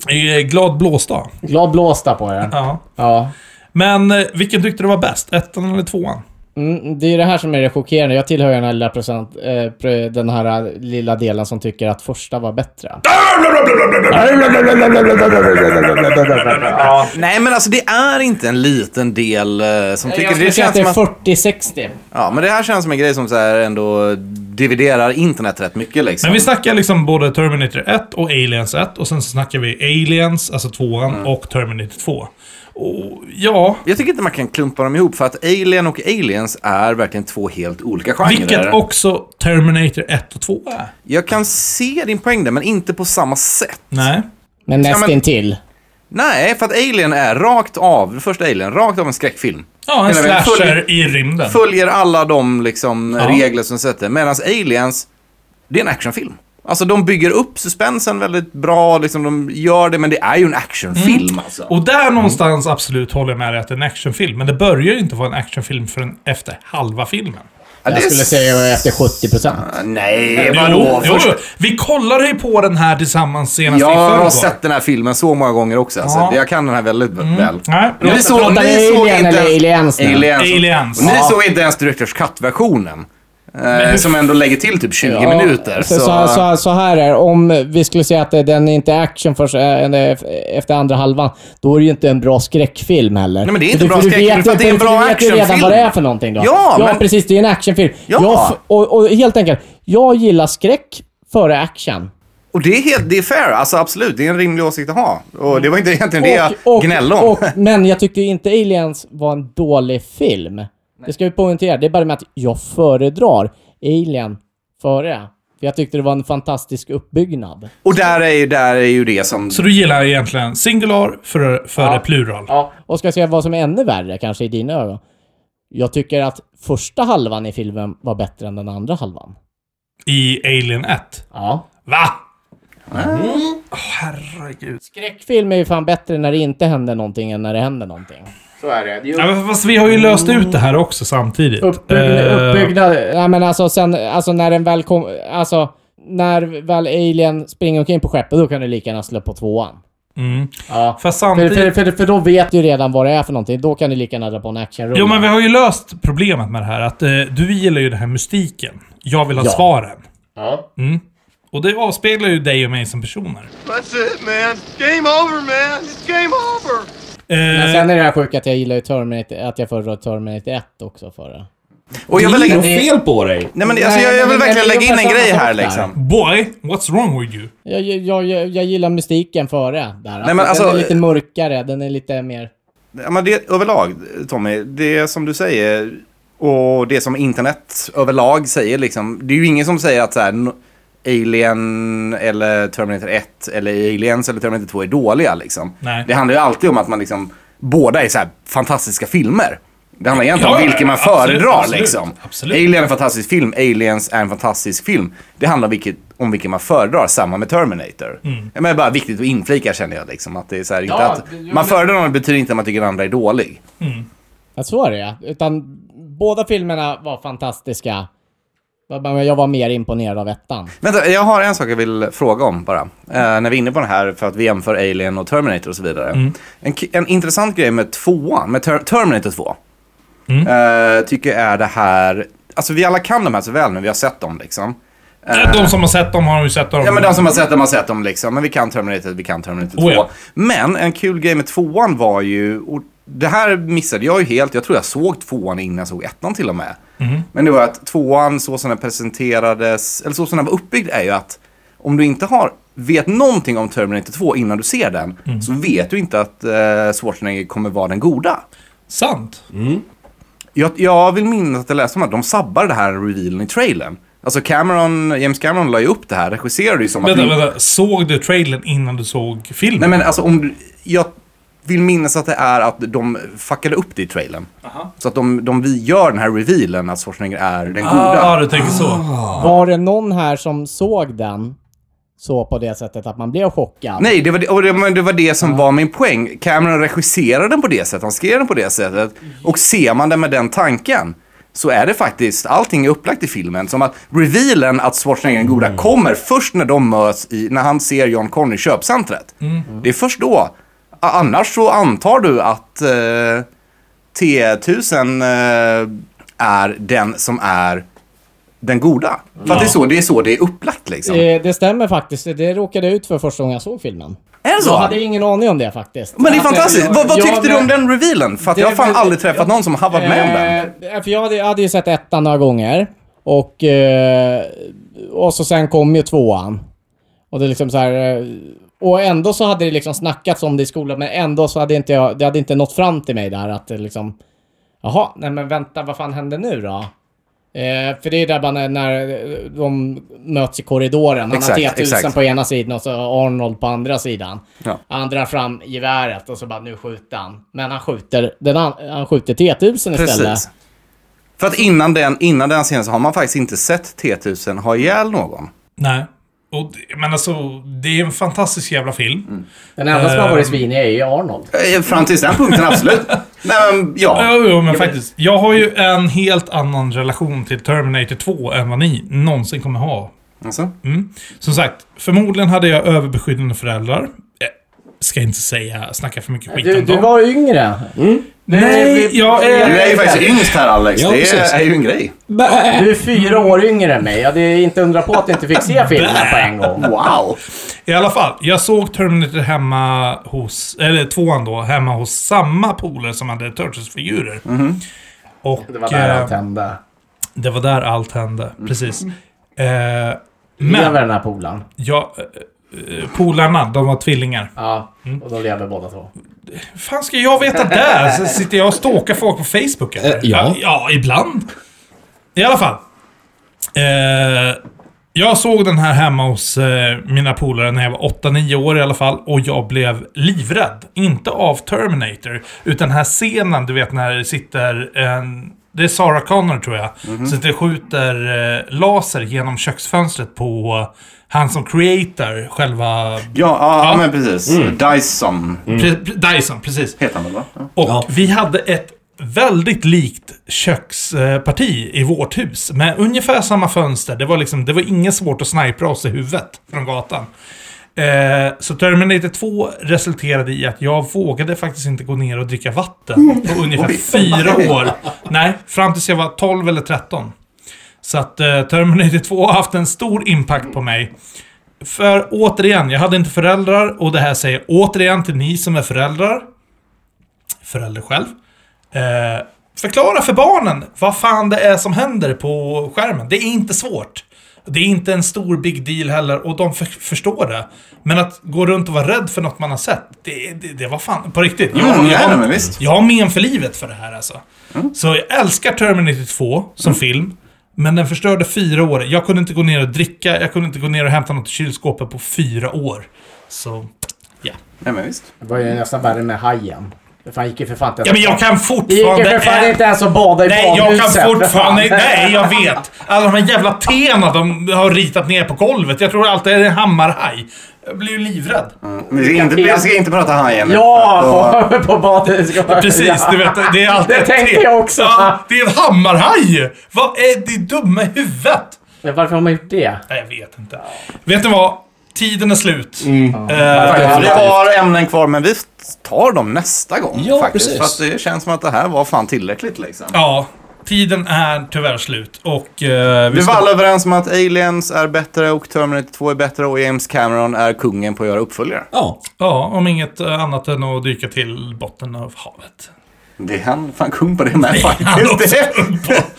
[SPEAKER 4] jag.
[SPEAKER 2] Eh,
[SPEAKER 1] Glad blåsdag.
[SPEAKER 2] glad blåsta på den.
[SPEAKER 1] Ja.
[SPEAKER 2] Ja.
[SPEAKER 1] Men eh, vilken tyckte du var bäst? Ettan eller tvåan?
[SPEAKER 2] Mm, det är ju det här som är det chockerande. Jag tillhör ju den här lilla procent... Eh, pr- den här eh, lilla delen som tycker att första var bättre.
[SPEAKER 4] Nej, men alltså det är inte en liten del eh, som tycker...
[SPEAKER 2] Jag skulle
[SPEAKER 4] Det
[SPEAKER 2] säga att
[SPEAKER 4] känns
[SPEAKER 2] det
[SPEAKER 4] som
[SPEAKER 2] är
[SPEAKER 4] att,
[SPEAKER 2] 40-60.
[SPEAKER 4] ja, men det här känns som en grej som så här ändå dividerar internet rätt mycket liksom.
[SPEAKER 1] Men vi snackar liksom både Terminator 1 och Aliens 1. Och sen så snackar vi Aliens, alltså tvåan,
[SPEAKER 2] Mm.
[SPEAKER 1] och Terminator 2. Och ja,
[SPEAKER 4] Jag tycker inte man kan klumpa dem ihop för att Alien och Aliens är verkligen två helt olika genrer.
[SPEAKER 1] vilket också Terminator 1 och 2 är.
[SPEAKER 4] Jag kan se din poäng där, men inte på samma sätt.
[SPEAKER 1] Nej.
[SPEAKER 2] Men
[SPEAKER 4] men-
[SPEAKER 2] nästintill.
[SPEAKER 4] Nej, för att Alien är rakt av, första Alien, rakt av en skräckfilm.
[SPEAKER 1] Ja, en
[SPEAKER 4] Hela vägen.
[SPEAKER 1] slasher i rymden.
[SPEAKER 4] Följer alla de liksom,
[SPEAKER 1] Ja.
[SPEAKER 4] regler som sätter. Medan Aliens, det är en actionfilm. Alltså de bygger upp suspensen väldigt bra, liksom, de gör det, men det är ju en actionfilm alltså.
[SPEAKER 1] Mm. Och där någonstans absolut håller jag med dig att det är en actionfilm. Men det börjar ju inte vara en actionfilm förrän efter halva filmen.
[SPEAKER 4] Ja,
[SPEAKER 2] Jag
[SPEAKER 4] det är
[SPEAKER 2] skulle
[SPEAKER 4] s-
[SPEAKER 2] säga efter 70 procent.
[SPEAKER 4] Nej,
[SPEAKER 1] Jo,
[SPEAKER 4] vadå?
[SPEAKER 1] jo,
[SPEAKER 4] Först-
[SPEAKER 1] jo. Vi kollade ju på den här tillsammans senast i
[SPEAKER 4] Jag har
[SPEAKER 1] förrgår.
[SPEAKER 4] sett den här filmen så många gånger också. Alltså.
[SPEAKER 1] Ja. Mm.
[SPEAKER 4] Jag kan den här väldigt väl.
[SPEAKER 1] Nej,
[SPEAKER 4] Ni
[SPEAKER 1] jag-
[SPEAKER 4] såg,
[SPEAKER 2] pratar
[SPEAKER 4] ni såg
[SPEAKER 2] Alien
[SPEAKER 4] inte
[SPEAKER 2] eller Aliens
[SPEAKER 4] ens,
[SPEAKER 2] nu?
[SPEAKER 4] aliens.
[SPEAKER 1] Aliens.
[SPEAKER 4] Och Ni
[SPEAKER 1] Ja.
[SPEAKER 4] såg inte ens Directors Cut-versionen. Eh, som ändå lägger till typ 20
[SPEAKER 2] Ja,
[SPEAKER 4] minuter.
[SPEAKER 2] Så, så, så, så här är det. Om vi skulle säga att det- den är inte är action först, eh, en- eh, efter andra halvan, då är det ju inte en bra skräckfilm heller.
[SPEAKER 4] Nej, men det är inte
[SPEAKER 2] För du-
[SPEAKER 4] bra
[SPEAKER 2] för du
[SPEAKER 4] skräckfilm,
[SPEAKER 2] vet
[SPEAKER 4] för
[SPEAKER 2] ju-
[SPEAKER 4] att det är en bra
[SPEAKER 2] Du vet ju redan
[SPEAKER 4] actionfilm.
[SPEAKER 2] vad det är för någonting då.
[SPEAKER 4] Ja,
[SPEAKER 2] ja
[SPEAKER 4] men-
[SPEAKER 2] precis. Det är en actionfilm.
[SPEAKER 4] Ja.
[SPEAKER 2] Jag f- och, och helt enkelt, jag gillar skräck före action.
[SPEAKER 4] Och det är, helt, det är fair, alltså absolut. Det är en rimlig åsikt att ha. Och det var inte egentligen det jag
[SPEAKER 2] Och- och-
[SPEAKER 4] gnällde om.
[SPEAKER 2] och- men jag tyckte ju inte Aliens var en dålig film. Det ska vi poängtera. Det är bara med att jag föredrar Alien före. För jag tyckte det var en fantastisk uppbyggnad.
[SPEAKER 4] Och där är, ju- där är ju det som...
[SPEAKER 1] Så du gillar egentligen singular före, före plural?
[SPEAKER 2] Ja. Och ska jag säga vad som är ännu värre, kanske i dina ögon. Jag tycker att första halvan i filmen var bättre än den andra halvan.
[SPEAKER 1] I Alien 1?
[SPEAKER 2] Ja.
[SPEAKER 1] Va? Åh, herregud.
[SPEAKER 2] Skräckfilm är ju fan bättre när det inte händer någonting än när det händer någonting.
[SPEAKER 4] Så är det.
[SPEAKER 1] Ja, men fast vi har ju löst ut det här också samtidigt.
[SPEAKER 2] Uppbyggnad...
[SPEAKER 1] Eh,
[SPEAKER 2] uppbyggnad. Nej men alltså sen, alltså när den väl kom, alltså när väl alien springer omkring på skeppet, då kan du lika gärna slå på tvåan.
[SPEAKER 1] Mm.
[SPEAKER 2] Ja.
[SPEAKER 1] Fast
[SPEAKER 2] För,
[SPEAKER 1] samtidigt...
[SPEAKER 2] för, för, för då vet du redan vad det är för någonting. Då kan du lika gärna dra på en actionrulle.
[SPEAKER 1] Jo, men vi har ju löst problemet med det här. Att eh, du gillar ju den här mystiken. Jag vill ha
[SPEAKER 2] Ja.
[SPEAKER 1] svaren.
[SPEAKER 2] Ja.
[SPEAKER 1] Mm. Och det avspeglar ju dig och mig som personer.
[SPEAKER 6] That's it, man. Game over, man. It's game over.
[SPEAKER 2] Men
[SPEAKER 1] Eh,
[SPEAKER 2] sen är det här sjuka att jag gillar ju Terminator, att jag föredrar Terminator 1 också för det.
[SPEAKER 4] Och jag vill lägga...
[SPEAKER 3] Det är fel på dig.
[SPEAKER 4] Nej men alltså,
[SPEAKER 2] Nej,
[SPEAKER 4] jag, jag
[SPEAKER 2] men-
[SPEAKER 4] vill
[SPEAKER 2] men- men-
[SPEAKER 4] verkligen lägga in en
[SPEAKER 2] men-
[SPEAKER 4] grej här
[SPEAKER 2] men-
[SPEAKER 4] liksom.
[SPEAKER 1] boy, what's wrong with you?
[SPEAKER 2] Jag, jag, jag, jag gillar mystiken före där. Nej,
[SPEAKER 4] men
[SPEAKER 2] den
[SPEAKER 4] alltså-
[SPEAKER 2] är lite mörkare, den är lite mer...
[SPEAKER 4] Ja, men det, överlag, Tommy, det som du säger och det som internet överlag säger, liksom, det är ju ingen som säger att så här, n- Alien eller Terminator 1 eller Aliens eller Terminator 2 är dåliga. Liksom.
[SPEAKER 1] Nej.
[SPEAKER 4] Det handlar ju alltid om att man liksom, båda är så här fantastiska filmer. Det handlar egentligen
[SPEAKER 1] Ja,
[SPEAKER 4] om vilken man
[SPEAKER 1] absolut,
[SPEAKER 4] föredrar.
[SPEAKER 1] absolut,
[SPEAKER 4] liksom.
[SPEAKER 1] absolut.
[SPEAKER 4] Alien är en fantastisk film, Aliens är en fantastisk film. Det handlar vilket, om vilken man föredrar, samma med Terminator. Men det är bara viktigt att inflika känner jag. Liksom, att det är så här, inte
[SPEAKER 2] Ja,
[SPEAKER 4] att,
[SPEAKER 2] det- jo, men-
[SPEAKER 4] man föredrar någon betyder inte att man tycker den andra är dålig.
[SPEAKER 2] Ja, så är det ja. Utan båda filmerna var fantastiska. Men Jag var mer imponerad av ettan.
[SPEAKER 4] Vänta, jag har en sak jag vill fråga om bara. Eh, när vi är inne på den här för att vi jämför Alien och Terminator och så vidare. En, ki- en intressant grej med tvåan, med ter Terminator 2, eh, tycker jag är det här, alltså vi alla kan de här så väl nu, vi har sett dem liksom.
[SPEAKER 1] Eh, De som har sett dem har ju sett dem.
[SPEAKER 4] Ja men alltså, de som har sett dem har sett dem liksom, men vi kan Terminator, vi kan Terminator 2.
[SPEAKER 1] Oh, ja.
[SPEAKER 4] Men en kul grej med tvåan var ju, och det här missade jag ju helt, jag tror jag såg tvåan innan jag såg ettan till och med.
[SPEAKER 1] Mhm.
[SPEAKER 4] Men det var att tvåan så som den presenterades, eller så som den var uppbyggd är ju att om du inte har, vet någonting om Terminator 2 innan du ser den,
[SPEAKER 1] Mm.
[SPEAKER 4] så vet du inte att eh, Schwarzenegger kommer vara den goda.
[SPEAKER 1] Sant.
[SPEAKER 4] Jag, jag vill minnas att jag läste om att de sabbar det här revealen i trailern. Alltså Cameron, James Cameron la ju upp det här, regisserade ju som att...
[SPEAKER 1] Vänta,
[SPEAKER 4] vi-
[SPEAKER 1] vänta. Såg du trailern innan du såg filmen?
[SPEAKER 4] Nej men alltså om du, jag vill minnas att det är att de fuckade upp det i trailern. Så att de, de vi gör den här revealen att Schwarzenegger är den goda.
[SPEAKER 1] ah, du tänker så.
[SPEAKER 2] Var det någon här som såg den så på det sättet att man blev chockad?
[SPEAKER 4] Nej, det var det, och det, men det var det som var min poäng. Cameron regisserade den på det sättet, han skrev den på det sättet. Och ser man den med den tanken, så är det faktiskt, allting är upplagt i filmen. Som att revealen att Schwarzenegger är den goda kommer först när de möts, i, när han ser John Connery i köpcentret. Det är först då. A- Annars så antar du att eh, T1000 eh, är den som är den goda. För att det, är så, det är så det är upplagt liksom.
[SPEAKER 2] Eh, Det, det stämmer faktiskt. Det råkade jag ut för första gången jag såg filmen.
[SPEAKER 4] är det så?
[SPEAKER 2] Jag hade ingen aning om det faktiskt.
[SPEAKER 4] Men det är
[SPEAKER 2] Att, eh,
[SPEAKER 4] fantastiskt.
[SPEAKER 2] jag-
[SPEAKER 4] vad vad
[SPEAKER 2] jag-
[SPEAKER 4] tyckte du om den revealen? För att jag har fan
[SPEAKER 2] det-
[SPEAKER 4] aldrig träffat någon som har varit med om den.
[SPEAKER 2] Eh, för jag hade, jag hade ju sett ettan några gånger. Och, eh, och så sen kom ju tvåan. Och det är liksom så här... eh, Och ändå så hade det liksom snackats om det i skolan, men ändå så hade inte jag, det hade inte nått fram till mig där att det liksom... Jaha, nej men vänta, vad fan hände nu då? Eh, för det är där bara när, när de möts i korridoren. Han
[SPEAKER 4] Exakt,
[SPEAKER 2] har T1000
[SPEAKER 4] exakt.
[SPEAKER 2] på ena sidan och så Arnold på andra sidan.
[SPEAKER 4] Ja.
[SPEAKER 2] Han drar fram geväret och så bara nu skjuter han. Men han skjuter, den an, han skjuter T1000 istället.
[SPEAKER 4] Precis. För att innan den, innan den scenen så har man faktiskt inte sett T1000 ha ihjäl någon.
[SPEAKER 1] Nej. Och, det- men alltså, det är en fantastisk jävla film.
[SPEAKER 2] Den enda som har varit svinig är ju Arnold.
[SPEAKER 4] Eh, Fram till den punkten, absolut. Nej, men ja.
[SPEAKER 1] Ja, jo, men faktiskt. Jag har ju en helt annan relation till Terminator 2 än vad ni någonsin kommer ha.
[SPEAKER 4] Alltså.
[SPEAKER 1] Mm. Som sagt, förmodligen hade jag överbeskyddande föräldrar. Eh, Ska inte säga, snacka för mycket skit
[SPEAKER 2] Du,
[SPEAKER 1] om
[SPEAKER 2] du
[SPEAKER 1] dem.
[SPEAKER 2] var yngre.
[SPEAKER 1] Mm. Nej, jag
[SPEAKER 4] Du
[SPEAKER 1] är...
[SPEAKER 4] är ju faktiskt yngst här Alex.
[SPEAKER 3] Ja,
[SPEAKER 4] det
[SPEAKER 3] precis.
[SPEAKER 4] är, är ju en grej.
[SPEAKER 2] Du är fyra år yngre än mig. Ja, det är inte undra på att du inte fick se filmen på en gång.
[SPEAKER 4] Wow.
[SPEAKER 1] I alla fall, jag såg Terminator hemma hos... Eller tvåan då, hemma hos samma polare som hade Turtles-figurer.
[SPEAKER 2] Mhm.
[SPEAKER 1] Och...
[SPEAKER 2] Det var där
[SPEAKER 1] eh,
[SPEAKER 2] han tände.
[SPEAKER 1] det var där allt hände.
[SPEAKER 2] Mm.
[SPEAKER 1] Precis. Eh,
[SPEAKER 2] Lever
[SPEAKER 1] men,
[SPEAKER 2] den här polaren?
[SPEAKER 1] jag... eh, Polarna, de var tvillingar.
[SPEAKER 2] Ja,
[SPEAKER 1] Mm.
[SPEAKER 2] och de lever båda två.
[SPEAKER 1] fan ska jag veta där? Så sitter jag och stalkar folk på Facebook eller?
[SPEAKER 3] Eh, ja.
[SPEAKER 1] ja, ibland. I alla fall. Eh, jag såg den här hemma hos eh, mina polare när jag var 8-9 år i alla fall. Och jag blev livrädd. Inte av Terminator, utan den här scenen, du vet när det sitter en... Det är Sarah Connor tror jag.
[SPEAKER 3] Mhm.
[SPEAKER 1] Så det skjuter eh, laser genom köksfönstret på han som creator, själva...
[SPEAKER 4] Ja, ja,
[SPEAKER 1] Ja.
[SPEAKER 4] men precis. Dyson
[SPEAKER 3] Mm.
[SPEAKER 1] Pre- pre- Dyson, precis.
[SPEAKER 4] heter han väl va? Ja.
[SPEAKER 1] Och
[SPEAKER 3] Ja.
[SPEAKER 1] vi hade ett väldigt likt köksparti eh, i vårt hus. Med ungefär samma fönster. Det var, liksom, det var inget svårt att snipra oss i huvudet från gatan. Eh, så Terminator 2 resulterade i att jag vågade faktiskt inte gå ner och dricka vatten på ungefär
[SPEAKER 4] Oj.
[SPEAKER 1] fyra år. Nej, fram tills jag var 12 eller 13. Så att eh, Terminator 2 har haft en stor impact på mig. För återigen, jag hade inte föräldrar och det här säger återigen till ni som är föräldrar. Förälder själv. Eh, förklara för barnen vad fan det är som händer på skärmen. Det är inte svårt. Det är inte en stor big deal heller och de för, förstår det. Men att gå runt och vara rädd för något man har sett, det, det, det var fan på riktigt.
[SPEAKER 4] Mm, nej,
[SPEAKER 1] jag,
[SPEAKER 4] nej, men visst. Mm.
[SPEAKER 1] jag har men för livet för det här alltså. Så jag älskar Terminator 2 som film. Men den förstörde fyra år. Jag kunde inte gå ner och dricka, jag kunde inte gå ner och hämta något i kylskåpet på fyra år. Så...
[SPEAKER 4] Nej, men visst.
[SPEAKER 2] Det var ju nästan värre med hajen. Det fan gick ju för fan inte ens-
[SPEAKER 1] Ja, men jag kan
[SPEAKER 2] Det gick ju
[SPEAKER 1] fortfarande...
[SPEAKER 2] för fan inte ens att bada i
[SPEAKER 1] Nej, jag kan
[SPEAKER 2] badhuset, för fan.
[SPEAKER 1] fortfarande... Nej, jag vet. Alla de här jävla tena de har ritat ner på golvet. Jag tror alltid det är en hammarhaj. Jag blir ju livrädd.
[SPEAKER 4] Vi ska inte, vi ska inte prata hajen nu.
[SPEAKER 2] Ja, på, på badhuset.
[SPEAKER 1] Precis, du vet. Det är alltid
[SPEAKER 2] Det
[SPEAKER 1] ett
[SPEAKER 2] tänkte
[SPEAKER 1] te-
[SPEAKER 2] jag också.
[SPEAKER 1] Ja, det är en hammarhaj! Vad är det dumma i huvudet?
[SPEAKER 2] Men varför har man gjort det?
[SPEAKER 1] Nej, jag vet inte. Vet ni vad? Tiden är slut.
[SPEAKER 2] Mm.
[SPEAKER 1] Eh,
[SPEAKER 4] Faktiskt, Vi har ämnen kvar, men vi tar dem nästa gång.
[SPEAKER 3] Ja,
[SPEAKER 4] faktiskt.
[SPEAKER 3] precis.
[SPEAKER 4] För att det känns som att det här var fan tillräckligt liksom.
[SPEAKER 1] ja, tiden är tyvärr slut. Och eh, vi
[SPEAKER 4] Vi var
[SPEAKER 1] ska...
[SPEAKER 4] alla överens om att Aliens är bättre och Terminator 2 är bättre och James Cameron är kungen på att göra uppföljare.
[SPEAKER 3] Ja.
[SPEAKER 1] Ja, om inget eh, annat än att dyka till botten av havet.
[SPEAKER 4] Det är han fan kung på det med
[SPEAKER 1] Han
[SPEAKER 4] faktiskt.
[SPEAKER 1] också
[SPEAKER 4] Det.
[SPEAKER 1] upp-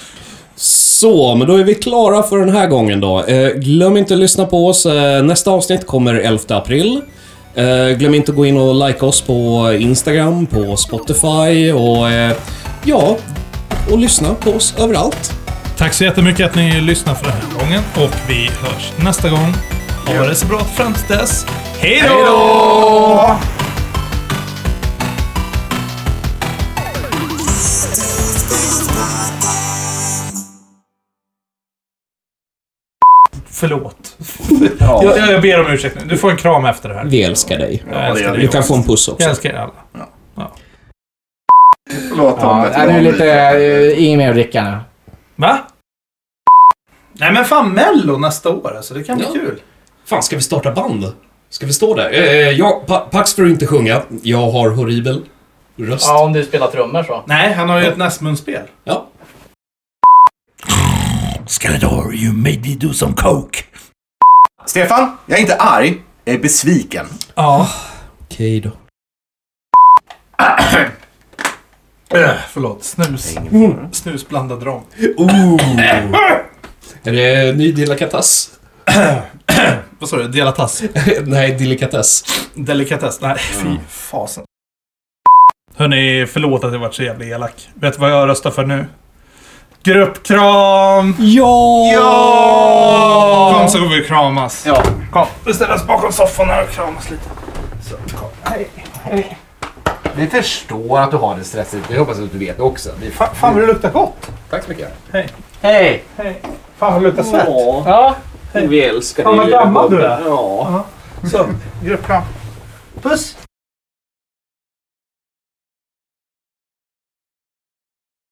[SPEAKER 3] Så, men då är vi klara för den här gången då. Eh, glöm inte att lyssna på oss. Eh, nästa avsnitt kommer 11 april. Eh, glöm inte att gå in och like oss på Instagram, på Spotify och eh, ja, och lyssna på oss överallt.
[SPEAKER 1] Tack så jättemycket att ni lyssnade för den här gången. Och vi hörs nästa gång. Ha det så bra fram till dess. Hej då! Förlåt.
[SPEAKER 4] Ja,
[SPEAKER 1] Jag, jag ber om ursäkt nu. Du får en kram efter det här.
[SPEAKER 3] Vi älskar dig.
[SPEAKER 1] Jag
[SPEAKER 4] det
[SPEAKER 1] älskar
[SPEAKER 4] gör
[SPEAKER 1] dig.
[SPEAKER 3] Du kan få en puss också.
[SPEAKER 1] Jag älskar er alla.
[SPEAKER 4] Låt dem
[SPEAKER 2] Ja,
[SPEAKER 4] veta
[SPEAKER 2] nej, nu är
[SPEAKER 4] vad
[SPEAKER 2] det
[SPEAKER 4] de
[SPEAKER 2] Äh, lite... eh, Inget mer att dricka nu.
[SPEAKER 1] Va? Nej men fan Mello nästa år alltså, det kan bli
[SPEAKER 3] Ja.
[SPEAKER 1] kul.
[SPEAKER 3] Fan, ska vi starta band? Ska vi stå där? Eh, jag, pa, Pax får inte sjunga. Jag har horribel röst.
[SPEAKER 2] Ja, om du spelar trummor så.
[SPEAKER 1] Nej, han har ju ett näsmunspel.
[SPEAKER 3] Ja.
[SPEAKER 1] Skador, you made me do some coke.
[SPEAKER 4] Stefan, jag är inte arg. Jag är besviken.
[SPEAKER 1] Ja.
[SPEAKER 3] Okej då.
[SPEAKER 1] Äh, förlåt, snus. Snusblandad rom.
[SPEAKER 3] Ooh. Är det ny delikatess?
[SPEAKER 1] Vad sa du? Delatass?
[SPEAKER 3] Nej, delikatess.
[SPEAKER 1] Delikatess? Nej,
[SPEAKER 7] Mm.
[SPEAKER 1] fy fasen. Hörni, förlåt att jag varit så jävla elak. Vet du vad jag röstar för nu? Gruppkram!
[SPEAKER 2] Ja!
[SPEAKER 1] Kom så går vi och kramas. Ja. Kom, vi ställer oss bakom soffan här och kramas lite.
[SPEAKER 7] Vi förstår att du har det stressigt. Vi hoppas att du vet det också. Vi...
[SPEAKER 1] Fan, fan vad det luktar gott!
[SPEAKER 7] Tack så mycket.
[SPEAKER 8] Hej!
[SPEAKER 1] Fan vad det luktar svett!
[SPEAKER 8] Ja. Vi älskar
[SPEAKER 1] Fan vad
[SPEAKER 8] lilla
[SPEAKER 1] gammal du
[SPEAKER 8] gubben.
[SPEAKER 1] är.
[SPEAKER 8] Ja.
[SPEAKER 1] Så, gruppkram. Puss!